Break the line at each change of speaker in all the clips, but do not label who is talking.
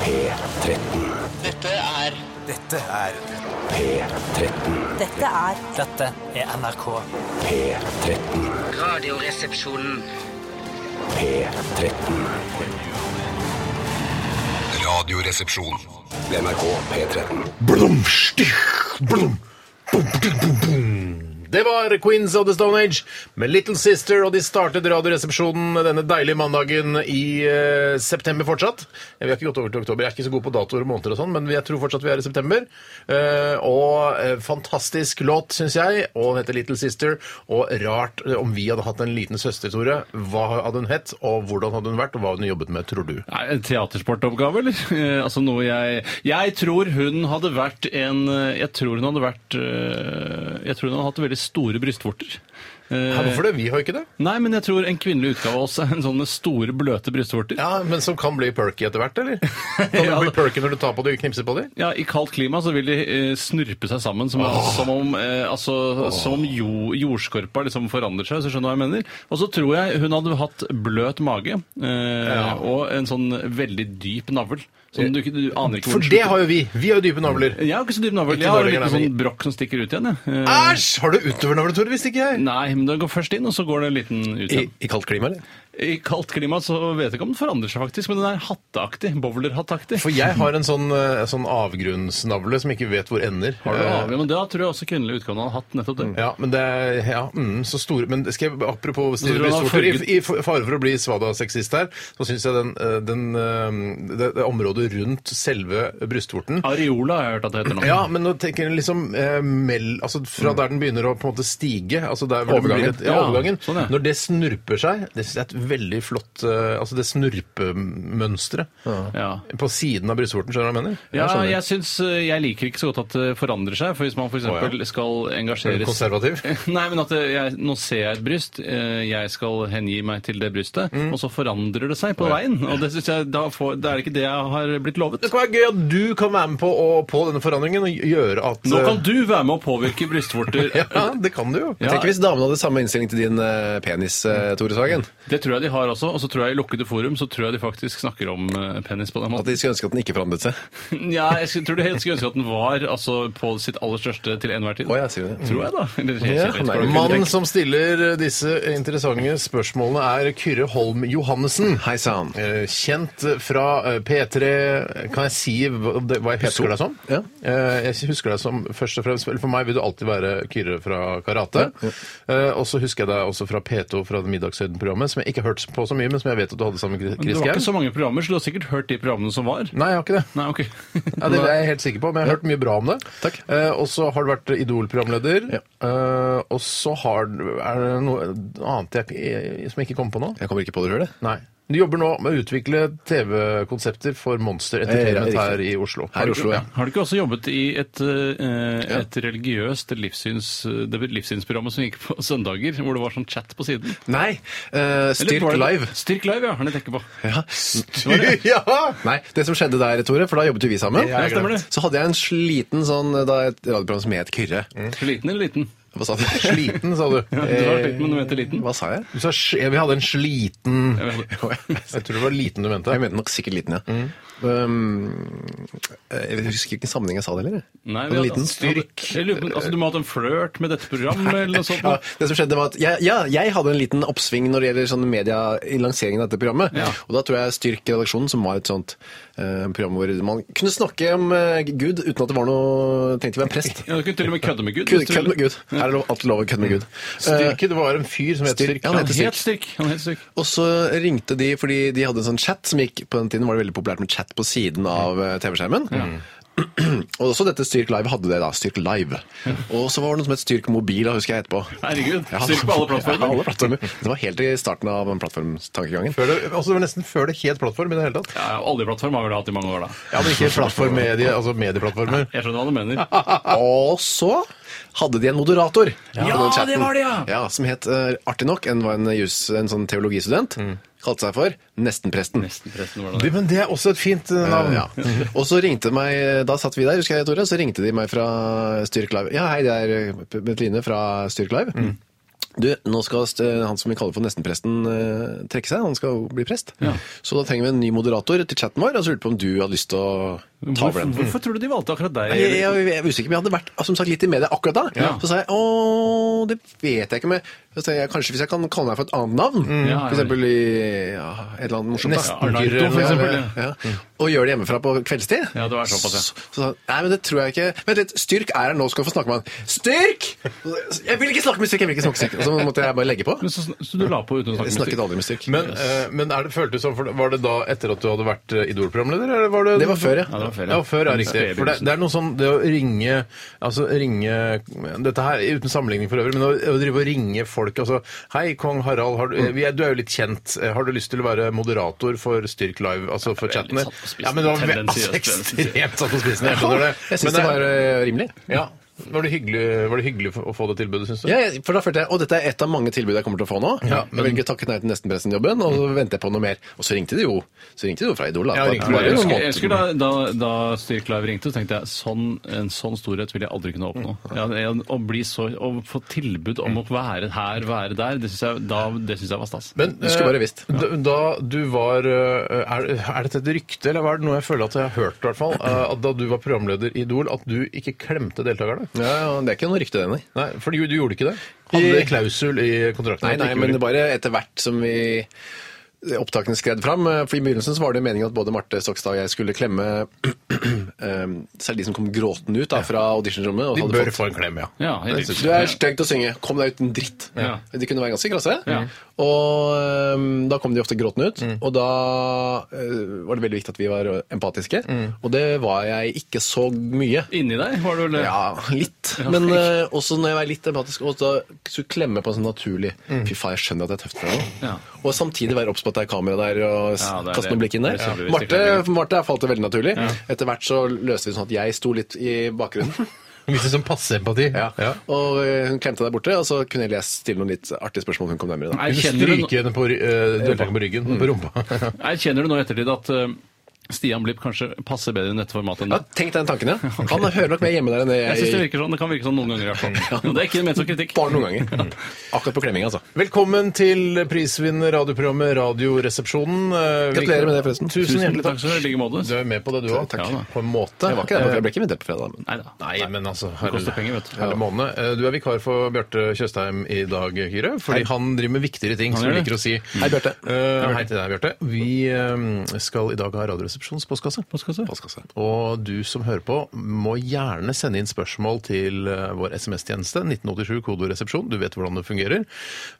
P13.
Dette er
Dette er
P13.
Dette er
Dette er NRK.
P13.
Radioresepsjonen.
P13.
Radioresepsjon.
NRK P13.
Blum, stich, blum, bum, bum, bum, bum. Det var Queens of the Stone Age med Little Sister, og de startet Radioresepsjonen denne deilige mandagen i eh, september fortsatt. Vi har ikke gått over til oktober. Jeg er ikke så god på datoer og måneder og sånn, men jeg tror fortsatt vi er i september. Eh, og eh, fantastisk låt, syns jeg, og den heter Little Sister. Og rart eh, om vi hadde hatt en liten søster, Tore. Hva hadde hun hett, og hvordan hadde hun vært, og hva hadde hun jobbet med, tror du?
Nei, en teatersportoppgave, eller? Eh, altså noe jeg Jeg tror hun hadde vært en eh, Jeg tror hun hadde vært eh, Jeg tror hun hadde hatt veldig store brystvorter. Eh,
Hæ, Hvorfor det? Vi har ikke det.
Nei, men jeg tror en kvinnelig utgave av oss er en sånn med store, bløte brystvorter.
Ja, Men som kan bli perky etter hvert, eller? Kan
Ja.
du bli perky når du tar på det og knipser på det?
Ja, I kaldt klima så vil de eh, snurpe seg sammen, som, som om, eh, altså, som om jo, jordskorpa liksom forandrer seg. hvis du skjønner hva jeg mener. Og så tror jeg hun hadde hatt bløt mage eh, og en sånn veldig dyp navl. Som du, ikke- du aner ikke hvor
Eh, For
den
det
slutter.
har jo vi. Vi har jo dype navler.
Jeg har ikke så dyp navl.
Ikke
Jeg har en
Norge,
liten
nei, men-
sånn brokk som stikker ut igjen. jeg. Eh,
Æsj! Har du utovernavle, Tore? Visste ikke jeg.
Nei, men den går først inn, og så går det en liten ut
I,
igjen.
I kaldt klima, eller?
I kaldt klima så vet jeg ikke om den forandrer seg, faktisk, men den er hatteaktig. Bowlerhattaktig.
For jeg har en sånn, eh, sånn avgrunnsnavle som ikke vet hvor ender.
Har du
Eh,
avgjør, men Da tror jeg også kvinnelig utgave har hatt nettopp det.
Ja, men det er ja, mm, så store Men skal jeg, apropos
tror
stive
du han har
brystvorter
farget-
I, I fare for å bli svada-sexist her, så syns jeg den, eh, den, eh, det, det området rundt selve brystvorten
Areola har jeg hørt at det heter nå.
Ja, men nå tenker jeg liksom eh, mell, altså Fra der den begynner å på en måte stige altså der hvor det blir
Mm. Overgangen.
Et, ja,
Ja,
overgangen.
sånn, ja.
Når det snurper seg Det synes jeg er et veldig flott eh, Altså det snurpemønsteret
Ja.
på siden av brystvorten, skjønner du hva jeg mener?
Ja,
skjønner.
jeg, synes, eh, jeg liker ikke så godt at det forandrer seg. For hvis man f.eks.
Å, ja.
eksempel skal
Er du
engasjeres
konservativ?
Nei, men at det- jeg, nå ser jeg et bryst, eh, jeg skal hengi meg til det brystet, og så forandrer det seg på veien. Og det synes jeg, da, får, da er det ikke det jeg har blitt lovet.
Det kan være gøy at du kan være med på, å- på denne forandringen og gjøre at
Nå
eh,
kan du være med å påvirke brystvorter.
Ja, det kan du jo.
Ja.
Tenk hvis damene hadde samme innstilling til din eh, penis, eh, Tore Sagen.
Det tror jeg de har også. Og så tror jeg i lukkede forum så tror jeg de faktisk snakker om eh, penis på den
At
måten.
de skulle ønske at den ikke forandret seg.
Ja, jeg skulle- tror de helst skulle ønske at den var altså, på sitt aller største til enhver tid.
Å, jeg sier det.
Tror jeg, da. Eller, helt
Ja,
sikkert.
nei,
Bare-
Mannen som stiller disse interessante spørsmålene, er Kyrre Holm Johannessen.
Hei sann.
Eh, Kjent fra eh, P3 Kan jeg si hva det- hva jeg husker deg som?
Ja.
Eh, Jeg husker deg som først og fremst vel, For meg vil du alltid være Kyrre fra karate. Eh, Og så husker jeg deg også fra P2 fra det Middagshøyden-programmet, som jeg ikke har hørt på så mye, men som jeg vet at du hadde sammen med
Men Det
Chris
var ikke så
Gaum.
mange programmer, så du har sikkert hørt de programmene som var.
Nei, jeg har ikke det.
Nei, ok.
Ja, det er jeg helt sikker på, men jeg har hørt mye bra om det.
Takk.
Eh, og så har du vært Idol-programleder. Eh, og så har du Er det noe annet jeg, ikke- eh, som jeg ikke kommer på nå?
Jeg kommer ikke på det sjøl, jeg.
Nei. Du jobber nå med å utvikle TV-konsepter for Monster
Eh,
Entertainment
riktig.
her i Oslo.
Her i Oslo, ja.
Har du ikke også jobbet i et, eh, et religiøst livssyns, det livssynsprogrammet som gikk på søndager, hvor det var sånn chat på siden?
Nei. eh,
Eller
Styrk
var det-
live.
Styrk live, ja. Har jeg tenker på.
Ja.
ja!
Nei, det som skjedde der, Tore, for da jobbet jo vi sammen,
Ja, stemmer det.
så hadde jeg en sliten sånn da et radioprogram som het Kyrre.
Mm.
Liten eller liten?
Hva sa du?
Sliten, sa du.
Ja, du har tenkt med noe etter liten.
Hva sa jeg?
Du sa sl- ja, vi hadde en sliten
Jeg vet ikke.
Jeg tror det var liten du mente. Mm.
Jeg mente nok sikkert liten, ja. Um, jeg husker ikke hvilken sammenheng jeg sa det heller.
Nei,
En
vi
liten
hadde- Jeg lurer på- Altså, du må ha hatt en flørt med dette programmet eller noe sånt.
Ja, det som skjedde var at jeg, ja, jeg hadde en liten oppsving når det gjelder sånn media i lanseringen av dette programmet.
Ja.
Og da tror jeg Styrk redaksjonen, som var et sånt eh, program hvor man kunne snakke om eh, Gud uten at det var noe Tenkte å være prest.
Ja, du kunne til og med kødde med Gud.
Kødd kødd med Gud. Er det lov, alltid lov å kødde med Gud? Eh,
Mm. Styrke, det var en fyr som het
Styrke,
Styrke.
ja,
Han
heter
het Styrk. Han het Styrk.
Og så ringte de, fordi de hadde en sånn chat som gikk på den tiden, var det veldig populært med chat på siden av eh, TV-skjermen. Og også dette Styrk Live hadde det da, Styrk Live. Og så var det noe som het Styrk Mobil, da, husker jeg etterpå.
Herregud,
Ja.
Styrk på alle
Ja,
plattformer.
alle plattformer. Det var helt i starten av den plattformtankegangen.
Før det, altså, det var nesten før det het plattform i det hele tatt.
Ja, Oljeplattform har vi vel hatt i mange år, da.
Ja, men ikke plattform medie, altså medieplattformer.
Jeg skjønner hva du mener.
Og så hadde de en moderator. på
Ja,
den chatten.
det var det, ja!
ja som het, eh, artig nok, en var en, jus, en sånn teologistudent.
Mm.
Kalte seg for Nestenpresten.
Nestenpresten, hvordan
Det,
det
men det er også et fint eh, navn.
Ja. Og så ringte de meg, da satt vi der, husker jeg, eh,
Mhm.
Tore, så ringte de meg fra Styrk Live. Ja, hei, det er Betline fra Styrk Live. Du, nå skal st- han som vi kaller for nestenpresten eh, trekke seg, han skal jo bli prest. Så da trenger vi en ny moderator til chatten vår, og så lurte altså på om du hadde lyst til å ta over
Hvorfor,
den.
hvorfor tror du de valgte akkurat deg?
Jeg, jeg, jeg er usikker, men jeg hadde vært altså, som sagt, litt i media akkurat da. Så sa jeg å, det vet jeg ikke om jeg Så tenkte jeg, Kanskje hvis jeg kan kalle meg for et
Mm.
annet navn?
Ja, ja.
For eksempel i ja, et eller annet morsomt. da.
Nesten Arnardo, for eksempel,
Ja, ja. Og gjør det hjemmefra på kveldstid?
Ja, det var såpass, ja.
Så, så, sa han, nei, men det tror jeg ikke. Vent litt, Styrk er her nå, skal du få snakke med han. Styrk! Jeg vil ikke snakke med Styrk! jeg vil ikke snakke med Styrk. Og så måtte jeg bare legge på.
Men så, så du la på uten å snakke
Jeg
musikk?
snakket aldri med Styrk.
Men, eh, men er det, føltes som, for var det da etter at du hadde vært eh, Idol-programleder? eller var Det
Det var før, ja.
Ja, det var før, ja.
ja. før er
Den
riktig.
spede
For det,
begynnelsen.
det er noe sånn det å ringe altså ringe Dette her uten sammenligning for øvrig, men å, å drive og ringe folk altså Hei, kong Harald, har du,
Mm.
eh, vi er, du er jo litt kjent. Eh, Har du lyst til å være moderator for Styrk Live? Altså for
Det er veldig
chattene?
satt på spissen.
Ja, men det var ve- altså,
Tendensiøst,
ekstremt satt på spissen. Jeg skjønner det.
Jeg syns
Men
det var eh, rimelig.
ja. var, det hyggelig, var det hyggelig å få det tilbudet, syns du?
Ja, jeg- for da følte jeg, Og dette er et av mange tilbud jeg kommer til å få nå.
Ja,
Jeg
men-
vil ikke takke nei til nestenprestenjobben, og så venter jeg på noe mer. Og så ringte de jo Så ringte de jo fra Idol. Da.
Ja,
Bare-
ringte
bare
de.
noen
Jeg husker, jeg
måneder.
husker da, da, da Styrk Live ringte, så tenkte jeg sånn, en sånn storhet vil jeg aldri kunne oppnå. Ja, jeg, å, bli så, å få tilbud om å være her, være der, det syns jeg, da- det synes jeg var stas.
Men,
Du skulle
eh,
bare visst.
Da, da du var eh, Er, er dette et rykte, eller hva er det noe jeg føler at jeg har hørt, i hvert fall, eh, at da du var programleder i Idol, at du ikke klemte deltakerne?
Ja, ja, Det er ikke noe rykte, det, nei.
Nei, for du, du gjorde ikke det? Hadde det
I-
klausul i kontrakten?
Nei,
at du
nei,
ikke
men
gjorde
det bare etter hvert som vi opptakene skred fram. eh, For I begynnelsen så var det jo meningen at både Marte Stokstad og jeg skulle klemme eh, selv de som kom gråtende ut da, fra auditionrommet. og
De
hadde
bør
fått-
få en klem, ja.
ja, jeg likte
Du
det.
er stygg til å synge. Kom deg ut en dritt.
Ja.
De kunne være ganske krasse.
Ja.
Og øhm, da kom de ofte gråtende ut. Og da øh, var det veldig viktig at vi var empatiske. Og det var jeg ikke så mye.
Inni deg var det vel det?
Ja, litt.
Ja.
Men øh, også når jeg var litt empatisk, og da skulle klemme på en sånn naturlig Fy faen, jeg skjønner at det er tøft for deg nå.
Mm. Ja.
Og samtidig være obs på at det er kamera der, og s-
Ja, det er
kaste
det.
noen blikk inn der.
Det er selvfølgelig
Marte,
viktig
Marte falt det veldig naturlig. Etter hvert så løste vi sånn at jeg sto litt i bakgrunnen.
Viste som passe empati.
sånn Ja. Og eh, hun klemte deg borte, og så kunne jeg lese stille noen litt artige spørsmål hun kom nærmere. Da.
Nei,
Du
kjenner du,
stryker henne på, ry- eh, deltakeren på ryggen,
Mm.
på rumpa.
nei, kjenner du nå i ettertid at eh, Stian Blipp kanskje passer bedre i dette formatet enn
Ja,
deg?
tenk deg den tanken, ja. Han hører nok mer hjemme der enn det
Jeg synes Det
jeg
virker sånn, det kan virke sånn noen ganger i hvert fall. Og Det er ikke ment som kritikk.
Bare noen ganger. Akkurat på klemming, altså.
Velkommen til prisvinnende radioprogrammet Radioresepsjonen. Eh, vi-
Gratulerer med det, forresten.
Tusen
Tusen
hjertelig takk.
takk skal du ha, i like måte.
Du er med på det, du òg.
Takk. Ja, da.
På en måte.
Jeg var ikke der, for jeg ble ikke invitert på fredag. Men.
Nei da.
Nei, men altså
koster penger, vet du.
Herre måne. Eh, Du er vikar for Bjarte Tjøstheim i dag, Kyrre. Fordi han driver med viktigere ting, som vi
gjør
liker å si.
Hei, Bjarte.
Eh, hei til deg, Bjarte. Vi eh, skal i dag ha Radioresepsjonens postkasse.
Postkasse.
Postkasse. Og du som hører på, må gjerne sende inn spørsmål til eh, vår SMS-tjeneste. 1987 kodoresepsjon. Du vet hvordan det fungerer.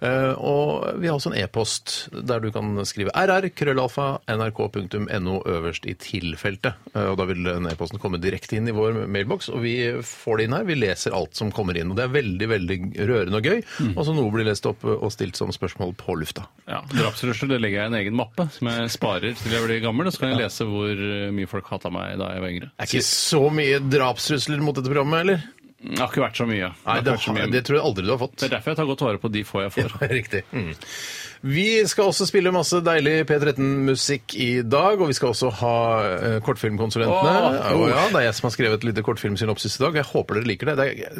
Eh, og vi har også en e-post der du kan skrive rr krøllalfa nrk.no øverst i tilfeltet. Eh, og da vil den e-posten komme direkte inn i vår mailboks, og vi får det inn her. Vi leser alt som kommer inn. Og det er veldig, veldig rørende og gøy. Og så noe blir lest opp eh, og stilt som spørsmål på lufta.
Ja, Drapsrørsel det legger jeg i en egen mappe som jeg sparer til jeg blir gammel. Og så kan jeg lese hvor eh, mye folk hata meg da jeg var yngre.
Er ikke så mye drapstrusler mot dette programmet, eller?
Det har ikke vært så mye.
Nei, det,
har ikke vært så mye.
det tror jeg aldri du har fått.
Det er derfor jeg tar godt vare på de få jeg får.
Riktig. Vi skal også spille masse deilig P13-musikk i dag, og vi skal også ha eh, kortfilmkonsulentene.
Åh!
Å, ja, det er jeg som har skrevet et lite kortfilmsynopsis i dag. Jeg håper dere liker det. Det er,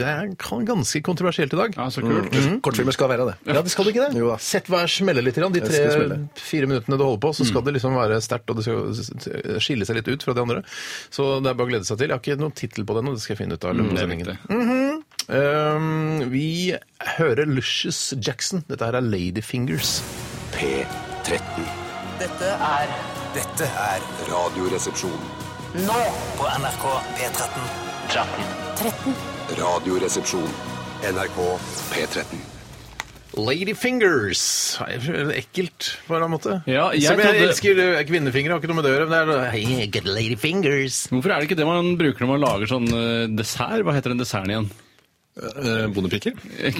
det er kan- ganske kontroversielt i dag.
Ja, så kult.
Mm-hmm. Kortfilmer skal være det.
Ja, det skal det ikke det?
Jo da.
Sett hver smelle litt. grann. De
Jeg skal smelle.
tre-fire minuttene du holder på, så
Mm.
skal det liksom være sterkt, og det skal s- s- skille seg litt ut fra de andre. Så det er bare å glede seg til. Jeg har ikke noen tittel på den, og det skal jeg finne ut av. i løpet av
Mm, Det er
sendingen.
viktig.
Um, vi hører Lucius Jackson. Dette her er Ladyfingers.
P13.
Dette er
Dette er
Radioresepsjon.
nå på NRK P13.
Radioresepsjon. NRK P13.
Ladyfingers! Nei, jeg føler det er Ekkelt, på en eller annen måte.
Ja, jeg
Som jeg
trodde-
elsker eh, kvinnefingre, har ikke noe med det å gjøre. Men det er hey, good ladyfingers.
Hvorfor er det ikke det man bruker når man lager sånn eh, dessert? Hva heter den desserten igjen?
Eh,
Bondepiker?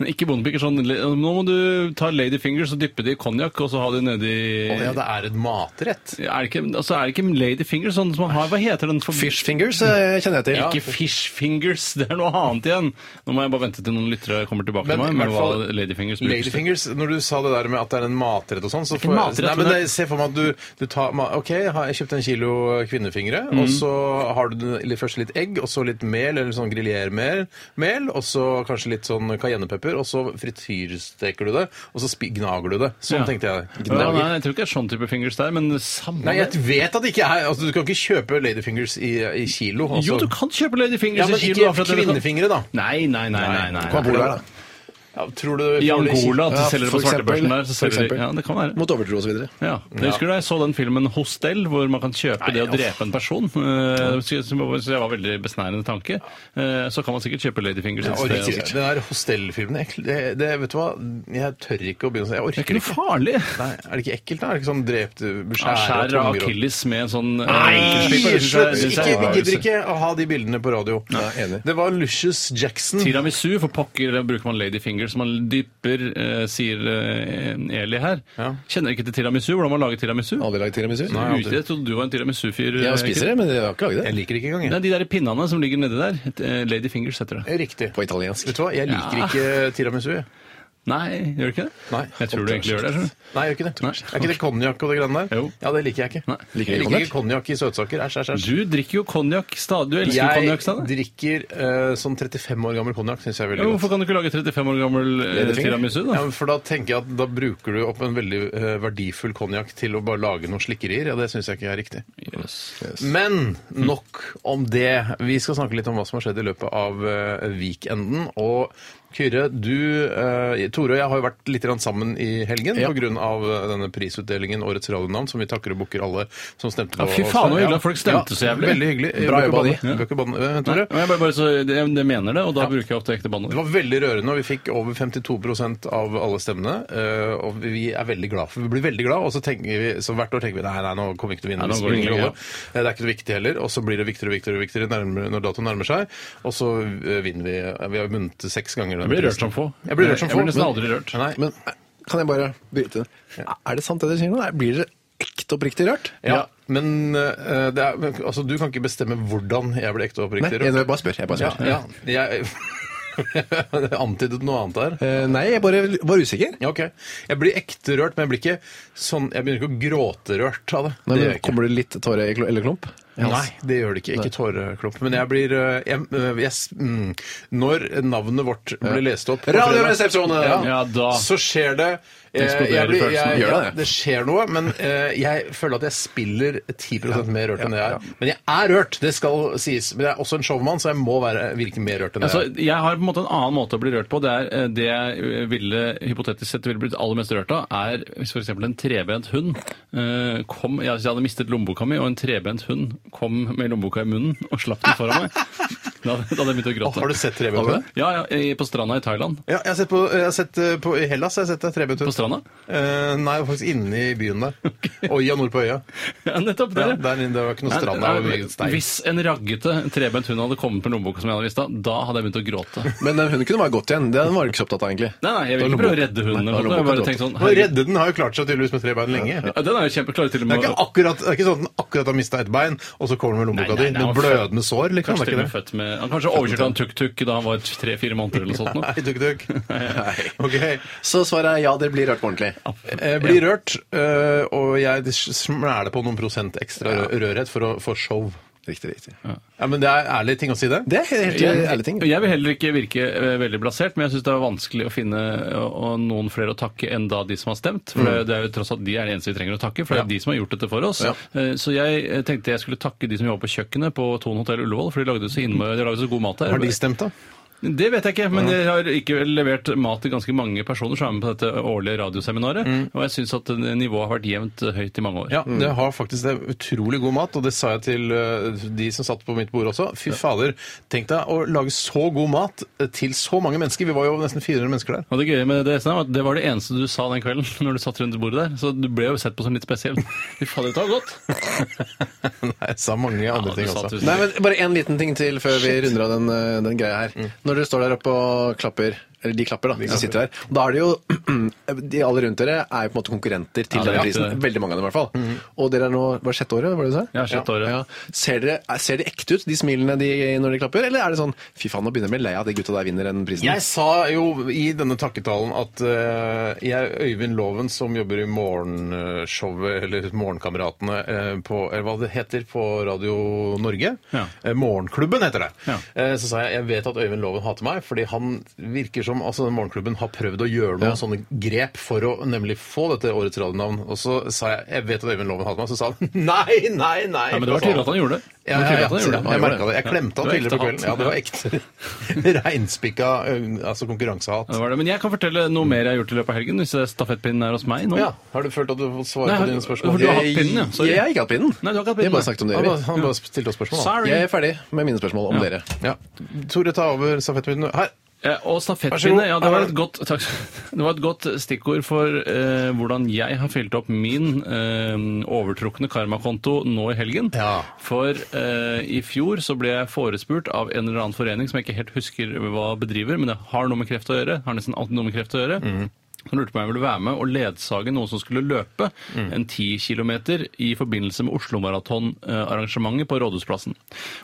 Ikke bondepiker, sånn le- Nå må du ta Lady Fingers og dyppe det i konjakk, og så ha det nedi
Å ja, det er en matrett.
er det, ikke, altså er det ikke Lady Fingers sånn som man har Hva heter den? For,
Fish fingers eh, kjenner jeg til.
Ikke Fish Fingers, det er noe annet igjen. Nå må jeg bare vente til noen lyttere kommer tilbake
Men
til
i
meg med
hvert
hva
fall-
Lady Fingers brukes til.
Ladyfingers, når du sa det der med at det er en matrett og sånn så
ikke
får jeg-
matrett,
Nei, men
men
det,
det-
Se for meg at du, du tar ma- OK, jeg har jeg kjøpte en kilo kvinnefingre,
Mhm.
og så har du den- eller først litt egg, og så litt mel, eller sånn griljermel, mel, og så kanskje litt sånn cayennepepper, og så frityrsteker du det, og så spi- gnager du det. Sånn
Ja.
tenkte jeg.
Ja, nei, jeg tror ikke det er sånn type fingers der, men samme
Nei, jeg vet at det ikke er altså, Du kan ikke kjøpe ladyfingers i, i kilo. altså.
Jo, du kan kjøpe ladyfingers
Ja, men
i kilo. da, for
ikke
at det-
kvinnefingre, da.
Nei, nei, nei. nei, nei,
Hva bor
nei.
det her, da?
Ja, tror du, får
I
du i
Angola, at de
kilo?
selger det
for
på svartebørsen
eksempel.
der. Så
For
selger de,
eksempel.
ja, det kan være.
Mot overtro og så videre.
Ja. Jeg husker da jeg så den filmen Hostel, hvor man kan kjøpe det å drepe en person. Eh, så- så det var en veldig besnærende tanke. Eh, Så kan man sikkert kjøpe ladyfingers
Jeg
et sted. altså.
orker
også.
ikke. Den der hostellfilmen jeg- det, det, Vet du hva? Jeg tør ikke å begynne sånn. Jeg
Det er
orker
ikke noe farlig.
Nei, er det ikke ekkelt, da? Er det ikke sånn drept
Han
beskjæret
skjærer av akilles med sånn eh, enkeltslipper.
Nei,
Det synes jeg-
slutt!
det synes
Ikke,
jeg er
vi gidder
overraskelse.
ikke å ha de bildene på radio.
enig.
Det var Lucius Jackson.
Tiramisu for pokker da bruker man ladyfinger, som man dypper, eh, sier eh, Eli her. Kjenner ikke til tiramisu. Hvordan man lager tiramisu?
Aldri lagd tiramisu?
Ute, jeg trodde du var en tiramisu-fyr. eh,
Jeg spiser
Kyrre.
det, men jeg har ikke lagd det.
Jeg liker det ikke engang,
Nei,
jeg.
de der pinnene som ligger nedi der. eh, Ladyfingers heter det.
Riktig.
På italiensk.
Vet du hva, jeg liker
Ja.
ikke tiramisu. jeg.
Nei, gjør det ikke det?
Nei.
Jeg tror du egentlig gjør det. skjønner du?
Nei, jeg gjør ikke det.
Nei.
Er ikke det konjakk og det greiene der?
Jo.
Ja, det liker jeg ikke.
Nei.
Liker du
jeg
ikke
liker ikke konjakk i søtsaker. Æsj, æsj, æsj.
Du drikker jo konjakk stadig. Du elsker jo konjakk
Jeg
stadig.
drikker eh, sånn 35 år gammel konjakk, syns jeg er
Ja,
veldig
men
godt.
hvorfor kan du ikke lage 35 år gammel eh,
Ladyfinger?
tiramisu,
Ja,
da?
men for Da tenker jeg at da bruker du opp en veldig eh, verdifull konjakk til å bare lage noen slikkerier. Ja, Det syns jeg ikke er riktig. Men nok om det. Vi skal snakke litt om hva som har skjedd i løpet av eh, weekenden. Og Kyrre, du, eh, Tore og jeg har jo vært litt grann sammen i helgen
Ja.
på grunn av eh, denne prisutdelingen Årets radionavn, som vi takker og bukker alle som stemte
Ja,
på.
fy
oss.
faen, så hyggelig
Ja.
at folk stemte så jævlig.
Veldig hyggelig.
Bra
Bøker
jobba, de.
banne- Bøker banne- eh,
Nei,
Tore?
men jeg bare, bare så, det, det mener det, og da bruker jeg ofte ekte
Det
banneord.
var veldig rørende, og vi fikk over 52 av alle stemmene. eh, Og vi er veldig glad for Vi blir veldig glad, og så tenker vi Så hvert år tenker vi nei, nei, nå kommer vi ikke til å vinne.
Nei, nå
det
går det
spiller ingen
ikke,
rolle. Eh, Det er ikke noe viktig heller. Og så blir det viktigere og viktigere, og viktigere nærmere, når datoen nærmer seg. Og så eh, vinner vi. eh, Vi har vunnet det seks ganger.
Jeg blir rørt som få.
Jeg blir rørt som
Jeg
få.
blir nesten
men-
aldri rørt.
Nei,
Men eh, kan jeg bare bryte inn? Er det sant det dere sier nå? Er- Blir dere ekte oppriktig rørt?
ja, men eh, det er, men, altså, du kan ikke bestemme hvordan jeg ble ekte og
Nei,
oppriktig
jeg
rørt.
bare spør. Jeg bare
Ja,
spør.
ja, jeg antydet noe annet der.
Eh, Nei, jeg bare var usikker.
Ja, ok. Jeg blir ekte rørt, men jeg blir ikke sånn Jeg begynner ikke å gråte rørt av det.
Nei,
det
men
gjør jeg ikke.
kommer det litt tåre i klo- eller klump?
Nei, det gjør det ikke. Ikke tåreklump. Men jeg blir eh, jeg, eh, jeg, s- mm, Når navnet vårt ble lest opp på
Radioresepsjonen!
fredag,
Ja, da.
Så skjer det eh,
Eksploderer
jeg blir-
følelsen.
jeg-
Gjør det
ja,
det?
Det skjer noe, men eh, jeg føler at jeg spiller 10 mer rørt enn det jeg er. Men jeg er rørt, det skal sies. Men jeg er også en showman, så jeg må være, virke mer rørt enn
Altså,
jeg er.
jeg har på en måte en annen måte å bli rørt på. Det er eh, det jeg ville hypotetisk sett ville blitt aller mest rørt av, er hvis f.eks. en trebent hund eh, kom jeg, jeg hadde mistet lommeboka mi, og en trebent hund kom med lommeboka i munnen og slapp den foran meg. Da, da hadde jeg begynt å
Å,
gråte.
har du sett Trebentun?
Ja, ja, i- på stranda i Thailand.
Ja, jeg har sett på, jeg har sett eh, på i Hellas. Jeg har sett det, Trebentun.
På stranda?
Eh, nei, faktisk inne i byen der. Oi, og nord på øya.
Ja, nettopp
Ja,
der. ja.
der inne, det var ikke noe strand
Nei,
der. det var
nei,
mye stein.
Hvis en raggete trebent hund hadde kommet med lommeboka som jeg hadde visst av, da hadde jeg begynt å gråte.
Men eh, hun kunne være godt igjen. Den var du ikke så opptatt av, egentlig.
Nei, nei, jeg vil
Da
ikke prøve å
lommeboka-
redde hunden.
Nei, da
eller noe. Jeg bare
lommeboka
tenker sånn,
Nå,
herregud.
redde den har jo klart seg tydeligvis med tre bein lenge. Det
Ja, Den er jo kjempeklar til og
er
med
ikke akkurat, det er ikke sånn at den akkurat har mista ett bein, og så kommer den med lommeboka
Nei,
di
nei, nei,
med
han var
blødende sår. Liksom,
Kanskje
det er ikke
til og med
det?
født med Han kanskje overkjørte han tuk-tuk da han var tre-fire måneder eller noe sånt. nå.
Nei, tuk-tuk. Ok.
Så svaret er ja, dere blir rørt på ordentlig.
Jeg blir rørt, øh, og jeg smæler på noen prosent ekstra rø- rørhet for å få show.
Riktig, riktig.
Ja, Men det er ærlige ting å si, det.
Det er helt eh, ærlig ting.
Og Jeg vil heller ikke virke eh, veldig blasert, men jeg syns det er vanskelig å finne eh, og noen flere å takke enn da de som har stemt. For
Mm.
det- det er jo tross alt de er de eneste vi trenger å takke, for det er de som har gjort dette for oss. Eh, Så jeg eh, tenkte jeg skulle takke de som jobber på kjøkkenet på Thon hotell Ullevål, for de lagde så, innmari, de lagde så god mat der.
Har de stemt, da?
Det vet jeg ikke, men jeg har ikke levert mat til ganske mange personer som er med på dette årlige radioseminaret, og jeg syns at eh, nivået har vært jevnt eh, høyt i mange år.
Mm. Ja, det har faktisk det er utrolig god mat, og det sa jeg til eh, de som satt på mitt bord også. Fy fader, tenk deg å lage så god mat eh, til så mange mennesker. Vi var jo nesten 400 mennesker der.
Og det gøye med det, Esna, var at det var det eneste du sa den kvelden når du satt rundt bordet der, så du ble jo sett på som litt spesiell. Fy fader, det var godt!
Nei, jeg sa mange andre
du
ting
sa
også.
tusen
Nei,
takk.
men Bare en liten ting til før vi runder av den, eh, den greia her.
Mm.
Når dere står der oppe og klapper, eller de klapper, da, de som sitter her, da er det jo De alle rundt dere er jo på en måte konkurrenter til
Ja, det er
denne
riktig,
prisen.
det. Mm-hmm.
Veldig mange av dem, i hvert fall. Og dere er nå Var det sjette året? var det du sa?
Ja, sjette året.
Ja. Ser, dere, er- ser de ekte ut, de smilene de, når de klapper? Eller er det sånn Fy faen, nå begynner jeg å bli lei av at de gutta der vinner den prisen.
Jeg sa jo i denne takketalen at eh, jeg, Øyvind Loven, som jobber i Morgenshowet, eller Morgenkameratene, eh, på, eller hva det heter, på Radio Norge.
Ja.
Eh, morgenklubben heter det.
Ja.
Eh, så sa jeg jeg vet at Øyvind Loven hater meg, fordi han virker som om altså den morgenklubben har prøvd å gjøre noen sånne grep for å nemlig få dette årets radionavn. Og så sa jeg Jeg vet at Øyvind Loven hadde meg, så sa han nei, nei, nei.
Ja, men det var tydelig at han gjorde det. Det
Ja,
var
ja,
tydelig
ja,
at han
jeg
gjorde det. Han gjorde
merket det. Jeg
Ja.
klemte han
var
tidligere på
ekte
kvelden. Ja, det var ekte reinspikka ø, altså konkurransehat.
Det var det. Men jeg kan fortelle noe mer jeg har gjort i løpet av helgen. Hvis stafettpinnen er hos meg nå.
Ja, Har du følt at du har fått svar
Nei,
på dine spørsmål?
for du har hatt pinnen, ja. Sorry.
Eh, Jeg har ikke hatt pinnen.
Nei, du har ikke hatt
Jeg har
pinnen, nei.
bare snakket om det.
Han
vi.
bare, han bare stilte oss spørsmål, da.
Sorry.
Jeg er ferdig med mine spørsmål om dere.
Ja. Tore, ta over stafettpinnen. Her!
Eh, Og
Vær så god.
stafettpinne, ja, det var et godt, takk, det var et godt stikkord for eh, hvordan jeg har fylt opp min eh, overtrukne karmakonto nå i helgen.
Ja.
For eh, i fjor så ble jeg forespurt av en eller annen forening som jeg ikke helt husker hva bedriver, men det har noe med kreft å gjøre. Har nesten alltid noe med kreft å gjøre.
Mhm.
Han lurte på om jeg ville være med og ledsage noen som skulle løpe
Mhm.
en 10 kilometer i forbindelse med Oslo-maraton-arrangementet på Rådhusplassen.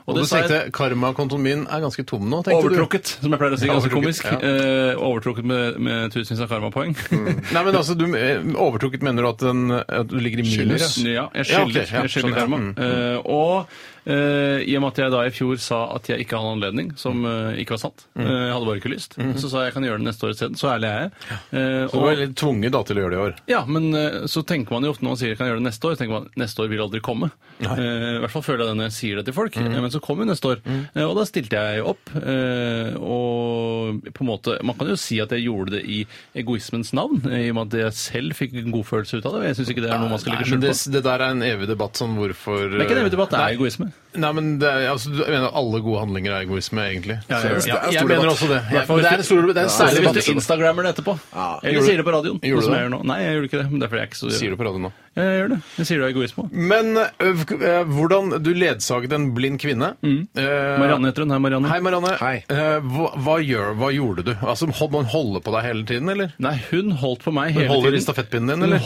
Og du
det sa jeg-
tenkte karmakontoen min er ganske tom nå, tenkte
Overtrukket, som jeg pleier å si.
Ja,
Ganske
overtrukket,
komisk. Eh, overtrukket med, med tusenvis av karmapoeng.
du. Nei, men altså, du, eh, overtrukket mener du at, den, at du ligger i minus?
Ja, jeg
Ja,
skylder
ok, ja,
jeg skylder
sånn, ja.
karma.
Mm.
Eh, og eh, i og med at jeg da i fjor sa at jeg ikke hadde anledning, som
Mm.
eh, ikke var sant, eh, jeg hadde bare ikke lyst, så sa jeg jeg kan gjøre det neste år isteden. Så ærlig er jeg. Eh,
Så du var litt tvunget da til å gjøre det i år?
Ja, men eh, så tenker man jo ofte når man sier jeg kan gjøre det neste år, så tenker man neste år vil aldri komme. Eh, I hvert fall føler jeg det når jeg sier det til folk. Eh, Men så kom jo neste år, Eh, og da stilte jeg opp. eh, Og på en måte Man kan jo si at jeg gjorde det i egoismens navn, eh, i og med at jeg selv fikk en godfølelse ut av det. Jeg syns ikke det er noe man skal
Nei,
legge
men
skjul på.
Det, det der er en evig debatt sånn hvorfor
Det er ikke en evig debatt, det er
Nei.
egoisme.
Nei, men det er, altså, du- jeg mener alle gode handlinger er egoisme, egentlig.
Ja, ja, ja.
Så
Det er
jeg
en
stor
mener
debatt.
også det.
I
Jeg,
hvert fall
det
hvis
er en stor debatt. Det er en
Ja, det er
særlig
en
Hvis
hvis
du
du
instagrammer det etterpå.
Ja.
Eller sier det på radioen.
Gjorde du
som
det?
jeg gjør nå. Nei, jeg gjorde ikke det. men Derfor er jeg ikke så
sier det på radio nå.
Ja, Jeg gjør det. Jeg sier det av egoisme. også.
Men ø, ø, hvordan du ledsaget en blind kvinne Eh,
Mm. Marianne heter hun. Hei, Marianne.
Hei, Marianne.
Hei.
Eh, hva, hva, gjør, hva gjorde du? Altså, Holdt man holde på deg hele tiden, eller?
Nei, hun holdt på meg hele tiden. Mm.
Holder i stafettpinnen din, eller?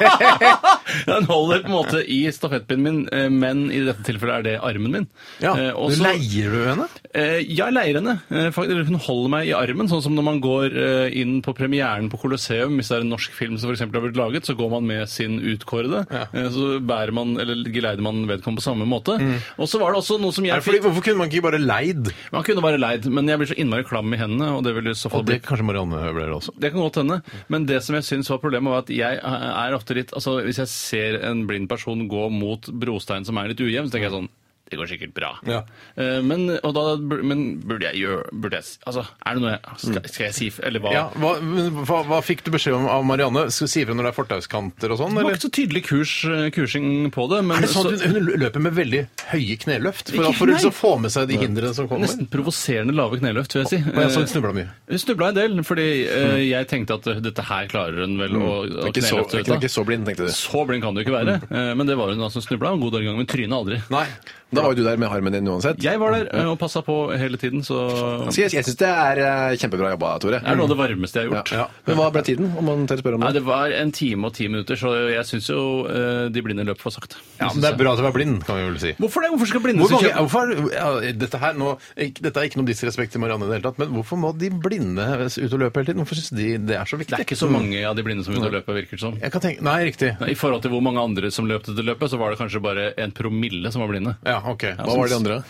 Den holder på en måte i stafettpinnen min, eh, men i dette tilfellet er det armen min.
Ja,
Eh, og
du
så-
Leier du henne?
Eh, Jeg leier henne. Eh, fakt- eller Hun holder meg i armen, sånn som når man går eh, inn på premieren på Colosseum, hvis det er en norsk film som for eksempel har blitt laget, så går man med sin utkårede. Eh, Så bærer man, eller geleider man vedkommende på samme måte. Og så var det også noe som
Mm. Er
jeg
det fordi,
fikk
hvorfor kunne man ikke bare leid?
Man kunne være leid, men jeg blir så innmari klam i hendene, og det vil i så fall
Og
bli
det kanskje Marianne ble det også.
det kan godt hende, men det som jeg syns var problemet, var at jeg er ofte litt altså Hvis jeg ser en blind person gå mot brostein som er litt ujevn, så tenker jeg sånn det går sikkert bra.
Ja.
Eh, Men, og da, men burde jeg gjøre burde jeg, altså, Er det noe jeg Skal, skal jeg si Eller hva?
Mm. Ja, hva, men hva, hva fikk du beskjed om av Marianne? Skal du si ifra når det er fortauskanter og sånn?
Det var
Eller?
ikke så tydelig kurs, eh, kursing på det. Men
Er det sånn
så-
at hun, hun løper med veldig høye kneløft for,
Ikke-
for å
nei.
liksom få med seg de hindrene som kommer?
Nesten provoserende lave kneløft, vil jeg si.
Og jeg så hun snubla mye.
Hun snubla en del, fordi eh,
Mm.
jeg tenkte at dette her klarer hun vel å, å
Ikke så,
kneløfte ut
ikke,
av.
ikke så blind, tenkte du.
Så blind kan du ikke være. Eh, Men det var hun da som snubla. En god dag i gang, men trynet aldri.
Mm. Nei.
Da var jo du der med armen din uansett.
Jeg var der eh, og passa på hele tiden, så
Så
det
Jeg, jeg syns det er eh, kjempebra jobba, Tore.
er noe av det varmeste jeg har gjort.
Ja. Men hva ble tiden, om man tør spørre om
Nei,
det?
det var en time og ti minutter, så jeg syns jo eh, de blinde løp for sakte.
Ja, men det er bra at du er blind, kan vi vel si.
Hvorfor det? Hvorfor skal blinde
Hvor mange,
kjøpe-
hvorfor, ja, dette, her nå, ikke- dette er ikke noe disrespekt til Marianne i det hele tatt, men hvorfor må de blinde ut og løpe hele tiden? Hvorfor syns de det er så viktig?
Det er ikke så mange av de blinde som begynte å løpe, virker det som.
Jeg kan tenke, nei, riktig.
Nei, I forhold til hvor mange andre som løp dette løpet, så var det kanskje bare en promille som var blinde. Eh,
Ja, ok.
Hva var de andre?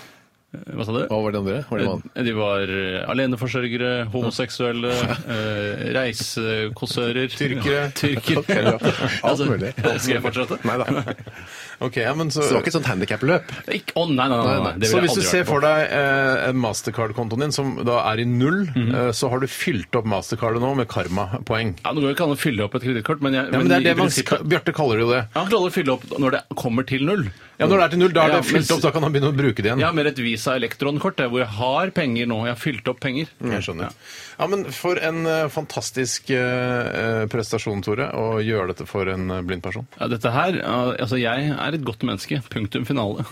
Hva sa du?
Hva var de andre? Var det man?
Eh, De var eh, aleneforsørgere, homoseksuelle, eh, reisekåsører
Tyrkere.
Tyrkere. Altså,
Alt mulig.
Skal jeg fortsette?
Nei da.
Ok, ja, men så...
Så det var ikke et sånt handikap-løp?
Ikke- Å, nei, nei, nei. nei, nei. Det
så
ville jeg
hvis du
aldri
ser
vært på.
for deg eh, en Mastercard-kontoen din, som da er i null,
Mhm.
eh, så har du fylt opp Mastercardet nå med karma-poeng.
Ja, Nå går det ikke an å fylle opp et kredittkort, men, jeg-
Ja, men
men
det er
i
det man,
prinsippet-
Bjarte kaller det jo det.
Han klarer å fylle opp når det kommer til null.
Ja, Når det er til null, da er
Ja,
det fylt
men-
opp, da kan han begynne å bruke det igjen.
Jeg har mer et Visa Elektron-kort jeg, hvor jeg har penger nå. Jeg har fylt opp penger.
Mm. Jeg skjønner. Ja, men For en eh, fantastisk eh, prestasjon, Tore, å gjøre dette for en eh, blind person.
Ja, dette her, eh, altså Jeg er et godt menneske. Punktum finale.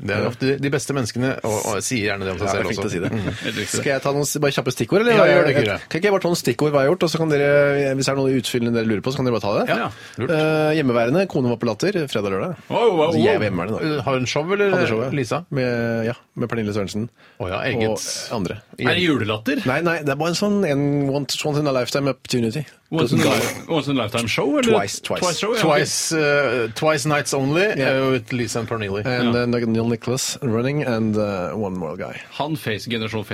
Det er ofte de beste menneskene, og, og jeg sier gjerne det om seg
Mm. Ja, det er
selv
fint å
også. Mm.
si det.
Helt riktig.
Skal jeg ta noen s- bare kjappe stikkord, eller?
Ja, gjør det, Kyrre.
Kan ikke jeg bare ta noen stikkord hva jeg har gjort, og så kan dere, hvis det er noe utfyllende dere lurer på, så kan dere bare ta det?
Ja,
lurt.
Eh, hjemmeværende, kone var på latter, fredag og lørdag.
Wow, wow, wow.
Så Jeg var hjemmeværende da.
Mm. Har hun show, eller?
Hadde showet.
Lisa?
Med, ja, med Pernille Sørensen.
Å ja, eget
Og andre.
Er det julelatter?
Nei, nei, det er bare en sånn en once, once in a lifetime opportunity.
Once in, a li- once in a lifetime show? Eller?
Twice, twice.
show, ja.
Twice, uh, twice Nights Only
Yeah.
uh, with Lisa and Mm. Parnelli.
And uh, Neil Nicholas running, and uh, one more guy.
Han face, generasjon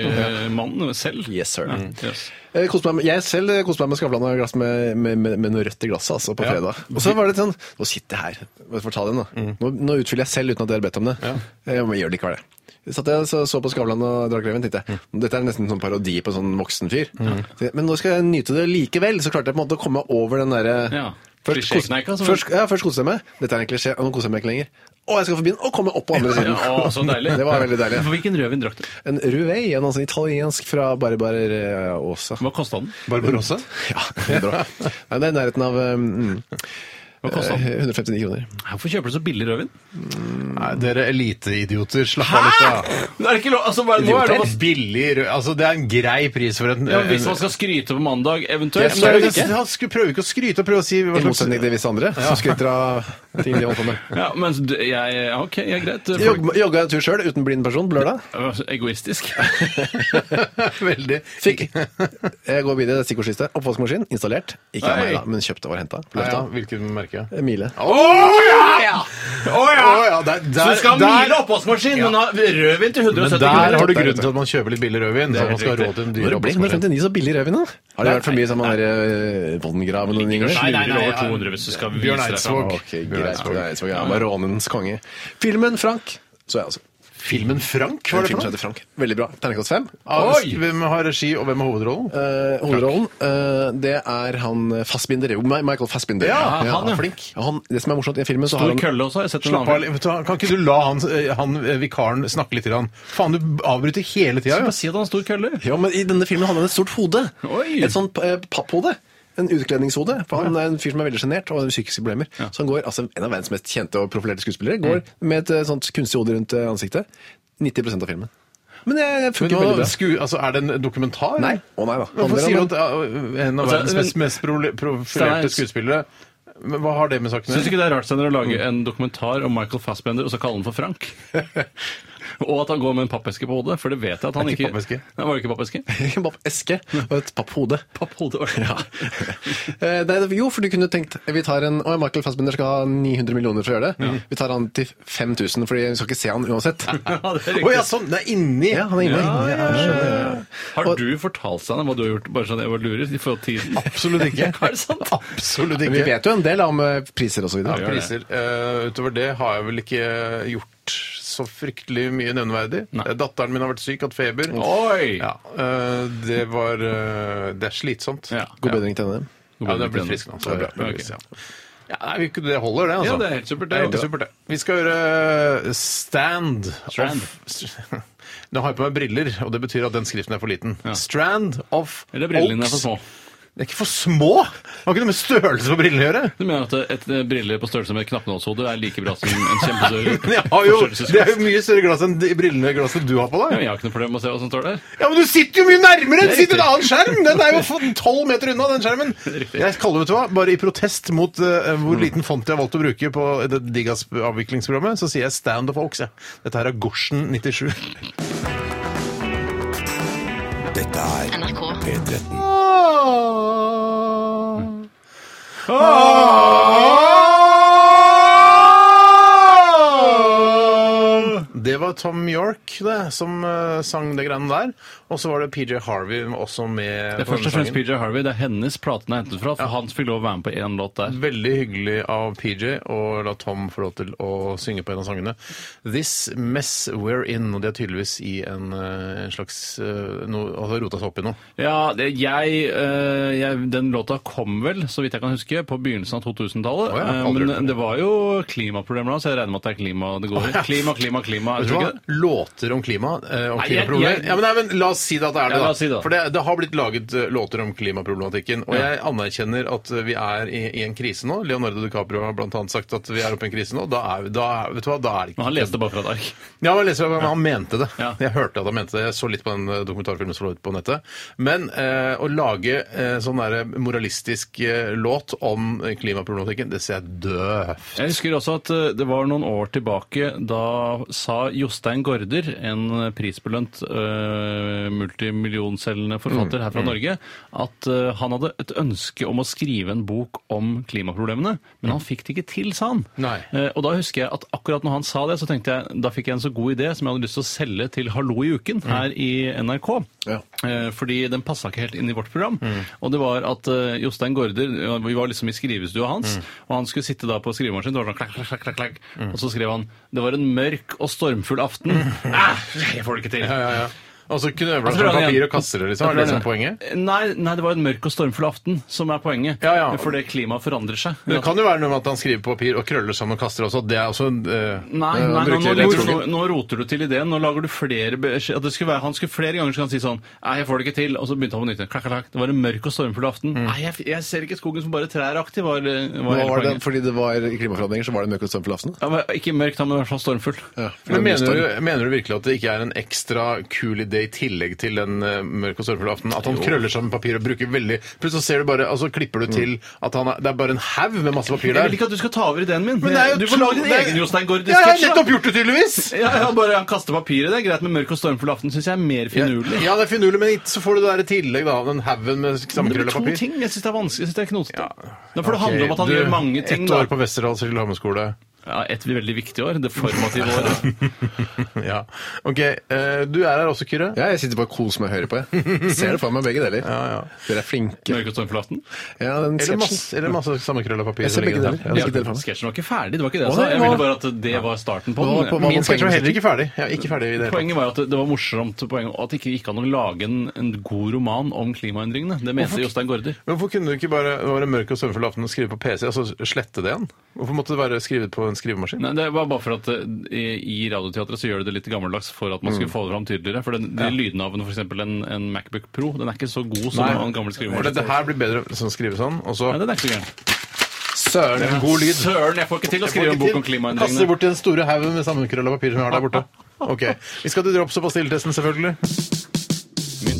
Facebook-mannen selv.
Yes, sir.
Ja,
Mm.
yes.
Jeg, koste meg med, jeg selv eh, koste meg med Skavlan og et glass med, med, med, med noe rødt i glasset altså, på
Ja.
fredag. Og så var det sånn Nå sitter jeg her. Jeg får ta den, da.
Mm.
Nå, nå utfyller jeg selv uten at dere har bedt om det. Eh, Jeg, men gjør det ikke, var det. Så Satt jeg så, så på Skavlan og Drakk Reven, tenkte jeg.
Mm.
Dette er nesten en sånn parodi på en sånn voksen fyr. Så jeg, Men nå skal jeg nyte det likevel. Så klarte jeg på en måte å komme meg over den derre
Ja.
Først, kos,
Klisjékneika, som-
først, ja, først koste jeg meg. Dette er en klisjé. og Nå koser jeg meg ikke lenger. Å, jeg skal forbi den! Og komme opp på andre siden.
Ja, å, så deilig.
det var veldig deilig.
For Hvilken rødvin drakk du?
En Ruei, en altså italiensk fra Barbarossa.
Hva kosta den?
Barbarossa?
Ja, det er bra. Nei, det er i nærheten av um, mm, eh,
Hva kostet den?
159 kroner.
Hvorfor kjøper du så billig rødvin?
Nei, dere eliteidioter, slapp av litt av.
Det er ikke lov, altså, hva, nå er det lov å-
Billig rød Altså, det er en grei pris for en,
ja, men Hvis
en
man skal skryte på mandag,
jeg
eventuelt. men
skal,
det er det
jeg,
ikke.
han skulle prøve ikke å skryte og prøve å si hva
I
slags
motsetning til visse andre som skryter av ting de holder på med.
Ja, men d- jeg, ja, ok, jeg er greit. Folk-
Jog- Jogga en tur sjøl uten blind person på lørdag.
Øh, Egoistisk.
Veldig.
Fikk Jeg går videre, det er stikkordskifte. Oppvaskmaskin installert. Ikke av
Nei.
meg, da, men kjøpt og henta.
Nei, ja, hvilket merke? Å
Mile.
ja! der, der, der,
oppvaskmaskin, men ha rødvin til
men der har du grunnen til at man kjøper litt billig rødvin. Så
helt
man skal ha
riktig.
råd til en dyr
Når ble 159 så billig rødvin, da? Har det vært for mye som han derre Vongraven og den gjengen?
Nei, nei, nei,
Lurer
over
over
200 hvis du skal vise
Bjørn
deg fram.
Eidsvåg.
Ok,
Bjørn
greit.
Eidsvåg.
Det er så greit. Han var rånens konge. Filmen Frank. Så jeg, altså.
Filmen Frank,
En
var det
film som
for noe?
heter Frank. Veldig bra. Terningkast fem.
Av-
Oi!
Hvem har regi, og hvem har hovedrollen?
Eh, hovedrollen, eh, det er han eh, Fassbinder. Jo, Mi- Michael Fassbinder.
Ja,
han er
flink. Han, det som er morsomt i filmen, så har
Stor
han
kølle også, har jeg sett en
Slapp av,
annen.
litt. Vet du hva, kan ikke du la han, han eh, vikaren snakke litt? Grann? Faen, du avbryter hele tida,
Bare
jo.
si at han har stor kølle.
Ja, men i denne filmen har han et stort hode.
Oi!
Et sånn eh, papphode. En utkledningshode. For han er en fyr som er veldig sjenert og har psykiske problemer. Så han går, altså En av verdens mest kjente og profilerte skuespillere
Mm.
går med et eh, sånt kunstig hode rundt eh, ansiktet. 90 av filmen. Men det det
Men
funker
hva-
veldig bra.
sku, altså, er det en dokumentar?
Nei. Å nei da.
Hvorfor
Handler
sier
om
du at eh, en av
Altså,
verdens
men-
mest, mest prole-
Steinar-
profilerte skuespillere men Hva har det med saken å
Syns du
gjøre?
ikke det er rart Steiner, å lage en dokumentar om Michael Fassbender og så kalle han for Frank? Og at han går med en pappeske på hodet, for det vet jeg at han
Det er
ikke
ikke pappeske.
Nei, var det ikke pappeske?
en pappeske og et papphode.
Papphode, var det.
Ja. Eh, Nei, det- jo, for du kunne tenkt vi tar en, «Å, Michael Fassbender skal ha 900 millioner for å gjøre det. Vi tar han til 5000, fordi vi skal ikke se han uansett.
Ja, det er
Å ja,
riktig.
sånn! Det er inni!
Ja, han er inne.
Ja,
Ja, skjønner.
Har du fortalt Steiner hva du har gjort, bare sånn jeg var lurer, i forhold til tiden?
Absolutt ikke.
Er det sant?
Absolutt
Men Vi
ikke.
vet jo en del om eh, priser og så videre.
Ja, priser. Eh, utover det har jeg vel ikke gjort så fryktelig mye nevneverdig. Eh, Datteren min har vært syk, hatt feber.
Oi!
Ja, eh, det var eh, Det er slitsomt.
Ja.
God bedring til henne.
Ja, det blir frisk nå. Så
Ja,
det,
ok.
ja. Ja, nei, vi- det holder, det. altså.
Ja, det er helt supert, det.
Det er helt supert, det. Vi skal gjøre Stand
Strand.
of Nå har jeg på meg briller, og det betyr at den skriften er for liten. Strand of
Eller brillene dine er
Oaks.
for små.
Det er ikke for små! Det har ikke noe med størrelse på brillene å gjøre.
Du mener at et eh, brille på størrelse med et knappenålshode er like bra som en kjempestor
Men jeg har jo, det er jo mye større glass enn de brillene glasset du har på
Ja,
deg.
men Jeg har ikke noe problem med å se hva som står der.
Ja, men du sitter jo mye nærmere! Du sitter i en annen skjerm! Den er jo for 12 meter unna, den skjermen. Jeg kaller, vet du hva, bare i protest mot eh,
Mm.
hvor liten font jeg har valgt å bruke på det Digas avviklingsprogrammet, så sier jeg Stand of Oaks, jeg. Dette her er Gorsen 97.
Dette er
NRK.
P13.
Det var Tom York det, som eh, sang det greiene der. Og så var det PJ Harvey også med.
Det er
på
først
denne
og fremst
sangen.
PJ Harvey. Det er hennes platen er hentet fra. For han fikk lov å være med på én låt der.
Veldig hyggelig av PJ å la Tom få lov til å synge på en av sangene. This Mess We're In. Og de er tydeligvis i en, eh, en slags eh, noe- altså rota seg opp i noe.
Ja, det, jeg, eh, jeg, Den låta kom vel, så vidt jeg kan huske, på begynnelsen av 2000-tallet.
Å ja,
Eh,
aldri hørt
men
den.
det var jo klimaproblemer da, så jeg regner med at det er klima det går i. Klima, klima, klima.
Vet du
Er det
hva?
ikke det?
Låter om klima eh, om
Nei, jeg-
klimaproblemer.
jeg-
ja, men, nei, men La oss si det at det er det.
Ja,
da.
la oss si det.
For det, det har blitt laget eh, låter om klimaproblematikken. Og jeg anerkjenner at eh, vi er i, i en krise nå. Leonardo DiCaprio har bl.a. sagt at vi er oppe i en krise nå. Da er, vi- da, er- vet du hva? Da er det
Men
ikke
han leste bare fra et ark.
ja, men leser, jeg, men han mente det.
Ja.
Jeg hørte at han mente det. Jeg så litt på den eh, dokumentarfilmen som lå ute på nettet. Men eh, å lage eh, sånn der moralistisk eh, låt om eh, klimaproblematikken, det ser jeg døvt.
Jeg husker også at eh, det var noen år tilbake da sa da Jostein Gaarder, en prisbelønt eh, multimillionselgende
Mm,
forfatter her fra Norge, at eh, han hadde et ønske om å skrive en bok om klimaproblemene, men han fikk det ikke til, sa han.
Mm. Nei.
Eh, og da husker jeg at akkurat når han sa det, så tenkte jeg da fikk jeg en så god idé som jeg hadde lyst til å selge til Hallo i
Mm.
uken her i NRK.
Ja.
Eh, Fordi den passa ikke helt inn i vårt program.
Mm.
Og det var at eh, Jostein Gaarder ja, Vi var liksom i skrivestua hans,
Mm.
og han skulle sitte da på skrivemaskinen, det var sånn klakk, klakk, klakk, klakk, klakk. og så skrev han 'Det var en mørk og stormfull aften'. Ah, jeg får det ikke til.
Mm. Ja, ja, ja. Og så knøvler
Jeg
han
tror
sånn
han
papir
igjen.
og kaster det, liksom. Er det det som er poenget?
Nei, nei, det var en mørk og stormfull aften som er poenget.
Ja, ja.
Fordi klimaet forandrer seg.
Men det kan jo være noe med at han skriver på papir og krøller sammen og kaster også. Det er også en eh,
Nei,
eh,
nei,
bruker
nå, nå,
elektronisk-
nå, nå roter du til ideen. Nå lager du flere beskjed, at det skulle være, Han skulle flere ganger skulle han si sånn Nei, jeg får det ikke til. Og så begynte han på nytt. igjen. Klakk, klakk, klakk. Det var en mørk og stormfull aften.
Mm.
Nei, jeg, jeg ser ikke skogen som bare trær aktig, var, eh, var,
Nå
hele
var det,
poenget.
fordi det var klimaforandringer, så var det en økostrøm for lafsen?
Ja, men ikke mørk, da, men i hvert fall stormfull.
Ja, fordi
Men
det
mener
var mye
du, mener du virkelig at det ikke er en ekstra kul idé i tillegg til den eh, mørk og sorgfulle aften? At han krøller sammen papir og bruker veldig Plutselig så ser du bare, altså klipper
Mm.
du til at han er, det er bare en haug med masse papir
Jeg
der.
vil ikke at du skal ta over ideen min.
Men det er jo
du får
tro-
lage din
det er-
egen
Jeg
Jostein
har
Gaarder-sketsj. da.
nettopp gjort det, tydeligvis!
Ja, ja, bare han kaster papiret. Det er greit med mørk og stormfull aften. Syns jeg er mer finurlig.
Ja, det er finurlig, men ikke- så får du det der i tillegg, da. Den haugen med
Men det
sammenkrølla
blir to
papir.
ting. Jeg syns det er vanskelig. Jeg synes det er knotete.
Ja.
Da får det handle om at han
Ok, du,
gjør mange ting.
Ett
da.
år på Westerdals reklameskole.
Ja, et veldig viktig år. Det formative året.
Ja. OK, eh, du er her også, Kyrre.
Ja, jeg sitter bare og koser meg og hører på. Jeg. Ser det for meg, begge deler. Dere er flinke.
Mørk og stormfull aften.
Ja, den
Eller
sketsjen.
masse, eller masse sammenkrølla papir.
Jeg ser
som ligger
begge
der.
deler. Jeg
Ja,
ser begge deler for meg.
Sketsjen var ikke ferdig, det var ikke det jeg
Å,
sa.
nei,
Jeg
hva-
ville bare at det var starten på
Hva- på-
den.
hva-
Min sketsj var heller ikke ferdig. Jeg er ikke ferdig i det hele tatt.
Poenget var jo at det var morsomt poeng, og at det ikke gikk an å lage en, en god roman om klimaendringene. Det mente Jostein Gaarder.
Men Hvorfor kunne du ikke bare det var en mørk og søvnfull aften og skrive på PC, altså slette det igjen? Hvorfor måtte det være skrevet på en skrivemaskin?
Nei, Det var bare for at eh, i i Radioteatret så gjør de det litt gammeldags for at man skulle få det fram tydeligere. For den, de lydene av en, for eksempel en, en Macbook Pro den er ikke så god som en gammel
For det,
skrivemaskin.
det her blir bedre sånn skrive sånn, og så
Nei, den er ikke så gæren.
Søren, en god lyd!
Søren, jeg får ikke til å skrive en bok om
Kaste
klimaendringene.
bort den store haugen med sammenkrølla papir som jeg har der borte. Ok, Vi skal til drops- og pastilletesten, selvfølgelig.
Min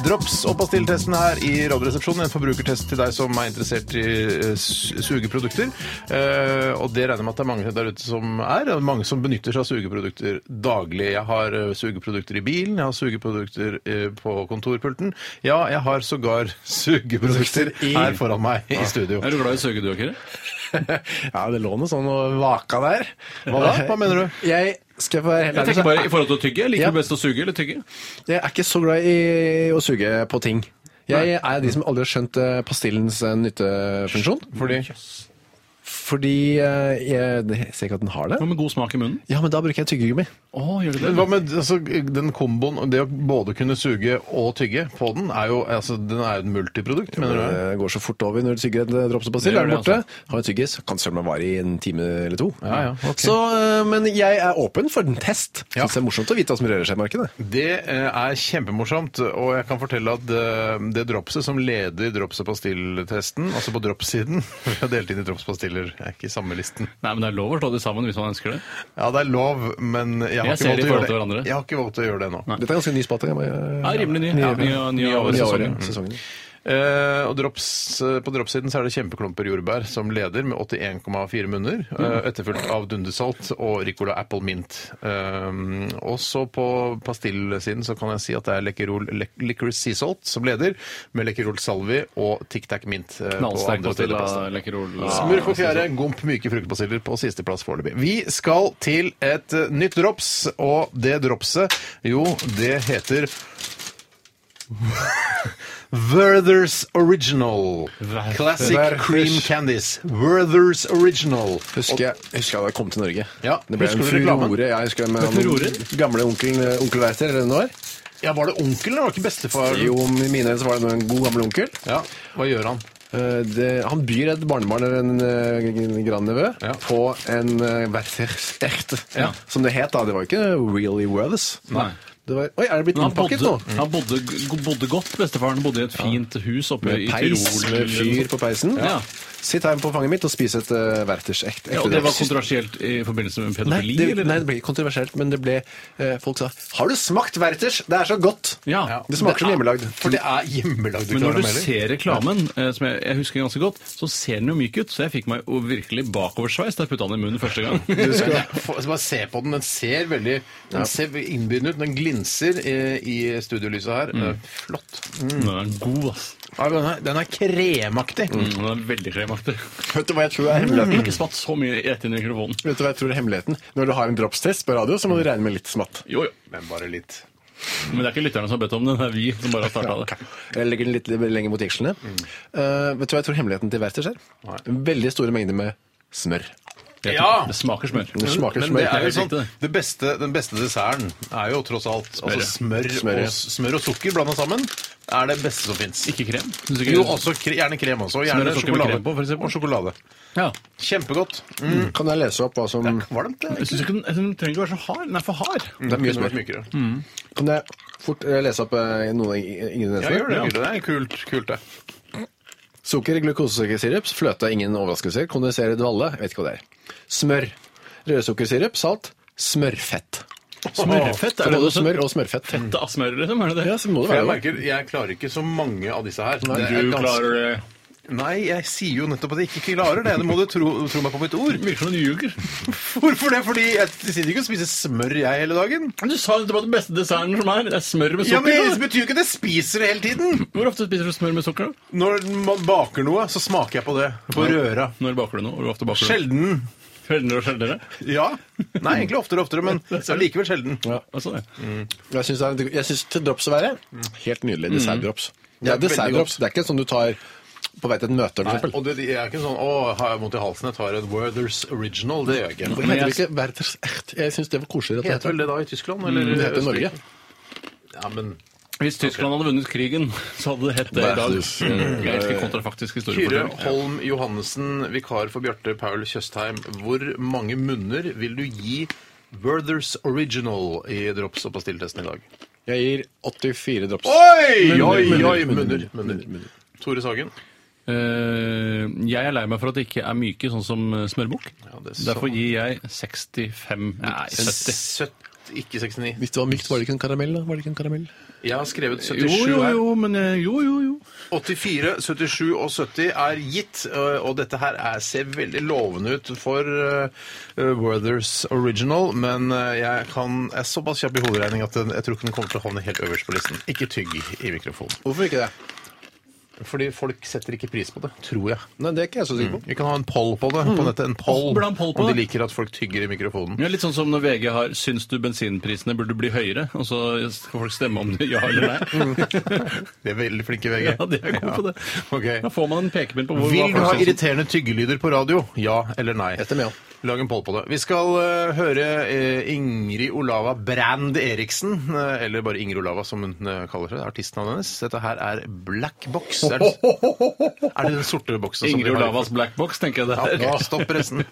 Drops- og pastilletesten her i Radioresepsjonen. En forbrukertest til deg som er interessert i eh, su- sugeprodukter. Eh, og det regner jeg med at det er mange der ute som er. og Mange som benytter seg av sugeprodukter daglig. Jeg har eh, sugeprodukter i bilen, jeg har sugeprodukter eh, på kontorpulten. Ja, jeg har sågar sugeprodukter her foran meg i studio.
Er du glad i søgeduakker?
Ja, det lå noe sånn og vaka der.
Hva da? Hva mener du?
Jeg skal få være helt ærlig,
Jeg tenker bare
så-
i forhold til å tygge. Liker
Ja.
du best å suge eller tygge?
jeg er ikke så glad i å suge på ting. Jeg er av de som aldri har skjønt eh, pastillens eh, nyttefunksjon.
Fordi
Fordi eh, jeg, jeg ser ikke at den har det.
Hva med god smak i munnen?
Ja, men da bruker jeg tyggegummi.
Å, gjør du
Men
det?
hva med altså, den komboen, og det å både kunne suge og tygge på den, er jo, altså, den er jo et multiprodukt, mener du?
Det går så fort over når du tygger eh, en drops og basill.
Det
Er
gjør
den
det, altså.
borte? Har en tyggis, kan søren meg vare i en time eller to.
Ja, ja, ok.
så, eh, men jeg er åpen for en test.
Ja.
Syns det er morsomt å vite hva som rører seg i markedet.
Det eh, er kjempemorsomt, og jeg kan fortelle at eh, det dropset som leder drops- og pastilltesten, altså på drops-siden Vi har delt inn i drops-pastiller, jeg er ikke i samme listen.
Nei, men det er lov å slå de sammen hvis man ønsker det.
Ja, det er lov, men jeg har, ikke,
Jeg ser
valgt
de
å
i
gjøre
forhold
det.
til hverandre.
jeg har ikke valgt å gjøre det nå.
Dette er ganske ny spalte. eh,
Ja, rimelig ny. Ja, ny- ny av sesongen.
sesongen.
Eh, og drops, eh, på dropssiden så er det kjempeklumper jordbær som leder med 81,4 munner, eh, etterfulgt av dundersalt og Ricola Apple Mint. Um, også på pastillsiden så kan jeg si at det er Lekkerol lec Licorice Sea Salt som leder, med Lekkerol Salvi og Tic Tac Mint. eh, på
Knallsterk
andre steder
pastill altså.
på
av
pastaen.
lekkerol.
Smør på fjerde, gomp myke fruktpastiller på sisteplass foreløpig. Vi skal til et eh, nytt drops, og det dropset, jo, det heter Werther's Original.
Werther-
Classic
Werthers.
cream candies. Werther's Original.
Husker jeg, husker jeg da jeg kom til Norge.
Ja,
det ble
husker
en
du reklamen?
furore. Jeg husker det med
Furore?
han gamle onkelen, eh, onkel Werther, eller hva det var.
Og- Ja, var det onkelen? Var det ikke bestefar?
Jo, i mine øyne så var det en god gammel onkel.
Ja, hva gjør han?
Eh, Det, han byr et barnebarn eller en, eh, en grandnevø
Ja.
på en eh, Werthers echte,
Ja.
som det het da. Det var ikke really Werthers.
Nei.
Det var, oi, er det blitt
Men Han
innpakket
bodde,
nå?
han bodde, g- bodde godt, bestefaren. Bodde i et fint hus oppe
Med
i
peis,
Tirol.
med fyr på peisen.
Ja.
Sitt her på fanget mitt og spis et uh, Werthers ekte.
Ja, og det var kontroversielt i forbindelse med
Nei,
pedofili?
det,
eller?
nei, det ble ikke kontroversielt, men det ble eh, Folk sa 'Har du smakt Werthers? Det er så godt!'
Ja.
Det smaker som
Det er-
hjemmelagd.
For det er hjemmelagd
Men når du ser reklamen, eh, som jeg, jeg husker ganske godt, så ser den jo myk ut. Så jeg fikk meg jo virkelig bakoversveis da jeg putta den i munnen første gang.
Mm.
Du skal få- bare se på den. Den ser veldig Den ser innbydende ut. Den glinser i, i studiolyset her.
Mm.
Det er Flott.
Den er god, ass.
Ja, den, er, den er kremaktig.
Den er veldig kremaktig.
Mm. Vet du hva jeg tror er hemmeligheten?
Ikke smatt så mye rett inn i mikrofonen.
Vet du hva jeg tror er hemmeligheten? Når du har en dropstest på radio, så må du regne med litt smatt.
Jo, jo.
Men bare litt.
Men det er ikke lytterne som har bedt om det, det er vi som bare har starta det.
Jeg legger den litt lenger mot jikslene.
Mm.
Eh, vet du hva jeg tror hemmeligheten til Werthers er? Veldig store mengder med smør.
Jeg
Ja!
tror- Det smaker smør.
Det smaker
Men
smør.
det er jo
helt
sånn,
riktig, det.
det beste, den beste desserten er jo tross alt altså smør,
Smør, ja.
og, smør og sukker blanda sammen. er det beste som fins.
Ikke krem? Synes du ikke
Jo,
det?
altså-
også kre, gjerne krem også. og Gjerne
Smør og sukker med
sjokolade.
krem på, for eksempel.
og sjokolade.
Ja.
Kjempegodt. Mm.
Kan jeg lese opp hva som
Kvalmt, det.
Jeg synes ikke den, jeg synes den trenger ikke være så hard. Den er for hard.
Det er mye
Kunne vært
smør.
mykere.
Kan jeg fort eh, lese opp eh, noen av ingrediensene?
Ja, gjør det. gjør Det Det er kult, kult, det.
Sukker, glukosesirup, fløte, ingen overraskelser, kondenserer dvalle, jeg vet ikke hva det er. Smør, rødsukkersirup, salt, smørfett.
Smørfett?
Så
Er det
både
noe
smør
smør?
og smørfett.
Fettet av smør, liksom? Er det det?
Mm. Ja, så må det
For jeg
være det.
merker, jeg klarer ikke så mange av disse her. Det er
Du
ganske-
klarer det.
Nei, jeg sier jo nettopp at jeg ikke klarer det. Det må du tro, tro meg på mitt ord.
Virker som du ljuger.
Hvorfor det? Fordi jeg sitter ikke og spiser smør jeg hele dagen.
Du sa jo at det var den beste desserten som er. Det er smør med
Ja,
sukker.
men Det
da.
betyr jo ikke at jeg spiser det hele tiden.
Hvor ofte spiser du smør med sukker? da?
Når man baker noe, så smaker jeg på det. På røra.
Når baker du noe? Hvor ofte baker du?
Sjelden.
Sjeldnere og sjeldnere?
Ja. Nei, egentlig oftere og oftere, men allikevel sjelden.
Altså det.
Mm.
Jeg syns, det er, jeg synes til drops å være helt nydelig. Dessertdrops. Det
Ja,
er
Mm. veldig
dessertdrops.
godt.
Det er ikke sånn du tar på vei til et møte,
Nei,
for eksempel.
og det, jeg er ikke sånn 'Å, har jeg vondt i halsen? Jeg tar en Werthers Original.' Det gjør jeg ikke.
Hvorfor heter det ikke Werthers Echt? Jeg syns det var koselig. at
Heter vel
det
det da i Tyskland? Eller
heter det. Det heter Norge.
Østerrike? Ja, men
Hvis Tyskland hadde vunnet krigen, så hadde det hett det i dag. Mm.
Versus,
Jeg elsker kontrafaktisk
Kyrre
historiefortelling.
Holm Johannessen, vikar for Bjarte Paul Tjøstheim. Hvor mange munner vil du gi Werthers Original i drops- og pastilltesten i dag?
Jeg gir 84 drops.
Oi!
Munner,
oi,
munner,
oi,
munner,
munner,
munner,
munner. Tore Sagen.
Eh, jeg er lei meg for at det ikke er myke, sånn som eh, smørbukk.
Ja, det er sånn. så-
Derfor gir jeg 65 Nei, 70.
70, ikke 69.
Hvis det var mykt, var det ikke en karamell? da? Var det ikke en karamell?
Jeg har skrevet 77
Jo, jo,
her.
jo, men eh, jo, jo, jo.
84, 77 og 70 er gitt, øh, og dette her er, ser veldig lovende ut for øh, øh, Werthers Original, men øh, jeg, kan, jeg er såpass kjapp i hoderegning at den, jeg tror ikke den kommer til å havne helt øverst på listen. Ikke tygg i mikrofonen.
Hvorfor ikke det?
Fordi folk setter ikke pris på det, tror jeg.
Nei, Det er ikke jeg så sikker på.
Vi kan ha en poll på det på nettet. En poll,
Mm. Bla en poll på
om de
det.
liker at folk tygger i mikrofonen.
Ja, litt sånn som når VG har 'Syns du bensinprisene burde bli høyere?' Og så skal folk stemme om det ja eller nei.
De er veldig flinke, VG.
Ja, de er gode på det.
Ok.
Da får man en pekepinn på hvor
Vil
hva
du
folk
ha
synes.
irriterende tyggelyder på radio? Ja eller nei?
Dette med, ja.
Lag en poll på det. Vi skal eh, høre eh, Ingrid Olava Brand Eriksen, eh, eller bare Ingrid Olava som hun eh, kaller seg, det er artistnavnet hennes. Dette her er Black Box. Er det, er det den sorte boksen som vi
Ingrid
har?
Olavas Black Box, tenker jeg det
Ja,
er.
ok, stopp pressen.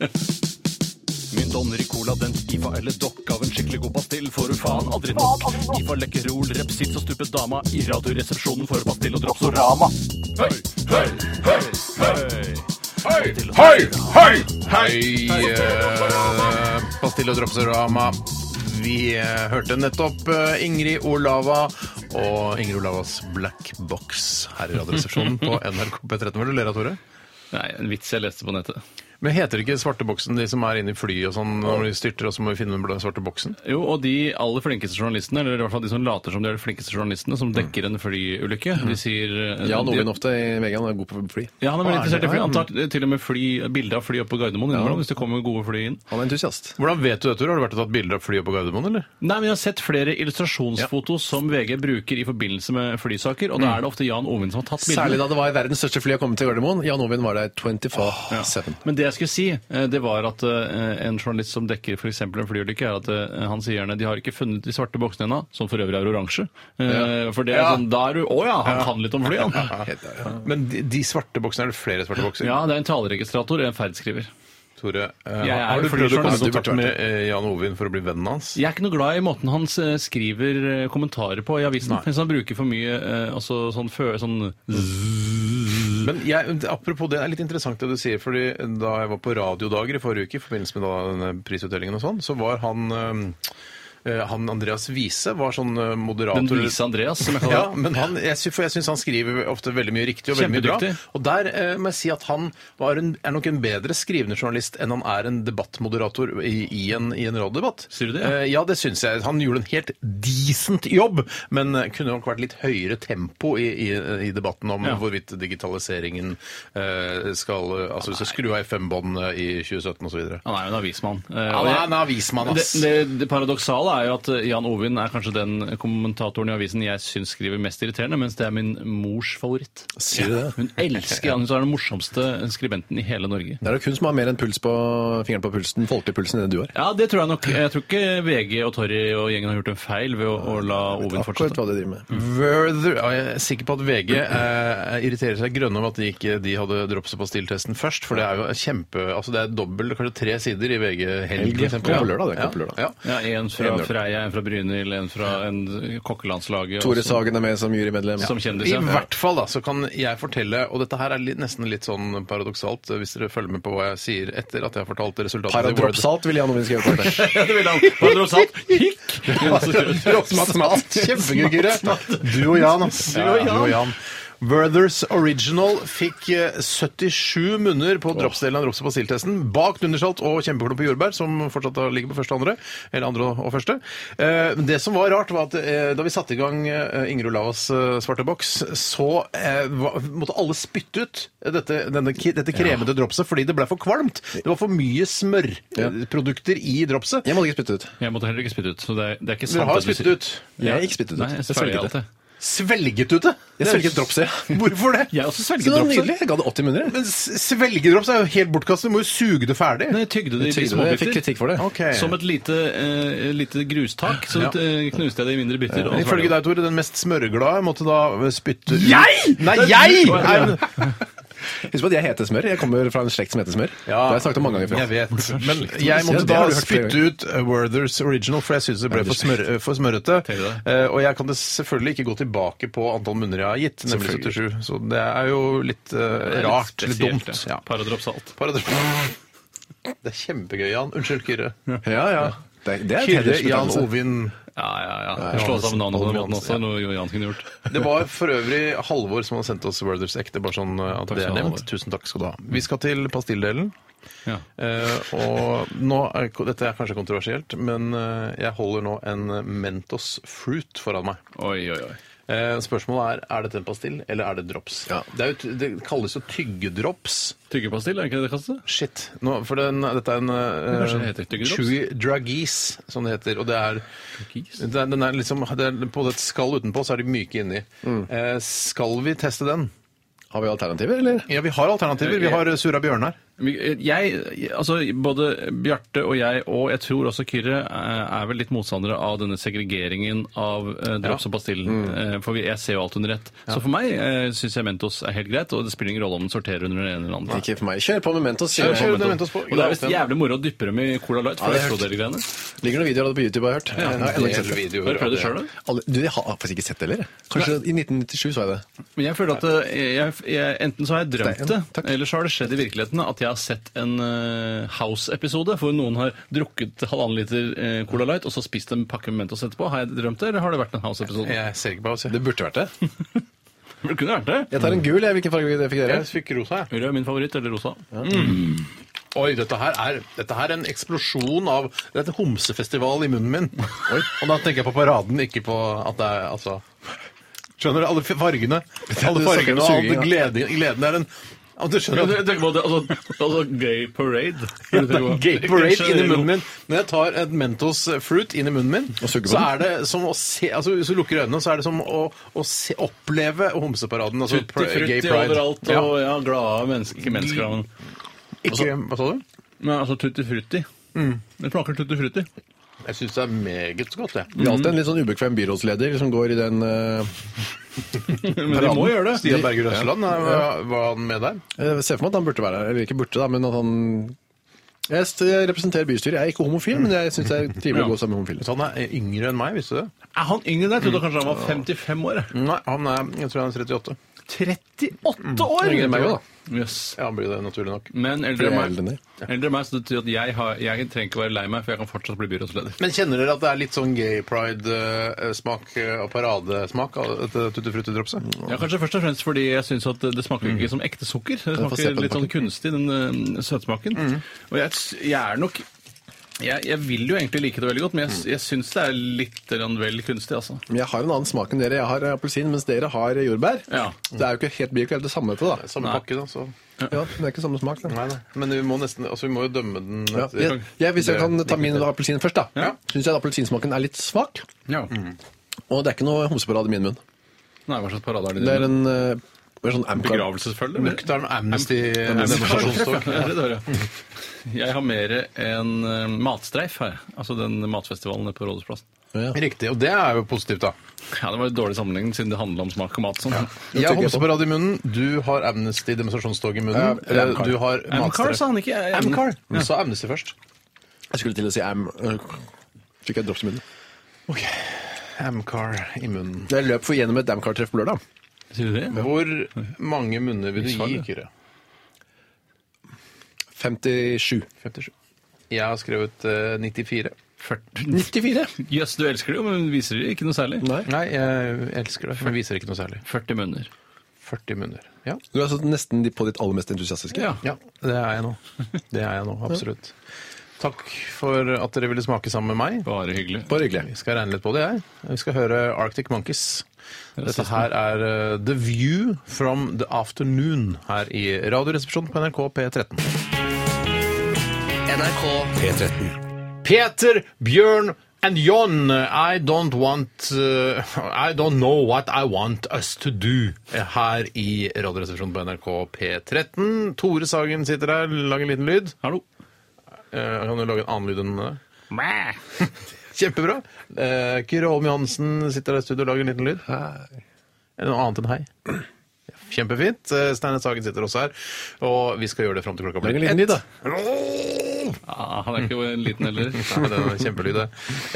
Min donner i cola, den skifa eller dokk av en skikkelig god pastill får du faen aldri nok. Skifa lekkerol, repsits og stupet dama i Radioresepsjonen får du pastill og dropsorama. Høy, høy, høy, høy.
Hei, hei, hei! eh, Pastille og Dropsorama. Vi eh, hørte nettopp eh, Ingrid Olava og Ingrid Olavas Black Box her i Radioresepsjonen på NRK P13. Hva er det du ler av, Tore?
Nei, en vits jeg leste på nettet.
Men heter det ikke svarte boksen de som er inne i fly og sånn når de styrter, og så må vi finne den blå- svarte boksen?
Jo, og de aller flinkeste journalistene, eller i hvert fall de som later som de er de flinkeste journalistene, som dekker en flyulykke, de sier eh,
Jan
de-
Ovin ofte i VG, han er god på fly.
Ja, han er veldig
Ah, er
interessert i
det?
fly. Han tar eh, til og med fly, bilde av fly oppe på Gardermoen innimellom, hvis det kommer gode fly inn.
Han er entusiast.
Hvordan vet du dette? Har du vært og tatt bilder av flyet på Gardermoen, eller?
Nei, men Jeg har sett flere illustrasjonsfoto som VG bruker i forbindelse med flysaker, og da er det ofte Jan Ovin som har tatt bildene.
Særlig da det var verdens største fly å komme til Gardermoen. Jan Ovin var der 24-7.
Men det jeg skulle si, eh, det var at eh, en journalist som dekker f.eks. en flyulykke, er at eh, han sier gjerne de har ikke funnet de svarte boksene ennå, som for øvrig er oransje. Eh, For det er
Ja.
sånn, da er du Å ja, han kan litt om fly, han.
Men de, de svarte boksene, er det flere svarte bokser?
Ja, det er en taleregistrator, en ferdskriver.
Tore, eh,
Jeg er
har du prøvd å
jo
komme
flyjournalist.
i kontakt med eh, Jan Ovin for å bli vennen hans?
Jeg er ikke noe glad i måten han eh, skriver eh, kommentarer på i avisen. Hvis han bruker for mye eh, altså, sånn fø... Sånn
Men jeg, apropos det, det er litt interessant det du sier, fordi da jeg var på radiodager i forrige uke, i forbindelse med da denne prisutdelingen og sånn, så var han eh, han Andreas Wiese var sånn eh, moderator
Den vise Andreas, som jeg kaller
Ja,
det.
men han, jeg, sy- for jeg syns han skriver ofte veldig mye riktig og veldig mye bra.
Kjempedyktig.
Og der eh, må jeg si at han var en, er nok en bedre skrivende journalist enn han er en debattmoderator i, i en, i en radiodebatt.
Sier du det?
Eh, ja, det syns jeg. Han gjorde en helt decent jobb, men eh, kunne nok vært litt høyere tempo i, i, i debatten om
Ja.
hvorvidt digitaliseringen eh, skal eh, Altså hvis du skrur av FM-båndene i 2017 osv.
Han er jo en avismann. Eh, og
Han er
jeg-
en avismann,
det,
ass.
det, det paradoksale er jo at eh, Jan Ovin er kanskje den kommentatoren i avisen jeg syns skriver mest irriterende, mens det er min mors favoritt.
Sier du det?
Hun elsker han, hun er den morsomste skribenten i hele Norge.
Det er nok hun som har mer enn puls på fingeren på pulsen, folkelig pulsen, enn det du har.
Ja, det tror jeg nok. Jeg tror ikke VG og Torry og gjengen har gjort en feil ved å, å la Ovin
Akkurat
fortsette.
hva de driver med.
Werther ja, Jeg er sikker på at VG eh, irriterer seg grønne om at de ikke de hadde drops- og pastilltesten først. For det er jo kjempe Altså det er dobbelt, kanskje tre sider i VG Helg.
Helg,
for eksempel.
ja, på lørdag, det er ikke på
Ja,
lørdag.
ja.
Ja, En fra
En lørdag.
Freia, en fra Brynhild, en fra en kokkelandslaget.
Tore
og så-
Sagen er med som jurymedlem.
Som kjendis.
I
ja.
hvert fall da, så kan jeg fortelle, og dette her er litt, nesten litt sånn paradoksalt, hvis dere følger med på hva jeg sier etter at jeg har fortalt resultatet. i Word-
Paradropsalt ville Jan Ovin skrevet på det.
Ja, det ville han. Paradoksalt. Hikk!
Smatt, smatt. Kjempegøy, Kyrre. Du og Jan, ass.
Du og Jan.
Werthers Original fikk eh, 77 munner på dropsdelen av drops- og pastilltesten. Bak Dundersalt og Kjempeklump på jordbær, som fortsatt da ligger på første og andre. Eller andre og første. Eh, men Det som var rart, var at eh, da vi satte i gang eh, Ingrid Olavas eh, svarte boks, så eh, var- måtte alle spytte ut dette, denne, ki- dette kremete dropset fordi det ble for kvalmt. Det var for mye smørprodukter i dropset.
Jeg måtte ikke spytte ut.
Jeg måtte heller ikke spytte ut. så det er, det er ikke sant.
Dere har
det du
spyttet
sier.
ut.
Jeg har ikke spyttet ut.
Nei, jeg
Jeg
svelget
svelget
alt,
det.
jeg.
Svelget ut det?
Jeg svelget dropset.
Hvorfor det?
Jeg har også
Så
svelget
det var
dropset.
nydelig. Jeg ga det 80 munner. jeg.
Men s- svelgedrops er jo helt bortkastet. Du må jo suge det ferdig.
Nei, jeg tygde det
Tygde det.
i
Jeg fikk
småbiter.
kritikk for det.
Ok.
Som et lite, eh, lite grustak, så
Ja.
eh, knuste jeg det i mindre biter. og
Men Ifølge
svelget det.
deg, Tore, den mest smørglade måtte da spytte ut
Jeg?!
Nei,
Det er
jeg!
du-
Nei, men-
Husk på at jeg heter Smør. Jeg kommer fra en slekt som heter Smør. Det har jeg snakket om mange ganger før.
Jeg vet. Men jeg måtte
Ja, det
da
har du hørt flere
spytte ut uh, Werthers Original, for jeg syns det ble for, smør, uh, for smørrete.
Tenker du det?
Eh, og jeg kan det selvfølgelig ikke gå tilbake på antall munner jeg har gitt, nemlig 77. Så det er jo litt eh,
Det er
rart. Litt
spesielt,
dumt.
det.
Ja.
Paradropsalt.
Paradrops- Det er kjempegøy, Jan. Unnskyld, Kyrre.
Ja, ja. Det er, det er et
Kyrre, Jan
hedersbetegnelse.
Ovin
Ja, ja, ja. Slå sammen navnet på den måten også,
Johansen,
noe Jo Jan kunne gjort.
Det var for øvrig Halvor som hadde sendt oss Werthers ekte, bare sånn uh, at
Takk
det er
skal du ha,
nevnt.
Halvor.
Tusen takk skal du ha. Vi skal til pastilldelen.
Ja.
Eh, og nå er, dette er kanskje kontroversielt, men eh, jeg holder nå en Mentos Fruit foran meg.
Oi, oi, oi.
Eh, spørsmålet er er dette en pastill eller er det drops.
Ja.
Det, er jo, t- det kalles jo tyggedrops.
Tyggepastill, er ikke det det kastet?
Shit. Nå, for den, dette er en eh,
kanskje det heter tyggedrops?
Chewy Druggies, som det heter. Og det er,
Druggies?
det er, den er liksom, det er, på et skall utenpå, så er de myke inni. Eh, skal vi teste den?
altså. Har vi alternativer, eller?
Ja, vi har alternativer. Vi har eh, Sura Bjørnar.
Vi- Jeg, altså Både Bjarte og jeg, og jeg tror også Kyrre, eh, er vel litt motstandere av denne segregeringen av eh, drops og pastillen. Eh, For vi- jeg ser jo alt under ett. Så for meg syns jeg Mentos er helt greit, og det spiller ingen rolle om den sorterer under den ene eller den andre.
Ikke for meg. Kjør på med Mentos.
Ja,
Kjør
kjør
på.
under Mentos på.
Og det er visst jævlig moro å dyppe dem i Cola Light. for
Ja, det
det
har jeg
er greiene.
Ligger noen videoer av det på YouTube, har jeg hørt. Jeg har ennå ikke sett det.
Har du prøvd det sjøl, da?
Alle- Du, jeg har faktisk ikke sett det heller. Kanskje i 1997 så jeg det.
Men jeg føler at eh, jeg, jeg, Enten så har jeg drømt
Stein,
det,
takk.
eller så har det skjedd i virkeligheten at jeg har sett en eh, House-episode hvor noen har drukket halvannen liter eh, Cola Light og så spist en pakke med Mentos etterpå. Har jeg drømt det, eller har det vært en House-episode?
Jeg ser ikke på oss, jeg.
Det burde vært det.
Men Det kunne vært det.
Jeg tar en gul, jeg. Hvilken farge det fikk dere?
Jeg fikk rosa, jeg.
Rød er min favoritt, eller rosa.
Oi, dette her, er, dette her er en eksplosjon av Det er et homsefestival i munnen min. Og da tenker jeg på paraden, ikke på at det er altså Skjønner du? Alle f- fargene. Alle
du snakker om
fargene og all
suging,
gleden, gleden er en Ja, Du
Ja,
skjønner
du tenker på det, altså, altså gay parade.
Gay parade inn i munnen min. Når jeg tar et Mentos fruit inn i munnen min,
suger på
så
den.
er det som å se altså Hvis du lukker øynene, så er det som å, å se, oppleve homseparaden. Altså
Tutti
pr- gay
frutti
pride.
overalt, og ja, glade mennesker. Ikke mennesker, da, men
Ikke, hva sa du?
Men altså tutti frutti.
Mm.
Det smaker tutti frutti.
Jeg syns det er meget godt, jeg.
Vi har alltid en litt sånn ubekvem byrådsleder som går i den eh,
Men de må gjøre det.
Stian Berger Røsland, eh, er- var han med der?
Jeg ser for meg at han burde være her. Eller ikke burde, da, men at han jeg, st- jeg representerer bystyret. Jeg er ikke homofil, men jeg syns det er trivelig å gå sammen med homofile.
Så han er yngre enn meg, visste du det?
Mm.
Er han yngre enn deg? Jeg trodde kanskje han var 55 år. jeg.
Nei, han er, jeg tror han er 38.
38 år!
Mm. Yngre enn meg også,
Yes.
Ja, blir det naturlig nok.
Men
For
eldre
jeg er
enn
eldre enn
meg,
deg.
eldre enn meg, så det betyr at jeg, har, jeg trenger ikke å være lei meg, for jeg kan fortsatt bli byrådsleder.
Men kjenner dere at det er litt sånn gay pride-smak eh, og paradesmak av dette Tutti Frutti Dropset?
Ja, Kanskje først og fremst fordi jeg syns at det smaker ikke som ekte sukker. Det
Mm. får se på den
smaker litt
pakken.
sånn
Mm.
kunstig, den eh, søtsmaken. Og jeg, jeg er nok jeg, jeg vil jo egentlig like det veldig godt, men jeg,
Mm.
jeg syns det er litt grann vel kunstig, altså.
Men jeg har en annen smak enn dere. Jeg har appelsin, mens dere har jordbær.
Ja.
Det er jo ikke helt, blir jo ikke helt det samme til, da.
Samme
Nei.
pakke, da. så...
Ja, det er ikke samme smak. Da.
Nei, nei. Men vi må nesten, altså vi må jo dømme den
Ja,
etter-
eh,
jeg, jeg, hvis jeg kan ta min appelsin først, da.
Ja.
Syns jeg at appelsinsmaken er litt svak.
Ja.
Og det er ikke noe homseparade i min munn.
Nei, hva slags parade er det?
Det er
din?
en eh, det er sånn amcar.
Begravelsesfølge? eller?
Nøktern
Demonstrasjonstog.
amnesty-demonstrasjonstog.
Ja, det er det. Jeg har mer en eh, matstreif her. Altså den matfestivalen på Rådhusplassen.
Ja.
Riktig. Og det er jo positivt, da.
Ja, Det var en dårlig sammenligning siden det handla om smak og mat. og sånn.
Jeg
tenker
har
jeg på.
homseparade i munnen, du har amnesty-demonstrasjonstog i munnen.
Ja, eller
eh, du har
Amcar, sa
matstreff.
han ikke. Jeg-
Amcar. Du sa amnesty først.
Jeg skulle til å si am... øh, Fikk jeg drops i munnen.
Amcar i munnen.
Jeg løp for gjennom et amcar-treff på lørdag.
Sier du det?
Hvor mange munner vil du
Svar,
gi,
ja.
Kyrre?
57.
57. Jeg har skrevet eh, 94.
94?
Jøss, du elsker det jo, men viser det ikke noe særlig.
Nei.
Nei, jeg elsker det. Men viser ikke noe særlig.
40 munner.
40 munner. Ja.
Du er altså nesten de- på ditt aller mest entusiastiske.
Ja.
Ja, det er jeg nå. Det er jeg nå, absolutt. Takk for at dere ville smake sammen med meg.
Bare hyggelig.
Bare hyggelig.
Vi skal regne litt på det, jeg. Vi skal høre Arctic Monkeys. Dette her er eh, The View from the Afternoon her i Radioresepsjonen på NRK P13.
NRK
P13.
Peter, Bjørn and John, I don't want uh, I don't know what I want us to do eh, her i Radioresepsjonen på NRK P13. Tore Sagen sitter der, lag en liten lyd.
Hallo.
Eh, kan du lage en annen lyd enn det? Kjempebra. Eh, Kyrre Holm Johansen sitter der i studio og lager en liten lyd. Er det Noe annet enn hei. Kjempefint. Eh, Steinar Sagen sitter også her. Og vi skal gjøre det fram til klokka
Lag
blir
en liten lyd, da.
Ah, han er ikke en liten heller.
Nei, det er kjempelyd, det.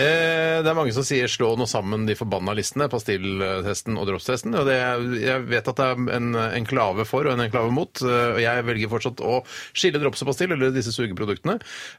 Eh, det er mange som sier 'slå nå sammen de forbanna listene', pastilltesten og dropstesten. Og det, jeg vet at det er en enklave for og en enklave mot, eh, og jeg velger fortsatt å skille drops og pastill, eller disse sugeproduktene.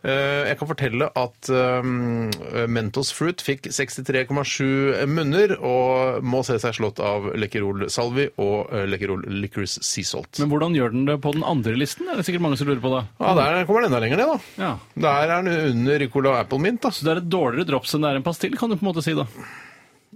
Eh, jeg kan fortelle at eh, Mentos Fruit fikk 63,7 munner, og må se seg slått av Lekkerol Salvi og eh, Lekkerol Licorice Sea Salt.
Men hvordan gjør den det på den andre listen? Det er det sikkert mange som lurer på det.
Ja, Der kommer den enda lenger ned, da.
Ja.
Der er den under Ricola Apple Mint. da.
Så det er et dårligere drops enn det er en pastill, kan du på en måte si da.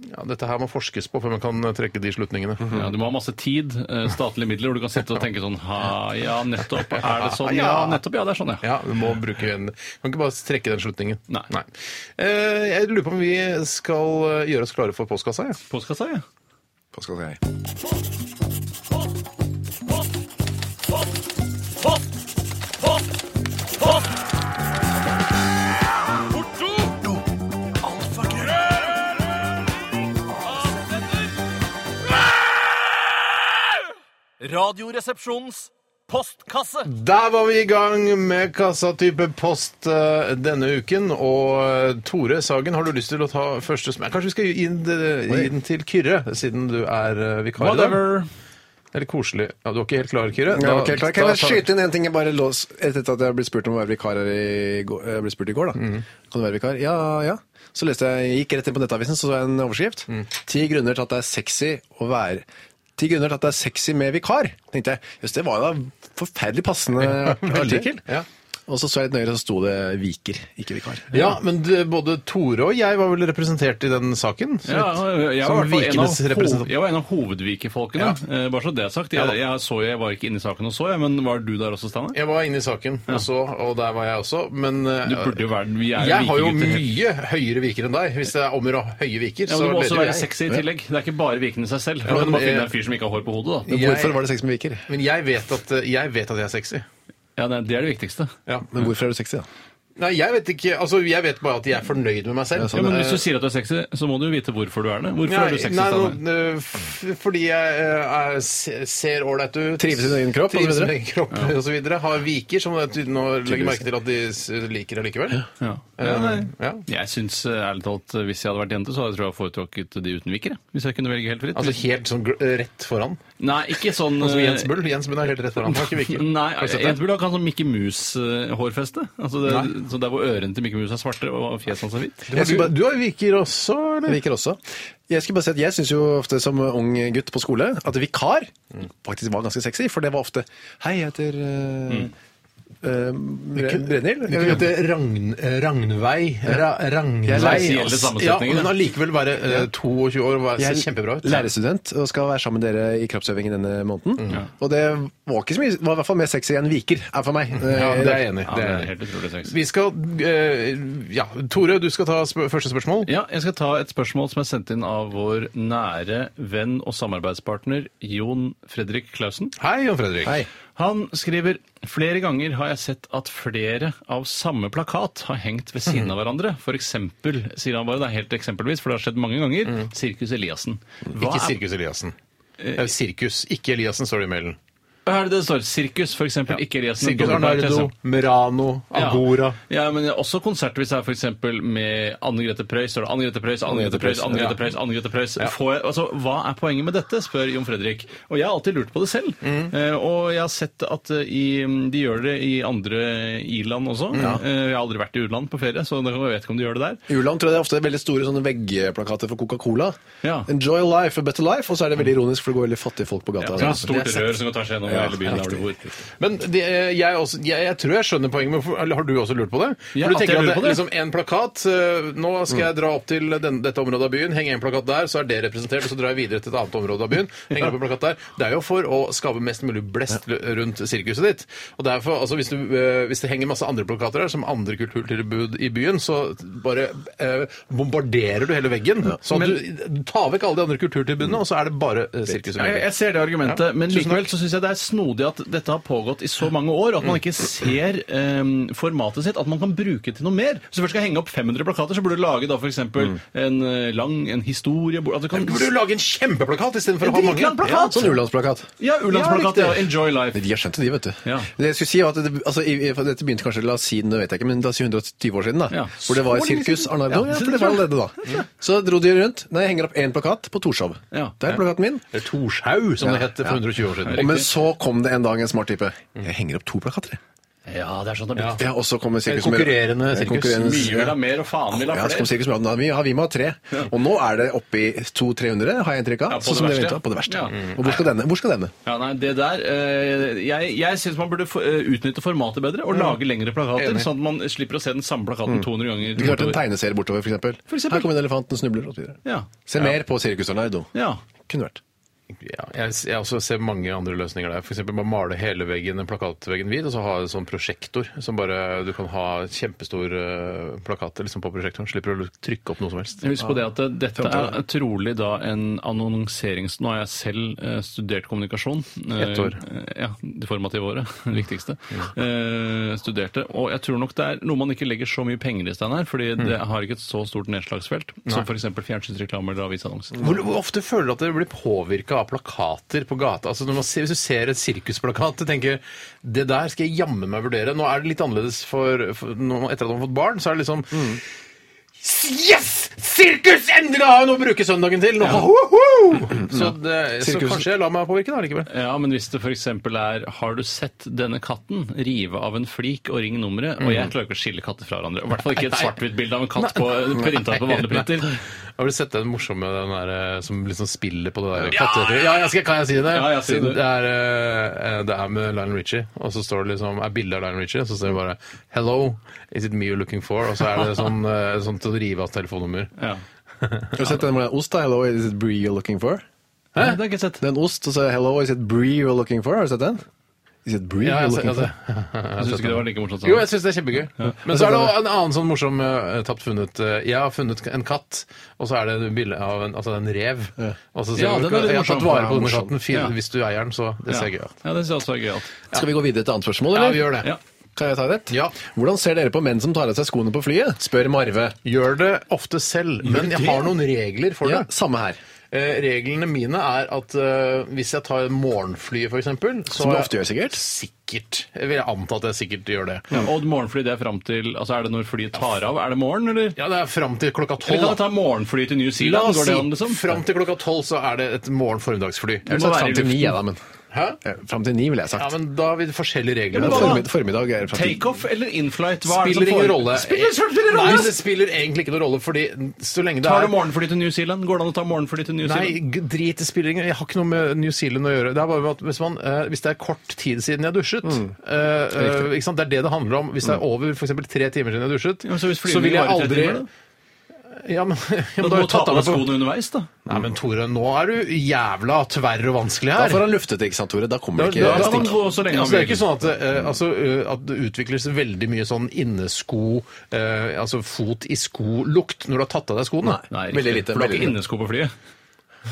Ja, dette her må forskes på før man kan trekke de slutningene.
Ja, du må ha masse tid, eh, statlige midler, hvor du kan sitte og tenke sånn ha, Ja, nettopp. Er det sånn? Ja, nettopp. Ja, det er sånn, ja.
Ja, du må bruke en Kan ikke bare trekke den slutningen.
Nei.
Eh, jeg lurer på om vi skal eh, gjøre oss klare for postkassa. Ja.
Postkassa, ja.
Hva skal jeg
Radioresepsjonens postkasse.
Der var vi i gang med kassatype post eh, denne uken. Og eh, Tore Sagen, har du lyst til å ta første sm- Kanskje vi skal gi den, eh, gi den til Kyrre, siden du er eh, vikar. i dag.
Whatever.
Det er litt koselig. Ja, du var ikke helt klar, Kyrre?
Ja, ok, klar. Kan
da
jeg
tar-
skyte inn en ting jeg bare lås etter at jeg ble spurt om å være vikar her i går? Jeg ble spurt i går, da.
Mm.
Kan du være vikar? Ja, ja. Så leste jeg, gikk rett inn på Nettavisen, så så jeg en overskrift.
Mm.
Ti grunner til at det er sexy å være Ti grunner til at det er sexy med vikar, tenkte jeg. Jøss, det var jo da forferdelig passende artikkel.
Ja.
Og så så jeg litt nøyere, så sto det viker, ikke vikar.
Ja, men det, både Tore og jeg var vel representert i den saken? så
Ja,
vidt. Som
jeg, var i hvert fall en av
vikenes representant.
hov- jeg var en av hovedvikefolkene. eh, Bare så det er sagt. Jeg,
Ja da.
jeg, så, jeg var ikke inne i saken og så, jeg, men var du der også, Steinar?
Jeg var inne i saken, og, så, og der var jeg også. Men eh,
Du burde jo være den. Vi er
jeg har jo
vikegutter.
mye høyere viker enn deg. Hvis det er om å gjøre høye viker,
Ja, men
så
du må også
leder
være
jeg.
sexy i tillegg. Det er ikke bare vikende seg selv.
Ja,
Da kan du
men,
bare finne
eh,
en fyr som ikke har hår på hodet, da.
Jeg-
Hvorfor var det sexy med viker?
Men jeg vet, at, eh, jeg vet at jeg er sexy.
Ja, nei, Det er det viktigste.
Ja.
Men hvorfor er du sexy, da?
Nei, jeg vet ikke. Altså, jeg vet bare at jeg er fornøyd med meg selv. Eh,
Ja, sånn, men hvis du sier at du er sexy, så må du jo vite hvorfor du er det. Hvorfor er du sexy,
Sånn nei,
Steinar?
nå, øh, f- fordi jeg øh, er, se- ser ålreit ut.
Trives i sin egen kropp, og så
Trives i sin
videre.
egen kropp, og så videre. Har viker, som jeg ty- nå legger merke til at de s- liker allikevel.
Ja. Ja, nei.
Ja.
Jeg syns eh, ærlig talt, eh, hvis jeg hadde vært jente, så hadde jeg tror jeg foretrukket de uten viker. jeg. Hvis jeg kunne velge helt fritt.
Altså helt sånn gl- rett foran.
nei, ikke sånn
Sånn som
eh,
Jens Bull. Jens Bull er helt rett foran. Han har ikke viker.
Nei,
Har du sett det?
Jente burde ha sånn Mickey Mouse-hårfeste. Altså det,
Nei.
så der hvor ørene til Mickey Mouse er svarte og fjeset hans er hvitt.
Jeg skulle bare-
du har viker også,
Jeg Viker også. Jeg skulle bare si at jeg syns jo ofte som ung gutt på skole at vikar faktisk var ganske sexy, for det var ofte Hei, jeg heter uh,
Mm.
Brennhild.
Du kunne hete Ragn, eh, Ragnvei. Ra, Ragnvei.
Jeg lærer-
Spesielle
Ja,
sammensetninger.
men
da.
allikevel være øh, 22 år og være- se kjempebra ut.
lærerstudent og skal være sammen med dere i kroppsøving denne måneden.
Mm.
Og det var ikke så mye, var i hvert fall mer sexy enn viker er for meg. Eh,
Ja, det er jeg enig i.
Ja,
Det
det
er jeg enig
er
i.
helt utrolig sexy.
Vi skal øh, Ja, Tore, du skal ta sp første spørsmål.
Ja, jeg skal ta et spørsmål som er sendt inn av vår nære venn og samarbeidspartner Jon Fredrik Clausen.
Hei, Jon Fredrik.
Hei.
Han skriver flere ganger har jeg sett at flere av samme plakat har hengt ved siden
Mhm.
av hverandre. For eksempel, sier han bare, det er helt eksempelvis, for det har skjedd mange ganger, Sirkus Eliassen.
Mhm.
Hva
Ikke
er-
Sirkus Eliassen. Det er jo Sirkus, ikke Eliassen, står det i mailen.
Hva er det det står? Sirkus, for eksempel, ikke Eliassen.
Sirkus
dobbeltparentes,
Arnardo,
ja.
Merano, Agora.
Ja, ja, men også konserter hvis det er for eksempel med Anne Grete Preus, så er det Anne Grete Preus, Anne Grete Preus, Anne Grete Preus, Anne Grete Preus. Får jeg, altså, hva er poenget med dette, spør Jon Fredrik. Og jeg har alltid lurt på det selv. Eh, og jeg har sett at eh, i, de gjør det i andre i-land også. Eh, jeg har aldri vært i u-land på ferie, så jeg vet ikke om de gjør det der.
Juland tror jeg det er ofte veldig store sånne veggplakater for Coca-Cola.
Ja.
Enjoy life, a better life. Og så er det veldig ironisk, for det går veldig fattige folk på gata.
Ja,
altså.
stort rør som kan ta seg gjennom hele byen. der hvor du bor.
Men det, jeg, også, jeg, jeg tror jeg skjønner poenget, men hvorfor- eller har du også lurt på det?
Ja,
For du
at jeg
tenker
lurer
at det
på
er
det. Mm.
liksom en plakat øh, Nå skal jeg dra opp til den, dette området av byen, henge en plakat der, så er det representert, og så drar jeg videre til et annet område av byen, henger opp en plakat der. Det er jo for å skape mest mulig blest l- rundt sirkuset ditt. Og derfor, altså hvis, du, øh, hvis det henger masse andre plakater der, som andre kulturtilbud i byen, så bare øh, bombarderer du hele veggen. Så at du tar vekk alle de andre kulturtilbudene, og så er det bare øh, sirkuset.
Jeg, jeg ser det argumentet,
Ja,
men
tusen
likevel
takk.
så syns jeg det er snodig at dette har pågått i så mange år, og at man ikke ser eh, formatet sitt, at man kan bruke til noe mer. Så først skal jeg henge opp 500 plakater, så burde du lage da f.eks. en eh, lang en historie at du kan,
Du burde jo lage en kjempeplakat istedenfor å ha mange.
dritlang plakat!
Sånn U-landsplakat.
Ja, U-landsplakat.
Ja,
Ja,
riktig.
enjoy life.
De har skjønt det, de, vet du.
Ja.
Det jeg skulle si var at det, altså, i, i- for Dette begynte kanskje la oss si, nå vet jeg ikke, men la oss si 120 år siden. da.
Ja.
Hvor det var
Så lenge
sirkus
siden.
Arnardo.
Ja.
Ja, for det var allerede da. Så dro de rundt. Nei, jeg henger opp én plakat på Torshov.
Ja.
Der er plakaten min.
Eller Torshaug, som det het for 120 år siden.
Og men så kom det en dag en smart type. Jeg henger opp to plakater. jeg.
Ja, det er sånn det blir.
Ja, og så kommer sirkus
En konkurrerende
med-
sirkus.
konkurrerende-
Mye vil ha mer, og faen vil
Ja,
ha
så kom
flere.
sirkus med ja, vi har vi med ha tre. Og nå er det oppe i 200-300, har jeg inntrykk av.
Ja,
sånn
på det
som det
verste.
ventet, på det verste. Mm.
Ja.
Og hvor skal denne? Hvor skal denne?
Ja, nei, det der, eh, Jeg, jeg syns man burde få- eh, utnytte formatet bedre og lage lengre plakater,
Enig.
sånn at man slipper å se den samme plakaten 200 ganger.
Det kunne vært en tegneserie bortover, for eksempel.
Mm. For eksempel.
Her kommer en elefant, den snubler, og så videre.
Ja.
Se mer på Sirkus Arnardo.
Ja.
Kunne vært.
Ja, jeg, jeg også ser mange andre løsninger der. F.eks. bare male hele veggen, plakatveggen hvit, og så ha en sånn prosjektor som bare Du kan ha kjempestor eh, plakat liksom på prosjektoren. Slipper å trykke opp noe som helst.
Husk på det at eh, dette er trolig da en annonserings... Nå har jeg selv eh, studert kommunikasjon. eh,
Ett år.
eh, Ja, det formative året. Det viktigste. Eh, studerte. Og jeg tror nok det er noe man ikke legger så mye penger i, Steinar, fordi
Mm.
det har ikke et så stort nedslagsfelt som f.eks. fjernsynsreklame eller avisannonser.
Hvor, hvor ofte føler du at dere blir påvirka av plakater på gata? Altså når man ser, Hvis du ser et sirkusplakat og tenker det der skal jeg jammen meg vurdere Nå er det litt annerledes for, for nå, etter at man har fått barn, så er det liksom Yes! Sirkus! Endelig har jeg noe å bruke søndagen til! Nå, hoho! Så, det, så
Sirkus-
kanskje jeg lar meg påvirke da likevel.
Ja, men hvis det f.eks. er 'Har du sett denne katten? Rive av en flik og ring nummeret', og jeg klarer ikke å skille katter fra hverandre. I hvert fall ikke et
Mm. Nei.
svart-hvitt bilde av en katt på, printa på vanlig printer.
Har du sett den morsomme den der, eh, som liksom spiller på det der katteetter? Ja, jeg skal, kan jeg si det?
Ja, ja, si det.
Det er, eh, det er med Lionel Richie, og så står det liksom, er bildet av Lionel Richie, og så står det bare 'Hello, is it me you're looking for?' Og så er det sånn, eh, sånn til å rive av telefonnummer.
Ja.
Har du sett den hvor det er ost, da? Hello, is it brie you're looking for?
Nei, det har jeg ikke sett.
Det er en ost, og så er det, hello, is it brie you're looking for? Har du sett den? Is it brie you're
Ja, jeg,
looking
jeg,
for?
jeg, jeg,
Jeg syns ikke det var like morsomt. som
Jo, jeg syns det er kjempegøy. Men så er det også en annen sånn morsom eh, tapt funnet. eh, Jeg har funnet en katt, og så er det et bilde av en, altså en rev. Og så ser
Ja,
du-
den er litt
jeg har
morsom.
tatt vare på
Ja,
denne
morsom.
katten. Fin,
Ja.
Hvis du eier den, så det ser gøy ut.
Ja, det synes jeg også er gøyalt.
Skal vi gå videre til annet spørsmål,
Ja,
eller?
vi gjør det.
Ja.
Kan jeg ta rett?
Ja.
Hvordan ser dere på menn som tar av seg skoene på flyet? Spør Marve.
Gjør det ofte selv, men jeg har noen regler for
Ja,
det.
samme her.
Eh, reglene mine er at eh, hvis jeg tar morgenflyet, f.eks.
Som du ofte gjør, sikkert.
Sikkert. Jeg vil anta at jeg sikkert gjør det.
Ja, og morgenfly, det er fram til Altså, er det når flyet tar av? Er det morgen, eller?
Ja, det er fram til klokka
Eller
tolv.
kan jeg ta morgenfly til New
La
Zealand?
oss
Går
si
det an, liksom?
fram til klokka tolv så er det et morgen-formiddagsfly.
Jeg
må
ville sagt
være i
fram til ni,
luften.
jeg, da, men.
Hæ?
Fram til ni, ville jeg
Ja,
sagt.
men da har vi forskjellige regler. Altså,
men hva
Formid
da?
formiddag er fram til
Takeoff eller inflight? Hva er det som
spiller ingen
foregår?
rolle.
Spiller, spiller ingen
Nei,
rolle!
det spiller egentlig ikke noen rolle, fordi så lenge det
Tar
er
du morgenfly til New Zealand? Går det an å ta morgenfly til New
Nei,
Zealand?
g- drit i spillingen. Jeg har ikke noe med New Zealand å gjøre. Det er bare at hvis, man, eh, hvis det er kort tid siden jeg dusjet
Mm.
eh, eh, ikke sant? Det er det det handler om. Hvis det er over for eksempel tre timer siden jeg dusjet,
Ja, men så hvis
så vil
flyvningen
jeg
varer tre
aldri
timer, da?
ja, men, ja, men da har
Du må
jeg
ta
tatt
på
av meg
deg
på-
skoene underveis, da.
Nei, men Tore, nå er du jævla tverr og vanskelig
Da
her.
får han luftet det, ikke sant, Tore? Da kommer
Da-
det
da-
Da
ikke
kan
stikk.
man gå så lenge
Altså,
han
det er ikke
vil.
sånn at, eh, altså, eh, at det utvikles veldig mye sånn innesko, eh, altså fot i sko-lukt når du har tatt av deg skoene.
Nei,
Veldig
riktig.
lite,
For du har
veldig
ikke
lite.
innesko på flyet.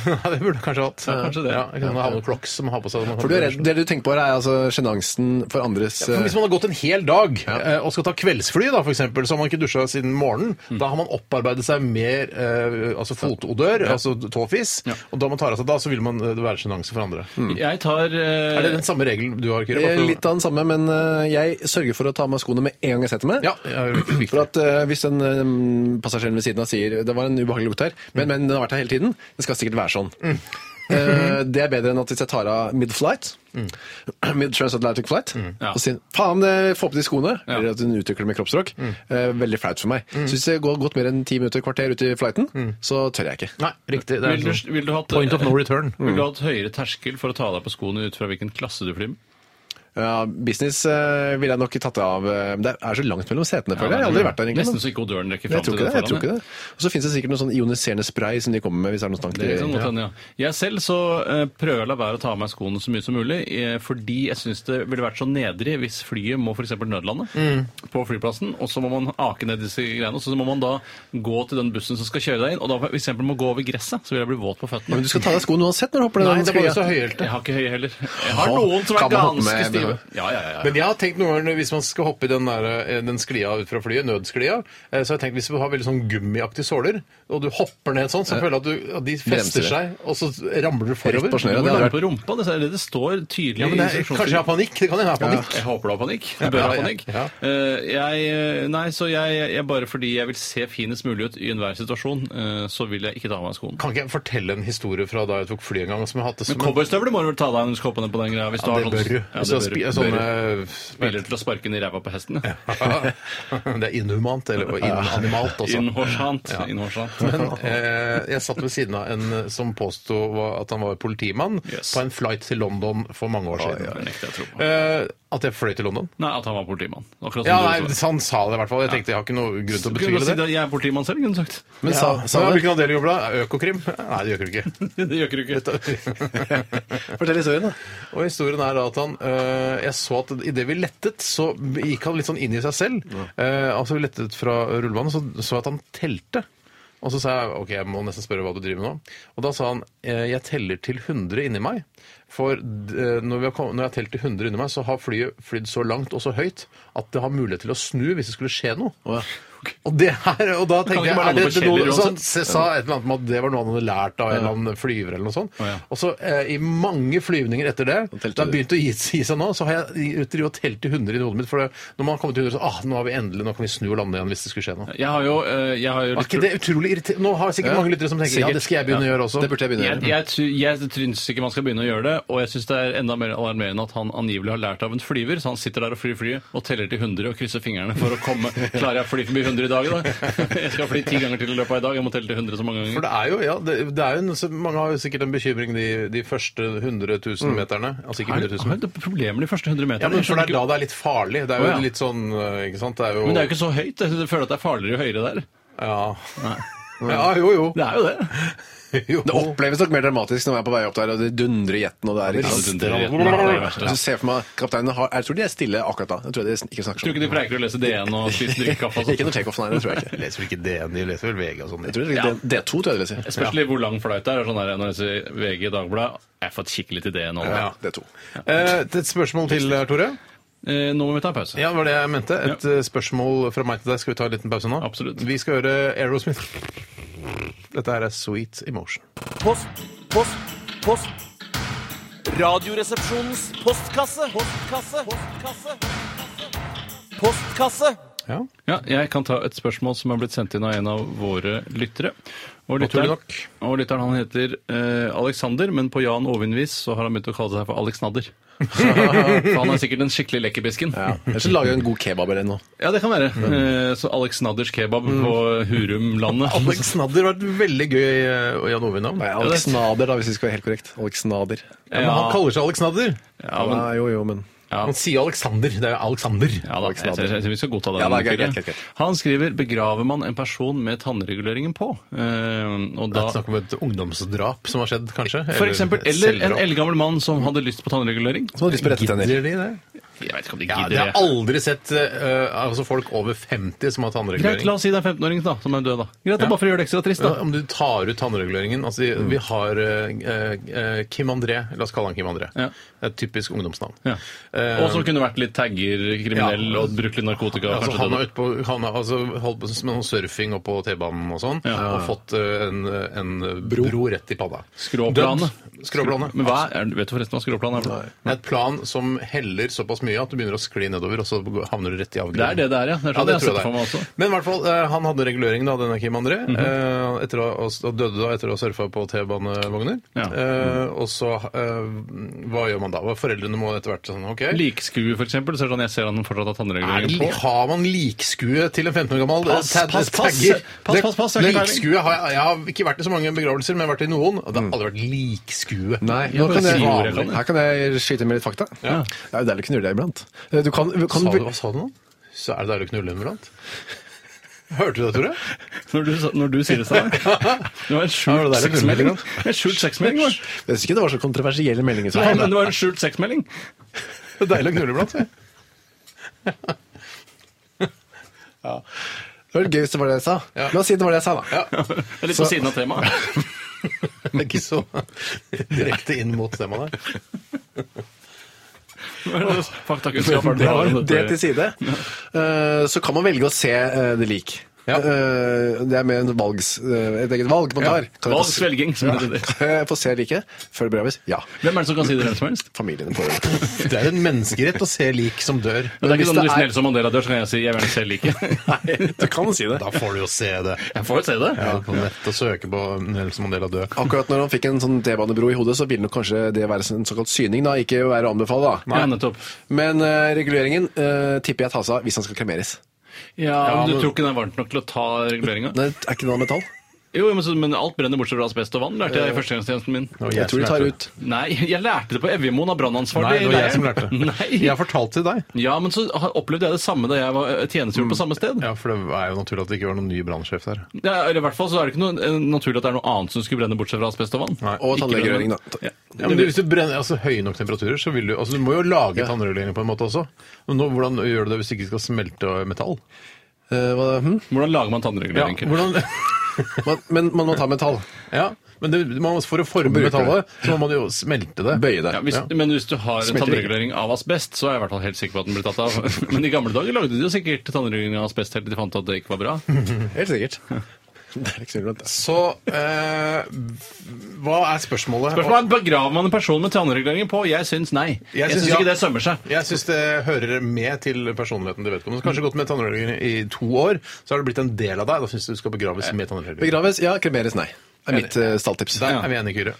Ja, det burde jeg kanskje hatt.
Ja, kanskje det.
Ja, jeg kan ha noen crocs som har på seg.
For du er redd, Det du tenker på her, er altså sjenansen for andres
For Hvis man har gått en hel dag eh, og skal ta kveldsfly, da, for eksempel, så har man ikke dusja siden morgenen.
Mm.
Da har man opparbeidet seg mer eh, altså fotodør, altså tåfis. Og da man tar av seg da, så vil man eh, være sjenanse for andre.
Jeg tar eh,
Mm. Er det den samme regelen du har, Kyrre?
eh,
Bare for-
Mm. Litt av den samme, men eh, jeg sørger for å ta av meg skoene med en gang jeg setter meg.
Ja, det er viktig.
For at eh, Hvis den eh, passasjeren ved siden av sier det var en ubehagelig lukt her, men, men den har vært her hele tiden, det skal sikkert være sånn.
Mm.
Eh, det er bedre enn at hvis jeg tar av mid-flight,
Mm.
mid-transatlantic flight, og sier faen, eh, få på de skoene, eller at hun utvikler med kroppsspråk,
Mm.
eh, veldig flaut for meg. Så hvis jeg går gått mer enn ti minutter, kvarter ut i flighten,
Mm.
så tør jeg ikke.
Nei, riktig. Det er
vil du,
sånn.
vil du hatt,
Point of no return.
Vil du ha et høyere terskel for å ta deg på skoene ut fra hvilken klasse du flyr med?
Ja, business uh, ville jeg nok tatt av eh, men Det er så langt mellom setene, føler jeg. Jeg har aldri vært der, egentlig.
Nesten så ikke odøren rekker
Nei,
fram
jeg tror
til
ikke det.
den
jeg tror ikke
foran.
det. Og så finnes det sikkert noe sånn ioniserende spray som de kommer med hvis det er noe stank.
Det sånn kan
i-
godt hende, ja. Jeg selv så eh, prøver jeg å la være å ta av meg skoene så mye som mulig, eh, fordi jeg syns det ville vært så nedrig hvis flyet må f.eks. nødlande
Mm.
på flyplassen, og så må man ake ned disse greiene, og så må man da gå til den bussen som skal kjøre deg inn, og da for eksempel må gå over gresset, så vil jeg bli våt på
Ja,
føttene.
men du skal ta av deg skoene uansett når du hopper
Nei,
ned
det er
den sklia.
bare så høyhælte.
Jeg har ikke høye heller. Jeg har
Åh,
noen som er
kan man hoppe
ganske
med-
stive. Ja, ja, ja, ja.
Men jeg har tenkt noen ganger, hvis man skal hoppe i den, der, eh, den sklia ut fra flyet, nødsklia, eh, så har jeg tenkt hvis du har veldig sånn gummiaktige såler, og du hopper ned sånn, så føler jeg at, du, at de
Bremser
fester
det.
seg, og så ramler du forover.
Rett på snøret,
Hvor
det
langt
hadde
på rumpa? Det er det det står tydelig
Ja, men det er,
i
kanskje jeg har
instruksjonsskrivet.
panikk? Det kan hende jeg har panikk.
Jeg håper du har panikk. Du bør
Ja,
ha
ja,
panikk.
ja.
Eh, jeg, nei, så jeg, jeg bare fordi jeg vil se finest mulig ut i enhver situasjon, eh, så vil jeg ikke ta av meg skoene.
Kan ikke jeg fortelle en historie fra da jeg tok fly en gang? som jeg hadde som
Men cowboystøvler må du vel ta deg når du skal hoppe ned på den greia. Hvis du
Ja,
har
det
sånn-
bør du.
Ja,
Hvis du
det
har spi- sånn,
bør du. Bør du.
eh,
Spiller til å sparke den i ræva på hesten. ja.
det er inhumant, eller og inanimalt også.
Innhårsant. Innhårsant.
Men eh, jeg satt ved siden av en som påsto var- at han var politimann,
Yes.
på en flight til London for mange år siden.
Det nekter jeg å tro på.
Eh, at jeg fløy til London?
Nei, at han var politimann. Akkurat som
Ja,
du
nei,
sa.
Han sa det i hvert fall. Jeg tenkte jeg har ikke noe grunn til å
Du kunne
betvile
bare si
det.
at jeg er politimann selv, kunne du sagt.
Men
Ja,
sa, sa
ja,
det.
Hvilken avdeling jobber du i? Økokrim? Nei, det gjør du ikke.
Det gjør ikke du ikke.
Fortell historien, da.
Og historien er da at han øh, Jeg så at idet vi lettet, så gikk han litt sånn inn i seg selv. Eh, altså Vi lettet fra rullebanen, så så jeg at han telte. Og så sa jeg ok, jeg må nesten spørre hva du driver med nå. Og da sa han eh, jeg teller til 100 inni meg. For eh, når, vi har kom, når jeg har telt til 100 inni meg, så har flyet flydd så langt og så høyt at det har mulighet til å snu hvis det skulle skje noe. Og det her, og da
ikke
tenkte jeg
bare
er det,
lande på
det noe,
Kjeller
så Han
uansett?
sa et eller annet om at det var noe han hadde lært av en eller annen flyver eller noe sånt.
Å, ja.
Og så eh, i mange flyvninger etter det,
telte
det har
du.
begynt å gi, gi seg nå, så har jeg drivet og telt til 100 i hodet mitt. For det, når man har kommet til 100, så ah, nå har vi endelig, nå kan vi snu og lande igjen hvis det skulle skje noe.
Jeg har jo, eh, jeg har jo
Var ikke det utrolig irriterende? Nå har sikkert mange lyttere som tenker
Sikkert.
ja, det skal jeg begynne å gjøre også.
Det burde jeg begynne å
Jeg,
gjøre.
jeg, tr- jeg syns ikke man skal begynne å gjøre det, og jeg syns det er enda mer alarmerende at han angivelig har lært av en flyver, så han sitter der og flyr flyet og teller til 100 og krysser fingrene for å komme Klarer jeg å fly forbi 100 i dag, da? Jeg skal fly ti ganger til i løpet av i dag, jeg må telle til 100 så mange
For
ganger.
det er jo, ja, det, det er jo en, så mange har jo sikkert en bekymring de, de første 100 000 meterne. Altså ikke
Er
100
det,
000.
er det problemer de første 100 meterne?
Ja, men
Jeg
for det
skjønner
er da
ikke-
det er litt farlig. Det er jo
Å, ja.
litt sånn, øh, ikke sant? Det er jo,
men det er jo ikke så høyt. Jeg synes- jeg føler at det er farligere jo høyere der.
ja. ja, jo, jo.
Det er jo det.
jo.
Det oppleves nok mer dramatisk når man er på vei opp der, og det dundrer i jetten, og det er
Ja, det
ikke
dundrer i hjertet. Det er det verste.
Og så ser jeg for meg kapteinen har Jeg tror de er stille akkurat da. Jeg tror de ikke snakker
Tror du
sånn.
ikke de pleier å lese DN og spise drikkekaffe og
Ikke
sånt?
noe takeoff, nei. Det tror jeg ikke.
Leser vel ikke DN, de leser vel VG og sånn. de.
Jeg tror det er D2, tror jeg de leser.
Spørsmålet er hvor lang flight det er. Sånn der, når jeg leser VG i Dagbladet, jeg får kikke litt i DN nå.
Ja, D2.
Eh, et spørsmål til, Tore.
Eh, nå må vi ta en pause.
Ja, det var det jeg mente. Et eh, spørsmål fra meg til deg. Skal vi ta en liten pause nå?
Absolutt.
Vi skal høre Aerosmith. Dette her er Sweet Emotion.
Post, post, post. Radioresepsjonens postkasse. Postkasse. Postkasse. Postkasse.
Ja,
Ja, jeg kan ta et spørsmål som er blitt sendt inn av en av våre lyttere. Og
Naturlig
lytteren,
nok.
og lytteren han heter eh, Alexander, men på Jan Ovinvis så har han begynt å kalle seg for Alex Nadder. Så, for han er sikkert den skikkelig lekkerbisken. Ja.
Ellers så lager jeg en god kebab eller noe.
det kan være. Eh, så Alex Nadders kebab
Mm.
på Hurumlandet.
Alex Snadder var et veldig gøy eh, Jan Ove-navn.
Nei,
Ja,
Alex Nader, da, hvis vi skal være helt korrekt. Alex Nader.
men han kaller seg Alex Snadder.
Ja, men,
Nei, jo, jo, men
ja.
Han sier Alexander. Det er jo Alexander.
Ja, da, jeg, jeg, jeg, jeg, vi skal godta det.
Ja, da, greit,
Fyre.
greit, greit.
Han skriver 'begraver man en person med tannreguleringen på'? Eh, og
Det
da,
er snakk om et ungdomsdrap som har skjedd, kanskje?
for eksempel, eller en
eldre
eldgammel mann som hadde lyst på tannregulering?
Som har lyst på rette tenner.
Gidder de det?
Jeg vet ikke om de
Ja,
gidder
det har jeg aldri sett eh, altså folk over 50 som har
Greit, la
tannregulering.
oss si det er 15-åringen da, som er død, da. Greit,
Ja.
Bare for å gjøre det ekstra trist,
Ja,
da.
om du tar ut tannreguleringen altså, Vi har eh, eh, Kim André. La oss kalle han Kim André.
Ja.
Det er Et typisk ungdomsnavn.
Ja.
Eh,
Og som kunne vært litt tagger, kriminell
ja.
og brukt litt narkotika.
altså,
kanskje
han
døde.
har, utpå, han har altså, holdt på med noe surfing og på T-banen og sånn,
Ja.
og fått eh, en, en bro. rett i panna.
Skråplanet.
Dømt. Skråplanet.
Men hva er, vet du forresten hva skråplan er? for noe?
Det er et plan som heller såpass mye at du begynner å skli nedover, og så havner du rett i
Det
avgrunnen.
er det det er, ja. Det er sånn jeg har sett for meg også. Mhm.
Men i hvert fall, eh, han hadde reguleringen, da, denne Kim André. eh, etter å, og, og døde da etter å ha surfa på T-banevogner.
Ja.
Eh, og så eh, Hva gjør man da? Foreldrene må etter hvert sånn OK.
Likskue, for eksempel. Så er det sånn jeg ser han fortsatt har
Er
tannregulering
det-
på.
har man likskue til en 15 år gammel
Pass,
eh, tag-
pass, pass.
tagger?
Pass, pass, pass, jeg har
Det-
ikke
likskue har jeg, jeg har ikke vært i så mange begravelser, men jeg har vært i noen. Og det
Mm.
har aldri vært likskue.
Nei, nå
Ja, bare
kan
si
jeg,
ordet, kan du?
her kan jeg skyte med litt fakta.
Ja.
Det er jo deilig å knulle deg iblant. Eh, Du kan, kan
Sa du, hva sa du nå? Så er det deilig å knulle iblant? Hørte du det, Tore?
Når du, sa- når du sier det, Steinar. Det var en
Ja,
skjult
det er det
sexmelding.
grunnleggende.
En skjult sexmelding, var det?
Jeg synes ikke det var så kontroversielle meldinger. som
Nei,
kom, da.
men det var en skjult sexmelding.
Det er deilig å knulle iblant. sier jeg.
Det var gøy hvis det var det jeg sa. La oss si det var det jeg sa, da.
Det er Litt på siden av temaet.
Det er ikke så direkte inn mot temaet der.
Faktakunnskap.
Det, var det til side. Eh, så kan man velge å se eh, det lik.
Ja.
Eh, det er mer en valgs, eh, et eget valg man tar. Kan jeg få se-
Valgsvelging, som heter det.
Kan jeg få se liket? Før det breves? Ja.
Hvem er det som kan si det hvem som helst?
Familien på det.
Det er en menneskerett å se lik som dør.
Det er
hvis
ikke sånn
det
Hvis
er-
Nelson Mandela dør, så kan jeg si 'jeg vil gjerne selv like'.
Du kan si det.
Da får du jo se det.
Jeg får jo se det.
Ja, på nett og søke på Nelson Mandela død.
Akkurat når han fikk en sånn T-banebro i hodet, så ville nok kanskje det være en såkalt syning, da. Ikke være å anbefale, da.
Ja, nettopp.
Men eh, reguleringen eh, tipper jeg tas av hvis han skal kremeres.
Ja, men
men-
Du tror ikke den er varmt nok til å ta reguleringa?
Nei, er ikke det noe metall?
Jo, men, så, men alt brenner bortsett fra asbest og vann, lærte jeg i førstegangstjenesten min.
Jeg tror de tar ut.
Nei, jeg lærte det på Evjemoen av brannansvarlig.
Nei, det var
Nei.
jeg som lærte det. Jeg
Nei.
har fortalt til deg.
Ja, men så har- opplevde jeg det samme da jeg var eh, tjenestegjort på samme sted.
Mm. Ja, for det er jo naturlig at det ikke var noen ny brannsjef der.
Ja, eller i hvert fall så er det ikke noe eh, naturlig at det er noe annet som skulle brenne bortsett fra asbest og vann.
Nei.
Og
Ikke
tannlegerøring,
brenne-
da.
Ja.
Ja, men hvis du brenner altså, høye nok temperaturer, så vil du altså, Du må jo lage tannregulering på en måte også. Men nå, hvordan gjør du det hvis du ikke skal smelte metall?
Eh, hva, hm?
Hvordan lager man tannregulering? Kurt?
hvordan...
man, men man må ta metall.
ja. Men det, man, for å forme
Bruker det.
metallet, så må man jo smelte det.
Bøye det.
Ja, hvis, Men hvis du har en
Smelter
tannregulering av asbest, så er jeg i hvert fall helt sikker på at den blir tatt av. Men i gamle dager lagde de jo sikkert tannregulering av asbest helt til de fant ut at det ikke var bra.
Helt sikkert. Det er ikke så relevant, ass.
Så eh, hva er spørsmålet?
Spørsmålet er, Begraver man en person med tannregulering på? Jeg syns nei. Jeg syns ikke
ja.
det sømmer seg.
Jeg syns det hører med til personligheten til vedkommende. Så Kanskje gått med tannregulering i to år, så har det blitt en del av deg. Da syns du du skal begraves med tannregulering.
Begraves? Ja. Kremeres? Nei. er mitt eh, stalltips.
Der er vi enige, Kyrre.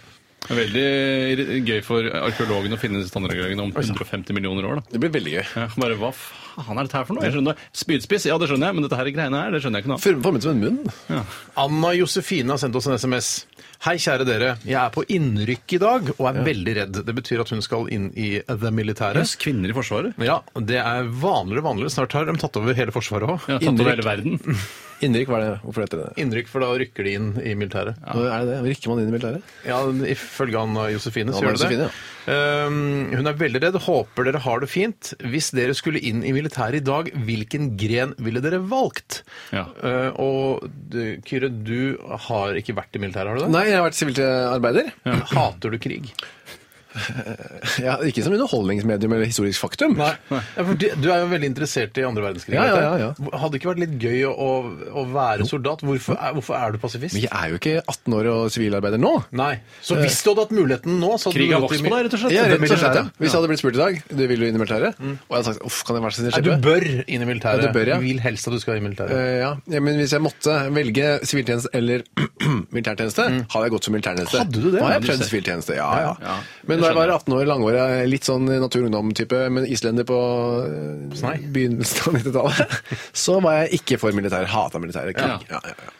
Det er Veldig irri- gøy for arkeologene å finne disse tannreguleringene om 150 millioner år. da.
Det blir veldig gøy.
Ja, bare, Hva faen er dette her for noe? Jeg skjønner, Spydspiss, ja det skjønner jeg, men dette her greiene her, det skjønner jeg ikke noe av.
Form- Formet som en munn.
Anna Josefine har sendt oss en SMS. Hei, kjære dere. Jeg er på innrykk i dag og er veldig redd. Det betyr at hun skal inn i det militære.
Jøss, kvinner i Forsvaret?
Ja, det er vanligere og vanligere. Snart har de tatt over hele Forsvaret òg.
Ja, tatt over hele verden.
Innrykk, hva er det? Hvorfor heter det det?
Innrykk, for da rykker de inn i militæret.
Nå Er det det? Rykker man inn i militæret?
Ja, Ifølge Anna Josefine så
Anna
gjør det det. Um, hun er veldig redd. Håper dere har det fint. Hvis dere skulle inn i militæret i dag, hvilken gren ville dere valgt?
Ja.
Uh, og du, Kyrre, du har ikke vært i militæret, har du det?
Nei, jeg har vært sivilarbeider.
Hater du krig?
Ja, ikke som underholdningsmedium eller historisk faktum.
Nei. Ja, for de- du er jo veldig interessert i andre verdenskrig.
Ja,
vet
ja,
jeg.
ja,
Hadde det ikke vært litt gøy å, å- å være soldat? Hvorfor er, hvorfor er du pasifist?
Men jeg er jo ikke 18 år og sivilarbeider nå.
Nei. Så hvis du hadde hatt muligheten nå så hadde
Krig
du
har
gått i
vokst
mi-
på deg, rett og slett.
Jeg er
det
rett og slett,
militære.
ja. Mm. Hvis jeg hadde blitt spurt i dag, du vil jo inn i militæret, og jeg hadde sagt uff, kan jeg være så snill
Nei, du
slippe?
bør inn i
Ja,
militæret.
du bør, ja.
Vi vil helst at du skal i militæret.
Eh, ja. ja, men hvis jeg måtte velge siviltjeneste eller militærtjeneste, Mm. hadde jeg gått som militærtjeneste.
Hadde du det?
Nå har jeg
Ja, du
prøvd
ser.
siviltjeneste, ja, ja.
Ja, ja.
Men da
Jeg
jeg var
skjønner.
18 år, langårig, litt sånn natur-ungdom-type, men islender på eh,
Snei.
begynnelsen av 90-tallet, så var jeg ikke for militær. Hata militære
Ja.
krig. Ja, ja, ja.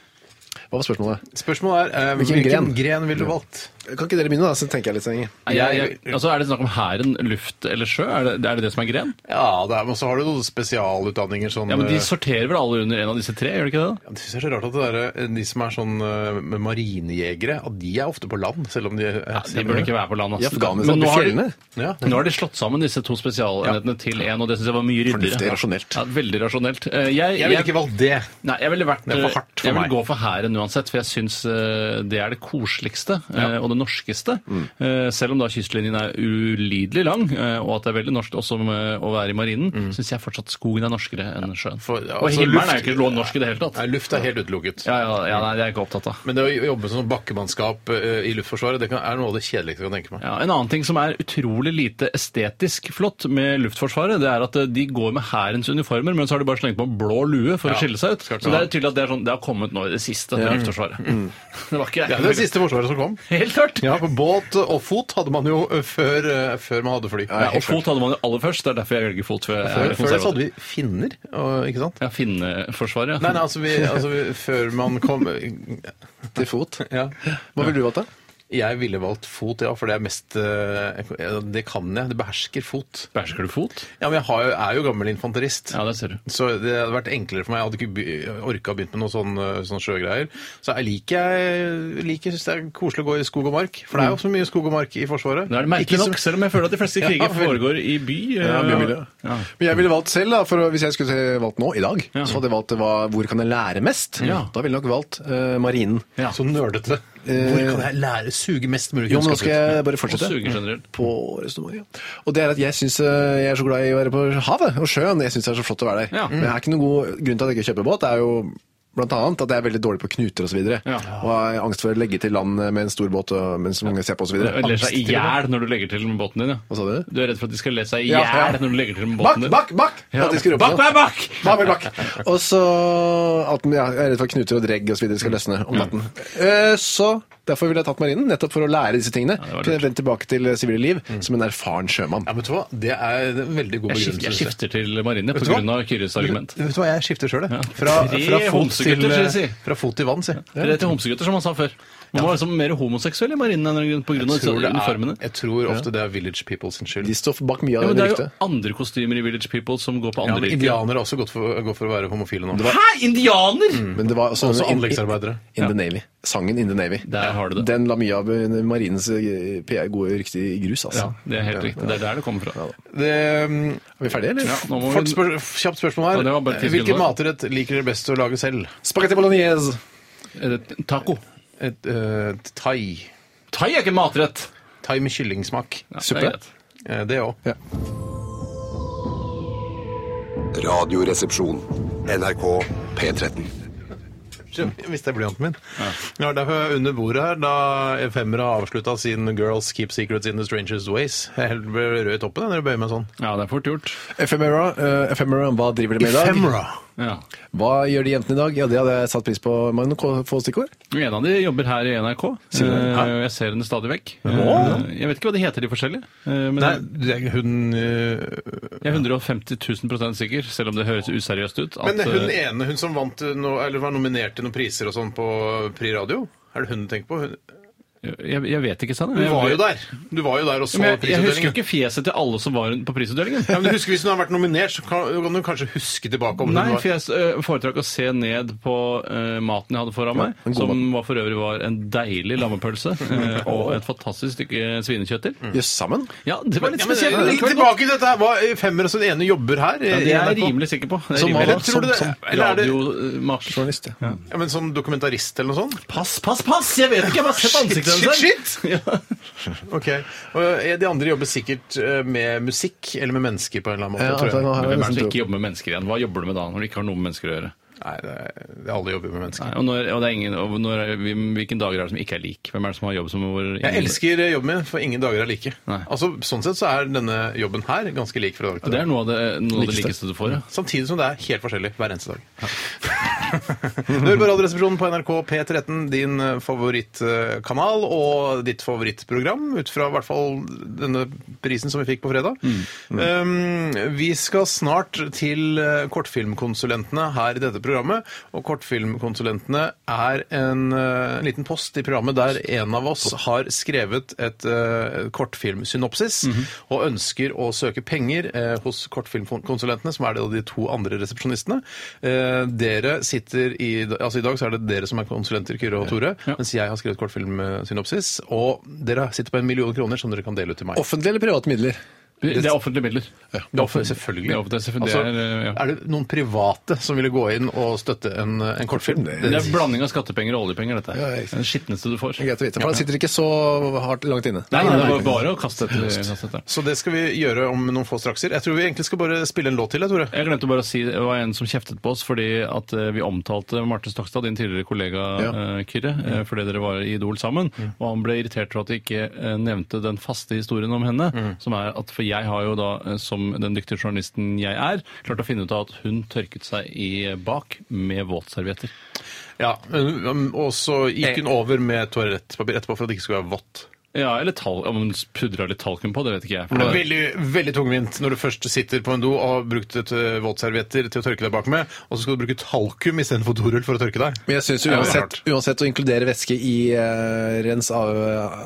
Hva var spørsmålet?
Spørsmålet er eh,
Hvilken
hvilken,
gren?
gren? ville du valgt?
Kan ikke dere begynne, da, så tenker jeg litt så lenge.
Nei, Jeg, jeg, altså, er det snakk om hæren, luft eller sjø? Er det er det, det som er gren?
Ja, det er, men så har du noen spesialutdanninger sånn
Ja, men De
eh,
sorterer vel alle under en av disse tre, gjør de ikke det? da?
Jeg synes det er så rart at det der, eh, de som er sånn eh, med marinejegere, at de er ofte på land, selv om de er
De burde ikke være på land. ass.
I Afghanistan,
Men nå
på
har de-
fjellene.
Ja.
Nå har de slått sammen disse to spesialenhetene til én, og det syns jeg var mye ryddigere.
Fornuftig, rasjonelt.
Ja, veldig rasjonelt. Eh, Jeg,
Jeg ville ikke valgt det.
Nei, jeg ville vært
Det er for hardt for
Jeg
meg.
ville gå for hæren uansett, for jeg syns eh, det er det koseligste eh, og det norskeste. Eh, Selv om da kystlinjen er ulidelig lang, eh, og at det er veldig norsk også med å være i marinen, synes syns jeg fortsatt skogen er norskere enn sjøen.
For, Mm. ja,
og
altså,
himmelen
luft-
er jo ikke lov norsk i det hele tatt.
Nei, luft er helt utelukket.
Ja, ja, ja nei, det er jeg ikke opptatt av.
Men det å jobbe som sånn bakkemannskap eh, i Luftforsvaret det kan, er noe av det kjedeligste jeg kan tenke meg.
Ja, en annen ting som er utrolig lite estetisk flott med Luftforsvaret, det er at eh, de går med hærens uniformer, men så har de bare slengt på en blå lue for å skille seg ut.
skal ikke
Så det
ha.
er tydelig at det, er sånn, det har kommet nå i det siste med Luftforsvaret. Det var ikke
Mm. Ja, det er det siste forsvaret som kom.
Helt klart!
Ja, på båt og fot hadde man jo eh, før, eh, før man hadde fly.
Ja, og fot hadde man jo aller først, det er derfor jeg velger fot. For jeg
Før,
er
før det så
konservativ.
hadde vi finner, og, ikke sant?
Ja, Finneforsvaret, ja.
Nei, nei, altså, vi, altså vi, før man kom
Til fot.
ja.
Hva ville du valgt, da?
Jeg ville valgt fot, ja, for det er mest eh, jeg- Det kan jeg. Det behersker fot.
Bæsjer du fot?
Ja, men jeg har, jo- er jo gammel infanterist.
Ja, det ser du.
Så det hadde vært enklere for meg. Jeg hadde ikke by- orka å begynne med noe sånn, eh, sånn sjøgreier. Så jeg liker, jeg liker synes det er koselig å gå i skog og mark. For det er jo så mye skog og mark i Forsvaret.
Da er det merkelig
Ikke så-
nok, selv om jeg føler at de fleste kriger
Ja, vel.
foregår i by.
Ja,
eh,
bymiljø.
ja.
Men jeg ville valgt selv, da, for å- hvis jeg skulle valgt nå, i dag,
Ja.
så hadde jeg valgt eh, hva, hvor kan jeg lære mest.
Ja.
Da ville jeg nok valgt eh, marinen.
Ja.
Så nerdete. Hvor kan jeg lære suge mest mulig
Eh, Jo, men nå
kunnskap
skal
ut?
jeg bare
Og
fortsette.
suger generelt.
På resonemanget. Og det er at jeg syns jeg er så glad i å være på havet og sjøen. Jeg syns det er så flott å være der.
Ja.
Men jeg er ikke noen god grunn til at jeg ikke kjøper båt. Det er jo Blant annet at jeg er veldig dårlig på knuter osv. videre
Ja.
Og har angst for å legge til land med en stor båt og, mens mange ser på osv.
Eller ler seg i hjel når du legger til med båten
Altså,
din, ja.
Hva sa du?
Du er redd for at de skal le seg i
Ja,
hjel
ja.
når du legger til med
Bakk,
båten din.
bakk, bakk!
Ja,
At de skrur opp
bakk,
sånn.
bakk, bakk!
Bak, bak, bak. Og så at ja, jeg er redd for at knuter og dregg og så videre skal løsne om natten. Eh, Så derfor ville jeg tatt marinen, nettopp for å lære disse tingene.
det var Mm.
Kunne jeg vendt tilbake til det sivile liv som en erfaren sjømann.
Ja, men vet du hva? Det er en veldig god
Jeg skifter,
begrunnelse.
jeg skifter til marine
Vet du hva?
pga. Kyrres argument.
Vet du hva, jeg skifter sjøl, jeg.
Ja.
Fra, fra, fot
Tre
til, eh,
homsegutter, skal jeg si.
fra fot til vann, sier jeg.
Rett til homsegutter, som han sa før. Man var liksom mer homoseksuell i marinen enn pga.
Jeg tror, det er,
uniformene.
jeg tror ofte det er Village People sin skyld.
De står bak mye
Ja,
av
men
det
det er jo
ryktet.
andre kostymer i Village People som går på
Ja,
andre
men
yrker.
Indianere har også gått for, går for å være homofile nå.
Hæ, indianer?!
Men det var også,
Også
in- in-
anleggsarbeidere.
In the Navy. Sangen In the Navy.
Der har du det.
Den la mye av eh, marinens eh, PR gode rykte i grus, altså.
Ja, det er helt riktig. Det er der det kommer fra.
Det, um,
Er vi ferdige, eller?
Ja, nå må
fort
vi...
spør, kjapt spørsmål
Ja, det var bare
her.
ti
Hvilken
sekunder.
matrett liker dere best å lage selv?
Spagetti bolognese!
Er det Eh, Taco.
Et, eh, thai.
Thai er ikke matrett!
Thai med kyllingsmak.
Ja, det er
Suppe.
greit.
Eh, Det òg.
Radioresepsjon. NRK P13.
Hvis det er blyanten min. Ja, derfor under bordet her, da femmere avslutta sin Girls Keep Secrets in the Strangest Ways. Jeg helt ble rød i toppen jeg, når jeg bøyer meg sånn.
Ja, det er fort gjort.
Ephemera, eh, ephemera, hva driver de med i dag?
Ja.
Hva gjør de jentene i dag? Ja, det hadde jeg satt pris på. Magne, k- få stikkord.
En av de jobber her i NRK.
du det?
Eh, og Jeg ser henne stadig vekk. Eh, Jeg vet ikke hva de heter, de forskjellige. eh, Men
Nei, det er hun eh,
jeg er 150 000 sikker, selv om det høres useriøst ut. at,
Men hun
eh,
ene, hun som vant noe, eller var nominert til noen priser og sånn på Pri Radio? Er det hun du tenker på? Hun,
jeg, jeg vet ikke, Sanne.
du
Jeg-
var jo der! Du var jo der og så
Men Jeg, jeg husker jo
prisutdelingen.
ikke fjeset til alle som var på prisutdelingen.
Ja, men du husker Hvis hun har vært nominert, så kan, kan du kanskje huske tilbake om
Nei,
hun
for
var
jeg eh, foretrakk å se ned på eh, maten jeg hadde foran meg,
en god
som var for øvrig var en deilig lammepølse eh, og et fantastisk stykke svinekjøtt til.
Jøss, sammen?
Ja, det var litt
Mm. ja, men,
spesielt. men
Litt
likevel godt.
tilbake til dette! her. Hva eh, femmer og så den ene jobber her?
Ja,
eh,
det er
i
jeg
NRK?
rimelig sikker på. Det er
Som
rimelig.
hva da?
Tror du det-
som, eh, som
eller er det-
radiomarsj.
Journalist, ja.
Ja, men Som dokumentarist eller noe sånt?
Pass, pass, pass! Jeg vet ikke, jeg har bare sett ansiktet bergenseren.
Shit, shit! Ok. Og eh, de andre jobber sikkert eh, med musikk eller med mennesker på en eller annen måte.
Ja,
tror jeg.
altså, nå har jeg
Hvem er det
nesten
som
tro.
ikke jobber med mennesker igjen? Hva jobber du med da, når du ikke har noe med mennesker å gjøre?
Nei, det er, det er alle jobber med mennesker.
Nei, og når, og det er ingen, og når, hvilken dager er det som ikke er lik? Hvem er det som har jobb som hvor
Jeg elsker eh, jobben min, for ingen dager er like.
Nei.
Altså, Sånn sett så er denne jobben her ganske lik fra dag til
Det
dag.
er noe av det, noe av det likeste du får, ja.
Samtidig som det er helt forskjellig hver eneste dag. Du hører på Radioresepsjonen på NRK P13, din eh, favorittkanal og ditt favorittprogram, ut fra i hvert fall denne prisen som vi fikk på fredag. Um, vi skal snart til eh, kortfilmkonsulentene her i dette programmet, og kortfilmkonsulentene er en, eh, en liten post i programmet der en av oss har skrevet et eh, kortfilmsynopsis
Mhm.
og ønsker å søke penger eh, hos kortfilmkonsulentene, som er det de to andre resepsjonistene. Eh, dere sitter i Altså i dag så er det dere som er konsulenter, Kyrre og Tore, mens jeg har skrevet kortfilmsynopsis, og dere sitter på en million kroner som dere kan dele ut til meg.
Offentlige eller private midler?
Det er offentlige midler.
Det er offentlig, selvfølgelig.
Det er offentlig, selvfølgelig.
Altså,
Det er, ja.
er det noen private som ville gå inn og støtte en, en kortfilm?
Det er blanding av skattepenger og oljepenger, dette.
Ja, ikke
her. Det er Den skitneste du får.
Det er greit å vite, for han sitter ikke så hardt langt inne.
Nei, nei, det var bare å kaste etter. kaste etter.
Så det skal vi gjøre om noen få strakser. Jeg tror vi egentlig skal bare spille en låt til, jeg, Tore.
Jeg glemte bare å si, Det var en som kjeftet på oss fordi at eh, vi omtalte Marte Stokstad, din tidligere kollega
Ja.
eh, Kyrre, eh, fordi dere var i Idol sammen. Og han ble irritert for at vi ikke eh, nevnte den faste historien om henne. som er at For jeg har jo da, eh, som den dyktige journalisten jeg er, klart å finne ut av at hun tørket seg i bak med våtservietter.
Ja, men- um, Og så gikk hun over med toalettpapir etterpå for at det ikke skulle være vått.
Ja, eller tal om hun pudra litt talkum på, det vet ikke jeg.
Det
For
er
det,
veldig, veldig tungvint når du først sitter på en do og har brukt et eh, våtservietter til å tørke deg bak med, og så skal du bruke talkum istedenfor dorull for å tørke deg.
Men jeg synes jo
Ja, det er
uansett, uansett å inkludere væske i eh, rens av eh,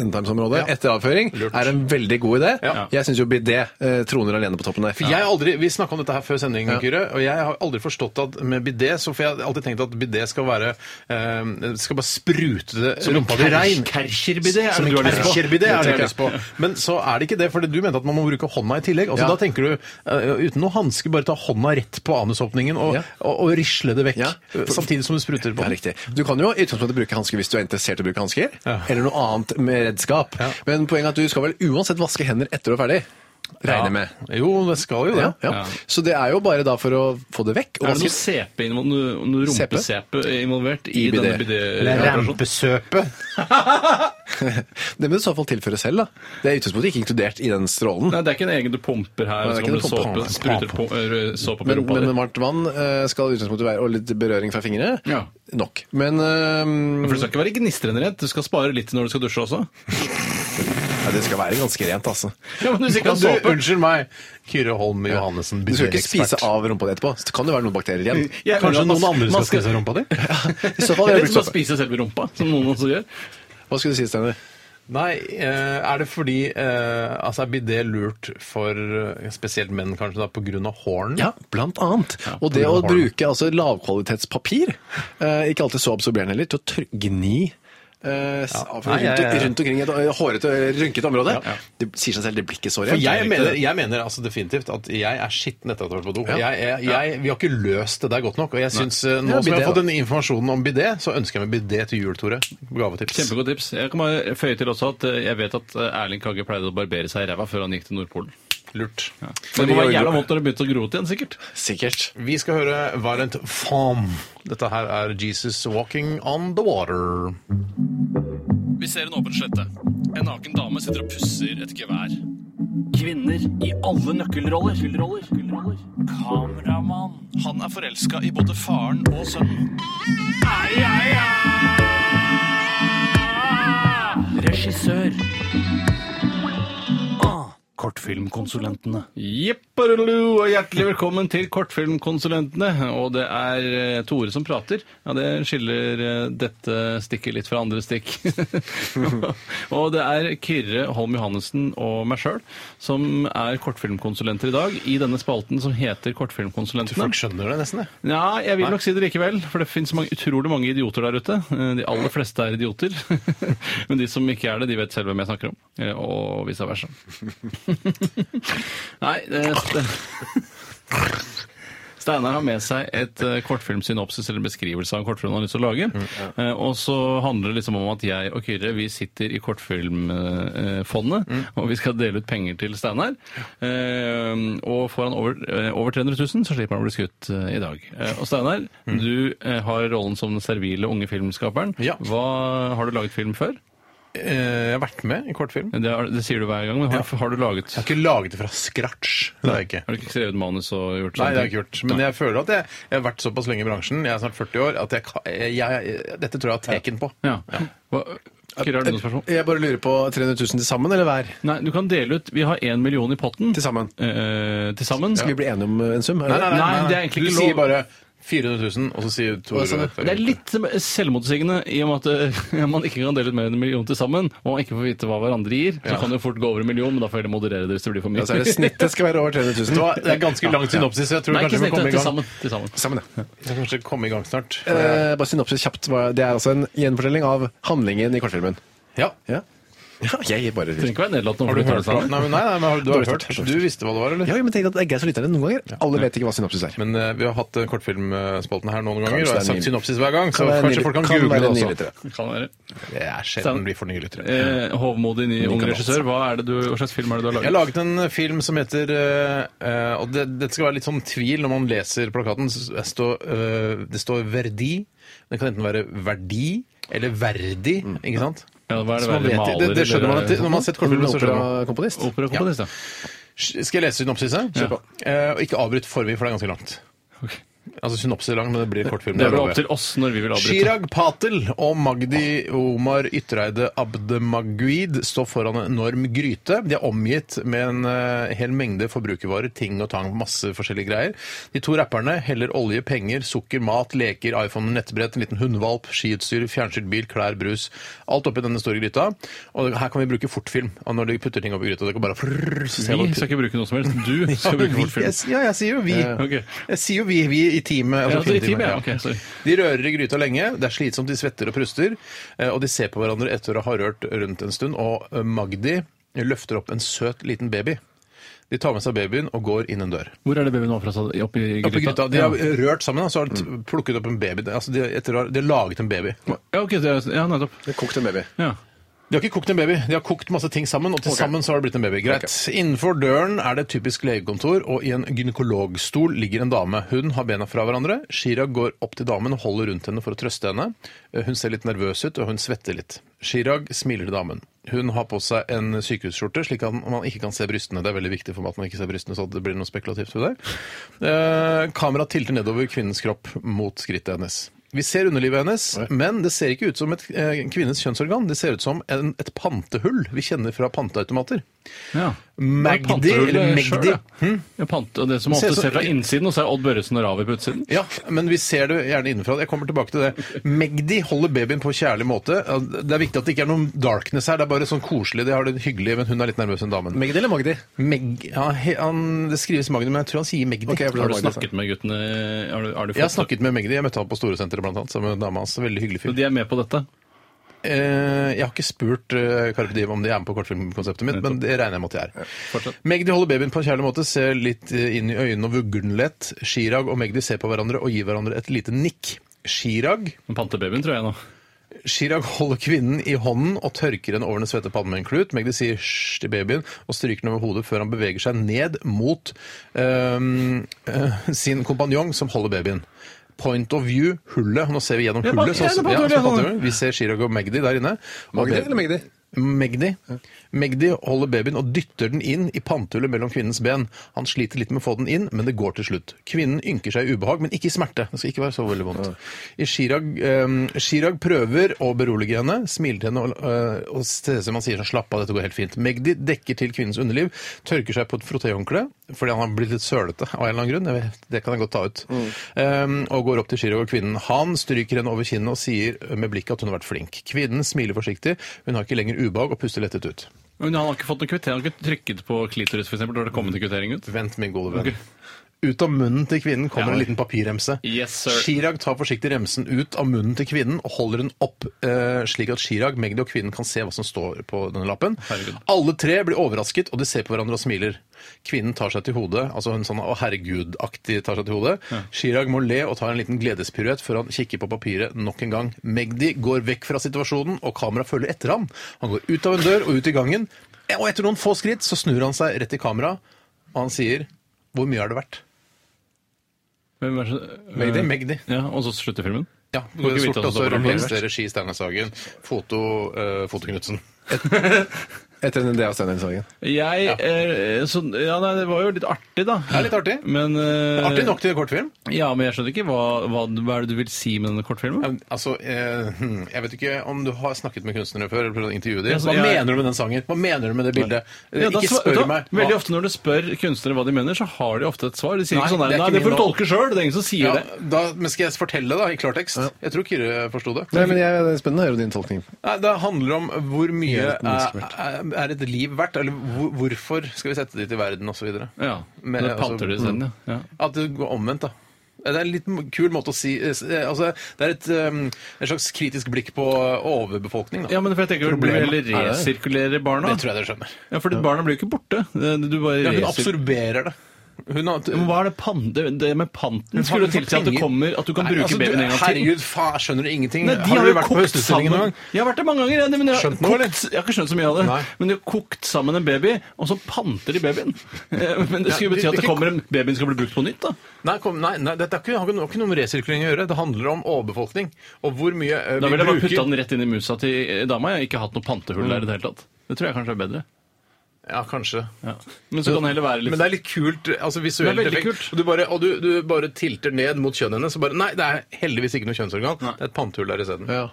endetarmsområdet
Ja.
etter avføring er en veldig god idé.
Ja.
Jeg syns jo bidé eh, troner alene på toppen der.
For jeg har aldri, Vi snakka om dette her før sending, Kyrre, og jeg har aldri forstått at med bidé så For jeg har alltid tenkt at bidé skal være eh, Skal bare sprute det rumpa di rein.
Kercherbidé er
Som
det
en
du har lyst på.
kercherbidé er det jeg
tenker
har lyst på. Men så er det ikke det, for du mente at man må bruke hånda i tillegg. Altså,
Ja.
Da tenker du eh, uten noe hanske, bare ta hånda rett på anusåpningen og,
Ja.
og, og risle det vekk.
Ja.
eh, Samtidig som du spruter på
Ja,
den.
riktig. Du kan jo i utgangspunktet bruke hansker hvis du er interessert i å bruke hansker,
Ja.
eller noe annet med redskap.
Ja.
Men poenget er at du skal vel uansett vaske hender etter du er ferdig. Regner
Ja.
jeg med.
Jo, det skal jo det.
Ja, ja.
Ja.
Så det er jo bare da for å få det vekk. Og
Er
vaske-
det noe CP, involvert- noe, noe
CP?
rumpesepe involvert i,
I bidé.
denne bidé-operasjonen?
rampesøpe.
det må du i så fall tilføre selv, da. Det er i utgangspunktet ikke inkludert i den strålen.
Nei, det er ikke en egen du pumper
Nei,
her.
det
så
er
kommer
ikke
det
noe
såpe,
pump.
spruter på, øh, såpe på
Men,
rumpa
men
di.
med varmt vann eh, skal i utgangspunktet være, og litt berøring fra fingrene,
Ja.
nok. Men eh,
For det skal ikke være gnistrende rent. Du skal spare litt når du skal dusje også.
Ja, det skal være ganske rent, altså.
Ja, men hvis ikke
Men
har
du,
såpe
unnskyld meg, Kyrre Holm Johannessen,
Du skal ikke
bidé-ekspert.
spise av rumpa di etterpå. Så det kan jo være noen bakterier igjen.
Jeg mener
Kanskje
at man-
noen andre
man
skal spise rumpa di?
I så fall har jeg
Eller skal
brukt
man
såpe.
spise selve rumpa, som noen også gjør.
Hva skulle du si, Steinar?
Nei, eh, er det fordi eh, altså er bidé lurt for eh, spesielt menn kanskje da, på grunn av hårene?
Ja, blant annet. og det å bruke altså, lavkvalitetspapir, eh, ikke alltid så absorberende heller, til å tr- gni eh, s- av-
Nei, jeg-
rundt, rundt omkring i et eh, hårete, rynkete område. Det sier seg selv, det blir ikke så
For
rent.
jeg mener, jeg mener altså definitivt at jeg er skitten etter at jeg har vært på do.
Ja.
Jeg, er- jeg, vi har ikke løst det der godt nok. Og jeg synes, eh, nå
Ja,
som jeg
bidé,
har
da.
fått denne informasjonen om bidé, så ønsker jeg meg bidé til jul, Tore. Gavetips.
Kjempegodt tips. Jeg kan bare føye til også at eh, jeg vet at eh, Erling Kagge pleide å barbere seg i ræva før han gikk til Nordpolen.
Lurt.
Det må
Fordi-
være jævla vondt når det begynte å gro ut igjen, sikkert.
Sikkert.
Vi skal høre Violent Farm. Dette her er Jesus Walking on the Water.
Vi ser en åpen slette. En naken dame sitter og pusser et gevær. Kvinner i alle nøkkelroller. Kameramann. Han er forelska i både faren og sønnen. Regissør. Kortfilmkonsulentene. Jepparulu, og hjertelig velkommen til Kortfilmkonsulentene. Og det er eh, Tore som prater. Ja, det skiller eh, dette stikket litt fra andre stikk. og det er Kyrre Holm Johannessen og meg sjøl som er kortfilmkonsulenter i dag i denne spalten som heter Kortfilmkonsulentene.
Folk skjønner det nesten, det.
Ja, jeg vil nok si det likevel, for det finnes mange, utrolig mange idioter der ute. Eh, De aller fleste er idioter. Men de som ikke er det, de vet selv hvem jeg snakker om. Eh, Og vice versa. Nei, det, det eh, Steinar har med seg et eh, kortfilmsynopsis eller beskrivelse av en kortfilm han har lyst til å
Mm,
lage. Eh, og så handler det liksom om at jeg og Kyrre vi sitter i Kortfilmfondet,
Mm.
og vi skal dele ut penger til Steinar. Eh, og får han over, eh, over 300 000, så slipper han å bli skutt eh, i dag. Eh, og Steinar, du eh, har rollen som den servile unge filmskaperen.
Mm. Ja.
Hva, har du laget film før?
Eh, Jeg har vært med i kortfilm. Jeg
Det, er, det sier du hver gang, men har, har du laget
har ikke laget det fra scratch. Det har jeg ikke.
Har du ikke skrevet manus og
Nei,
gjort sånne
det har jeg
ting?
ikke gjort. Men jeg føler at jeg, jeg har vært såpass lenge i bransjen, jeg er snart 40 år, at jeg, ka- jeg, jeg dette tror jeg har teken på.
Ja. Hva, Kyrre, har du noen spørsmål?
Jeg bare lurer på 300 000 til sammen, eller hver?
Nei, du kan dele ut. Vi har én million i potten.
Til sammen.
Eh, til sammen.
Skal vi bli enige om eh, en sum? eller?
nei, det er egentlig
du
ikke
sier
lov.
bare 400 000, og så sier Tore
sa du?
Det er litt selvmotsigende i og med at eh, man ikke kan dele ut mer enn en million til sammen, og man ikke får vite hva hverandre gir. Så kan det jo fort gå over en million, men da får jeg heller moderere det hvis det blir for
Ja,
mye.
så er det snittet skal være over 300
Det
000.
var- det er ganske langt synopsis, så jeg tror
Nei,
kanskje
ikke
vi
snittet.
kommer i
Til
gang.
sammen. Til sammen.
Sammen, ja.
Vi skal kanskje komme i gang snart.
Eh, bare synopsis kjapt. hva- Det er altså en gjenfortelling av handlingen i kortfilmen.
Ja.
Ja, ja jeg bare
Det trenger ikke være nedlatende.
Har du hørt
det?
Nei, men, nei, nei, men har, du har
Dårlig
hørt.
start, dårlig start.
Du visste hva det var, eller?
Ja, men tenk at det er greit å lytte til det noen ganger. Alle vet ikke hva synopsis er.
Men eh, vi har hatt eh, kortfilmspalten her noen ganger,
Kanskje
og jeg
det
har
er
sagt
ny-
synopsis hver gang, så
Kan være
kanskje
nylig-
folk kan
kan
google
være
det
nylig
også.
til det.
Kan være.
Det er sjelden vi får nye lyttere.
Eh, Hovmodig ny ung
kan
regissør, hva, er det du, hva slags film er det du har
Jeg har
laget?
laget en film som heter eh, eh, Og det, dette skal være litt sånn tvil når man leser plakaten. så Det står, eh, det står Verdi. Det kan enten være Verdi eller Verdi, ikke sant?
Mm. Ja, hva er
Så
det,
man
verre,
vet- det, det
maler
skjønner man
eller-
etter, når man har sett kortfilmen. så skjønner man.
Operakomponist.
Operakomponist, ja.
Skal jeg lese synopsiset?
Kjør på.
Eh, og ikke avbryt for mye, for det er ganske langt.
Ok.
Altså synopsis er lang, men det blir kortfilm.
Det er
jeg
vel
lover.
opp til oss når vi vil avbryte.
Chirag Patel og Magdi Omar Ytreide Abdemaguid står foran en enorm gryte. De er omgitt med en eh, hel mengde forbrukervarer, ting og tang, masse forskjellige greier. De to rapperne heller olje, penger, sukker, mat, leker, iPhone, nettbrett, en liten hundevalp, skiutstyr, fjernstyrt bil, klær, brus. Alt oppi denne store gryta. Og her kan vi bruke fortfilm. Og når de putter ting oppi gryta, det kan bare frrrr, så ser man-
Vi skal ikke bruke noe som helst. Du skal bruke vårt film.
jeg, ja, jeg sier jo vi.
ok.
Jeg sier jo vi, vi i teamet.
Ja, altså, i
filmteamet,
teamet, ja. Ok, sorry.
De rører i gryta lenge, det er slitsomt, de svetter og pruster, eh, og de ser på hverandre etter å ha rørt rundt en stund, og eh, Magdi løfter opp en søt liten baby. De tar med seg babyen og går inn en dør.
Hvor er det babyen var fra? sa du? Oppi gryta?
Oppi gryta, De
Ja.
har eh, rørt sammen, og så har de t- plukket opp en baby. Altså, de, etter, å ha- de har laget en baby.
Ja, ok, det er, ja, nettopp.
Kokt en baby.
Ja.
De har ikke kokt en baby, de har kokt masse ting sammen, og til sammen så har det blitt en baby. Greit. Innenfor døren er det et typisk legekontor, og i en gynekologstol ligger en dame. Hun har bena fra hverandre. Chirag går opp til damen og holder rundt henne for å trøste henne. Eh, Hun ser litt nervøs ut, og hun svetter litt. Chirag smiler til damen. Hun har på seg en sykehusskjorte, slik at man ikke kan se brystene. Det er veldig viktig for meg at man ikke ser brystene, så det blir noe spekulativt ved det. Eh, Kameraet tilter nedover kvinnens kropp mot skrittet hennes. Vi ser underlivet hennes, men det ser ikke ut som et eh, kvinnes kjønnsorgan. Det ser ut som en, et pantehull vi kjenner fra panteautomater. eh,
ja.
Magdi,
Ja, panterullet
eller
selv,
Magdi.
eh, ja. Ja, pant, og det som man
Ser
ofte
så-
ser fra innsiden, og så er Odd Børresen og Ravi på utsiden.
Ja, men vi ser det gjerne innenfra. Jeg kommer tilbake til det. Magdi holder babyen på kjærlig måte. Det er viktig at det ikke er noen darkness her. Det er bare sånn koselig. Det har det hyggelig, men hun er litt nervøs, den damen.
Magdi eller Magdi?
Meg, ja, he- han, det skrives Magni, men jeg tror han sier Magdi.
Ok, jeg ble-
Har du
Magdi,
snakket med guttene? Har du, har du fått,
Jeg har snakket med Magdi. Jeg møtte han på Storesenteret blant annet, sammen med dama hans. Veldig hyggelig
Så
fyr.
de er med på dette?
Eh, jeg har ikke spurt eh, Carpe Diem om de er med på kortfilmkonseptet mitt, men det regner jeg med at de er.
Fortsett.
Magdi holder babyen på en kjærlig måte, ser litt eh, inn i øynene og vugger den lett. Chirag og Magdi ser på hverandre og gir hverandre et lite nikk. Chirag
Men Pantebabyen, tror jeg nå.
Chirag holder kvinnen i hånden og tørker henne over den svette pannen med en klut. Magdi sier hysj til babyen og stryker den over hodet før han beveger seg ned mot øhm, øh, sin kompanjong som holder babyen. Point of view, hullet. Nå ser vi gjennom
Ja,
hullet.
ja, det er
sånn-
point of view,
sånn
ja.
fatter du. vi ser Chirag og Magdi der inne. Og
Magdi
baby-
eller Magdi?
Magdi. Magdi holder babyen og dytter den inn i pantehullet mellom kvinnens ben. Han sliter litt med å få den inn, men det går til slutt. Kvinnen ynker seg i ubehag, men ikke i smerte. Det skal ikke være så veldig vondt. I Chirag, eh, Chirag prøver å berolige henne, smiler til henne og, eh, og ser ut som han sier sånn slapp av, dette går helt fint. Magdi dekker til kvinnens underliv, tørker seg på et frottéhåndkle fordi han har blitt litt sølete av en eller annen grunn. Jeg vet, det kan jeg godt ta ut. Eh, og går opp til Chirag og kvinnen. Han stryker henne over kinnet og sier med blikket at hun har vært flink. Kvinnen smiler forsiktig, hun har ikke lenger ubehag og puster lettet ut.
Men han har ikke fått noen kvittering, han har ikke trykket på klitoris, for eksempel, da har det kommet en kvittering ut.
Vent, min gode venn. ut av munnen til kvinnen kommer en liten papirremse.
Yes, sir.
Chirag tar forsiktig remsen ut av munnen til kvinnen og holder den opp eh, slik at Chirag, Magdi og kvinnen kan se hva som står på denne lappen.
Herregud.
Alle tre blir overrasket, og de ser på hverandre og smiler. Kvinnen tar seg til hodet, altså hun sånn 'å herregud'-aktig tar seg til hodet. Chirag må le og tar en liten gledespiruett før han kikker på papiret nok en gang. Magdi går vekk fra situasjonen, og kameraet følger etter ham. Han går ut av en dør og ut i gangen, og etter noen få skritt så snur han seg rett i kamera, og han sier 'hvor mye har det vært'?
Hvem er det?
Magdi, Magdi.
Ja, og så slutter filmen?
Ja,
Du kan ikke vite
Sort
hva som
også
står på papiret.
rullerings, regi Steinar Sagen, foto uh, Knutsen.
Etter en idé av Stein Sagen.
Jeg eh, så, Ja, nei, det var jo litt artig, da.
Det er litt artig.
Men, eh,
Artig nok til kortfilm.
Ja, men jeg skjønner ikke hva, hva, hva er det du vil si med denne kortfilmen?
Ja, men, Altså, eh, hmm, Jeg vet ikke om du har snakket med kunstnere før? eller prøvd å intervjue dem.
Ja, så
Hva
jeg-
mener du med den sangen? Hva mener du med det bildet? Eh,
Ja, da
ikke
svar-
spør
da,
meg. hva-
Veldig ofte når du spør kunstnere hva de mener, så har de ofte et svar. De sier
Nei,
ikke sånn
det
der,
er
nei,
ikke
det får
min
du
lov».
tolke sjøl. Det er ingen som
ja,
sier det.
da, men Skal jeg fortelle da, i klartekst? Jeg tror Kyrre forsto det.
Nei, men jeg, Det er spennende å høre din tolkning.
Nei, Det handler om hvor mye
Gjør det menneskelig
eh, er er et liv verdt, eller hvor- hvorfor skal vi sette de til verden, osv.
Ja,
Men,
men,
altså,
panter de isteden, ja. ja.
At det går omvendt, da. Det er en litt kul måte å si eh, s- eh, altså, Det er et, um, en slags kritisk blikk på eh, overbefolkning, da.
Ja, men for jeg tenker du
Problemet
heller
er det.
resirkulerer barna.
det tror jeg dere skjønner.
Ja, for barna blir jo ikke borte. Du bare
Ja, hun
resirkulerer.
absorberer det. Hun har,
Men hva er det, pan det, det med panten skulle jo tilsi at, det kommer- at du kan
Nei,
bruke
altså, du-
babyen en gang til.
Herregud, faen, skjønner du ingenting?
Nei, de har,
du
jo
vært på
kokt
Høstutstillingen noen
sammen
gang?
Jeg har vært der mange ganger. Jeg, men jeg, har
Skjønt noe,
kokt, jeg har ikke skjønt så mye av det.
Nei.
Men de har kokt sammen en baby, og så panter de babyen. Eh, Men det skulle jo
Ja,
bety at
det-
det kommer en babyen skal bli brukt på nytt, da.
Nei, kom, nei, nei dette har ikke, har ikke noe- har ikke noe med resirkulering å gjøre. Det handler om overbefolkning. Og hvor mye eh,
Da
vi
ville jeg bare
bruker Mm.
putta den rett inn i musa til eh, dama. Jeg har ikke hatt noe pantehull der i det hele tatt. Det tror jeg kanskje er bedre.
Ja, kanskje.
Ja. Men så kan det heller være
Men
litt
det er litt kult altså visuelt
Det er veldig
effekt.
kult.
Og, du bare, og du, du bare tilter ned mot kjønnet hennes. og bare, Nei, det er heldigvis ikke noe kjønnsorgan. Det er et pantehull der isteden.
Ja.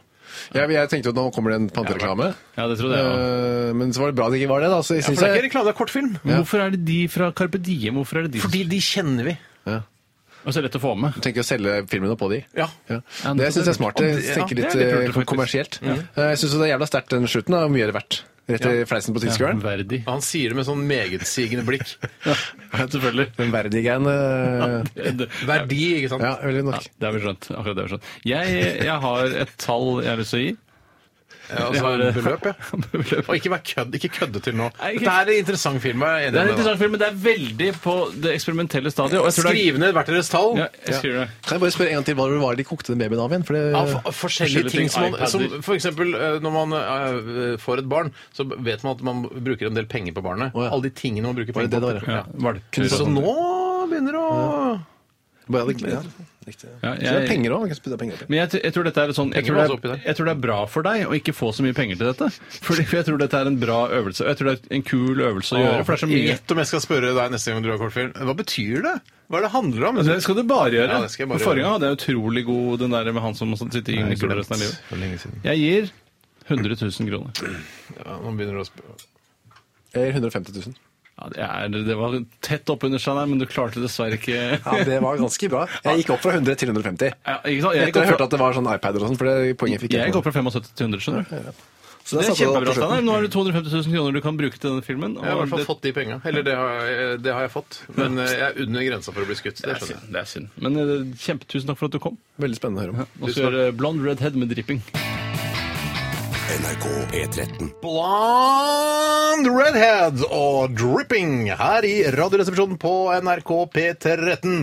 Jeg, jeg tenkte jo at nå kommer det en pantereklame,
Ja, det trodde jeg òg.
Eh, men så var det bra det ikke var det. da så jeg
For
synes
det er ikke
jeg,
reklame, det er kortfilm.
Hvorfor er det de fra Carpe Diem? Hvorfor er det de som
Fordi de kjenner vi.
Og så er det lett å få med?
tenker å selge filmene på de.
Ja.
Ja,
Det syns jeg
det er
er smart.
lurt.
Jeg
Ja,
tenker
det er
litt
litt
eh,
lurt, faktisk.
kommersielt. Eh, Jeg syns det er jævla sterkt den slutten. da, Hvor mye er det verdt? Rett i fleisen på
Ja,
tyskeren.
verdig.
Han sier det med sånn megetsigende blikk.
Ja, selvfølgelig.
Den verdigen eh,
Det-
Verdi, ikke sant?
Ja, veldig nok.
Det har vi skjønt. akkurat det har vi skjønt. Jeg, jeg har et tall jeg har lyst til å gi.
Ja, altså,
Jeg har-
beløp, ja.
Beløp.
Og ikke, vær kødd, ikke kødde til nå.
Nei, ikke-
Dette er en interessant film. Jeg er enig
Det er en
med deg.
interessant film, men det er veldig på det eksperimentelle stadiet. Og jeg tror det er...
Skriv ned hvert deres tall.
Ja, jeg skriver det.
Kan jeg bare spørre en gang til hva var det de kokte den babyen av igjen? Ah, For det,
Av forskjellige,
forskjellige ting,
ting. Som, man, som
iPader.
for eksempel eh, når man eh, får et barn, så vet man at man bruker en del penger på barnet.
Å, ja.
Alle de tingene man bruker
Var
penger
det det det
på.
Ja, sånn- valper.
Så nå begynner det å
Bare hadde- ja, riktig.
Ja,
Så det er
jeg-
penger òg. Penger på.
Men jeg, t- jeg tror dette er et sånn jeg tror,
Penger må også
det
oppi
er,
der.
jeg tror det er bra for deg å ikke få så mye penger til dette. Fordi for jeg tror dette er en bra øvelse. Og jeg tror det er en kul øvelse å gjøre. For det er så mye
Gjett om jeg skal spørre deg neste gang du har kortfilm. Hva betyr det? Hva er det handler om?
Altså, Det skal du bare gjøre.
Ja, det skal jeg bare
For Forrige
gjøre.
gang hadde jeg utrolig god den der med han som sitter i gyngekule resten av livet.
For lenge siden.
Jeg gir 100 000 kroner.
Ja, nå begynner det å spørre.
Eller 150 000.
Ja, det, er, det var tett oppunder seg der, men du klarte dessverre ikke
Ja, det var ganske bra. Jeg gikk opp fra 100 til 150.
Ja, ikke sant? Jeg gikk
Etter å ha
opp fra-
hørt at det var sånn iPader og sånn, for det poenget fikk
Jeg
jeg.
går fra 75 til 100, skjønner du.
Så der
Det er
satte jeg opp
kjempebra,
på slutten.
Steinar. Nå har du 250 000 kroner du kan bruke til denne filmen.
Jeg har i hvert fall
det,
fått de penga. Eller det har, jeg, det har jeg fått. Men eh, jeg er under grensa for å bli skutt.
det
Det
er
skjønner jeg.
synd. Det er synd. Men eh, kjempe, tusen takk for at du kom.
Veldig spennende å høre om.
Og så gjør eh, Blond Redhead med dripping.
NRK P13.
Blond redhead og dripping her i Radioresepsjonen på NRK P13.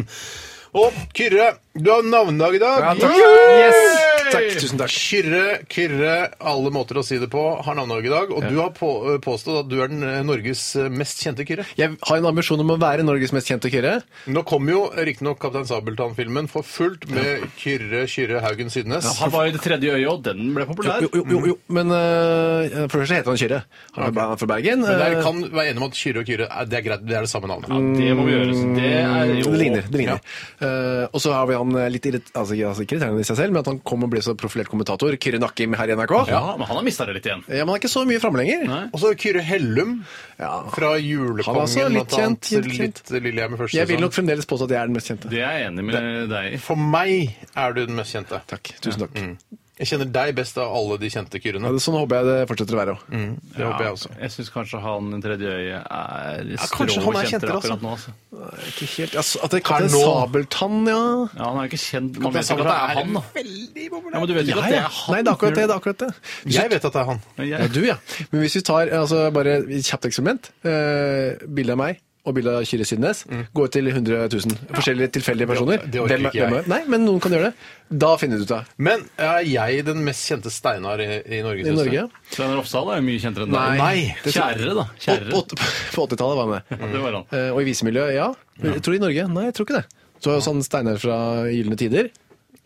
Og Kyrre, du har navnedag i dag.
Ja, takk.
Yay!
Yes! Takk, tusen takk.
Kyrre, Kyrre, alle måter å si det på, har navnedag i dag. Og du har på, påstått at du er den eh, Norges mest kjente Kyrre.
Jeg har en ambisjon om å være Norges mest kjente kyrre.
Nå kom jo riktignok Kaptein Sabeltann-filmen for fullt med Kyrre Kyrre Haugen Sydnes.
Han var i Det tredje øyet, og den ble populær.
Jo, jo, jo, jo. Men øh, for det første heter han Kyrre. Han er fra- fra Bergen.
Men
øh,
dere kan være enige om at Kyrre og Kyrre er, det er greit, det er det samme navnet.
Ja, det må vi gjøre. så Det er Mm, jo
det ligner. det ligner. Øh, og så har vi han øh, litt irrit altså, ikke- altså, ikke irriterende i seg selv, men at han kom og ble så profilert kommentator. Kyrre Nakkim her i NRK.
Ja, men han har mista det litt igjen.
Ja, men han er ikke så mye framme lenger.
Nei.
Og så Kyrre Hellum
Ja.
fra
Han er
Julekongen.
også litt
blant annet.
kjent, kjent, kjent.
Litt Lillehjem i første
Jeg vil
sesong.
nok fremdeles påstå at jeg er den mest kjente.
Det er jeg enig med deg i.
For meg er du den mest kjente.
Takk. Tusen takk.
Jeg kjenner deg best av alle de kjente
Ja,
kyrene.
det- Sånn håper jeg det fortsetter å være òg.
Det håper jeg også.
Jeg syns kanskje han tredje øyet er strå
kanskje han er
kjenter
kjentere, altså.
akkurat nå. Altså.
Ikke helt ja, så- At det kaller en
Er nå-
sabeltann, ja.
Ja, han er jo ikke kjent. Man
Jeg
vet
sa
ikke
at
at det er han, da.
veldig populær.
Ja, men du vet ikke at det er han.
Nei, det er akkurat det. det, er akkurat det.
Jeg vet at det er han.
Men
Ja,
jeg-
du, ja. Men hvis vi tar altså, bare et kjapt eksperiment eh, Bilde av meg og bilde av Kyrre Sidnes. Gå ut til 100 000 forskjellige tilfeldige personer.
det orker ikke jeg.
er- Nei, men noen kan gjøre det. Da finner du ut av
Men er jeg den mest kjente Steinar i, i
i
Norge? synes du?
Norge.
Steinar Ofsdal er jo mye kjentere enn
Nei.
deg.
Nei.
Kjærere, da.
På,
Kjærere.
åt- på 80-tallet var han det.
Ja, det var han.
Eh, og i visemiljøet, ja. Men Jeg tror i Norge. Nei, jeg tror ikke det. Så er det sånn Steinar fra Gylne tider.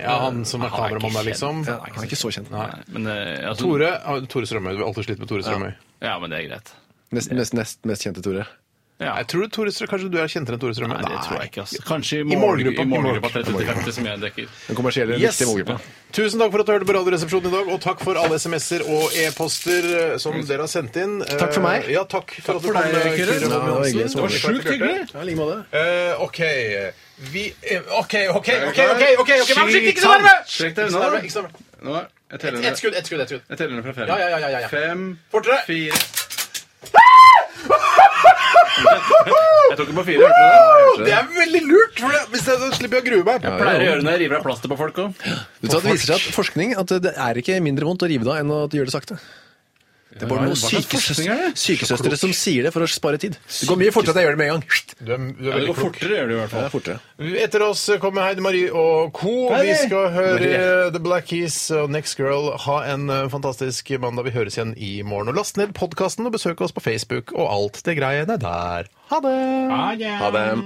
Ja, han som er
Han er ikke
kameramann der, liksom.
Ja, han er ikke så kjent.
Nei, Men, eh, altså,
Tore, ah, Tore Strømøy. Du har alltid slitt med Tore Strømøy.
Ja, men det er greit.
Nest, nest, nest mest kjente, Tore.
Ja.
Jeg tror Tore Strømøy, Kanskje du er kjentere enn Tore Strømøy?
Nei, det tror jeg ikke. Altså. Kanskje i
I målgruppa,
målgruppa,
i målgruppa.
30-50, som jeg dekker.
Den kommersielle
Yes.
riktige målgruppa.
Tusen takk for at du hørte på Radioresepsjonen i dag, og takk for alle SMS-er og e-poster eh, som dere har sendt inn. Eh,
Takk for meg.
Ja, takk for at du
for
kom,
deg,
eh,
Kyrre.
Ja,
Kyrre
det var
Holm
hyggelig
Johansen.
som var
Takk for at du hørte.
Ja, i like måte.
Eh, OK. Vi eh, OK, OK, OK! ok, ok, ok, Vær forsiktig, ikke så nærme!
Skyt deg
Ikke så
unna.
nærme, ikke så nærme.
Nå, jeg teller
Ett skudd, ett skudd. Et skudd.
ned fra fem.
Ja, ja, ja, ja, ja, ja.
Fem,
Fortere!
fire Jeg tok den på fire. Hørte du det?
Det er veldig lurt, for det, hvis jeg, da slipper jeg å grue meg.
Jeg pleier å gjøre det når jeg river av plaster på folk òg.
Du vet, at det viser seg at forskning at det er ikke mindre vondt å rive det av enn å gjøre det sakte. Det er bare noen
hva slags forskning
sykesøstre,
er det?
sykesøstre som sier det for å spare tid. Det går mye fortere at jeg gjør det med en gang.
Du er, du er
Det
veldig
går
klok.
fortere, gjør det i
Det
hvert fall.
er fortere.
Etter oss kommer Heidi Marie og co. Vi skal høre The Black Keys og Next Girl. Ha en eh, fantastisk mandag. Vi høres igjen i morgen. Og last ned podkasten og besøk oss på Facebook og alt det greiene der. Ha det!
Ha det.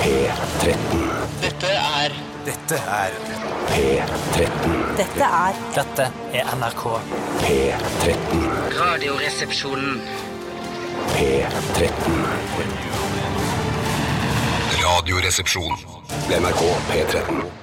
P13.
Dette er
Dette er
P13.
Dette er
Dette er NRK.
P13.
Radioresepsjonen.
P13. Radioresepsjon. NRK P13.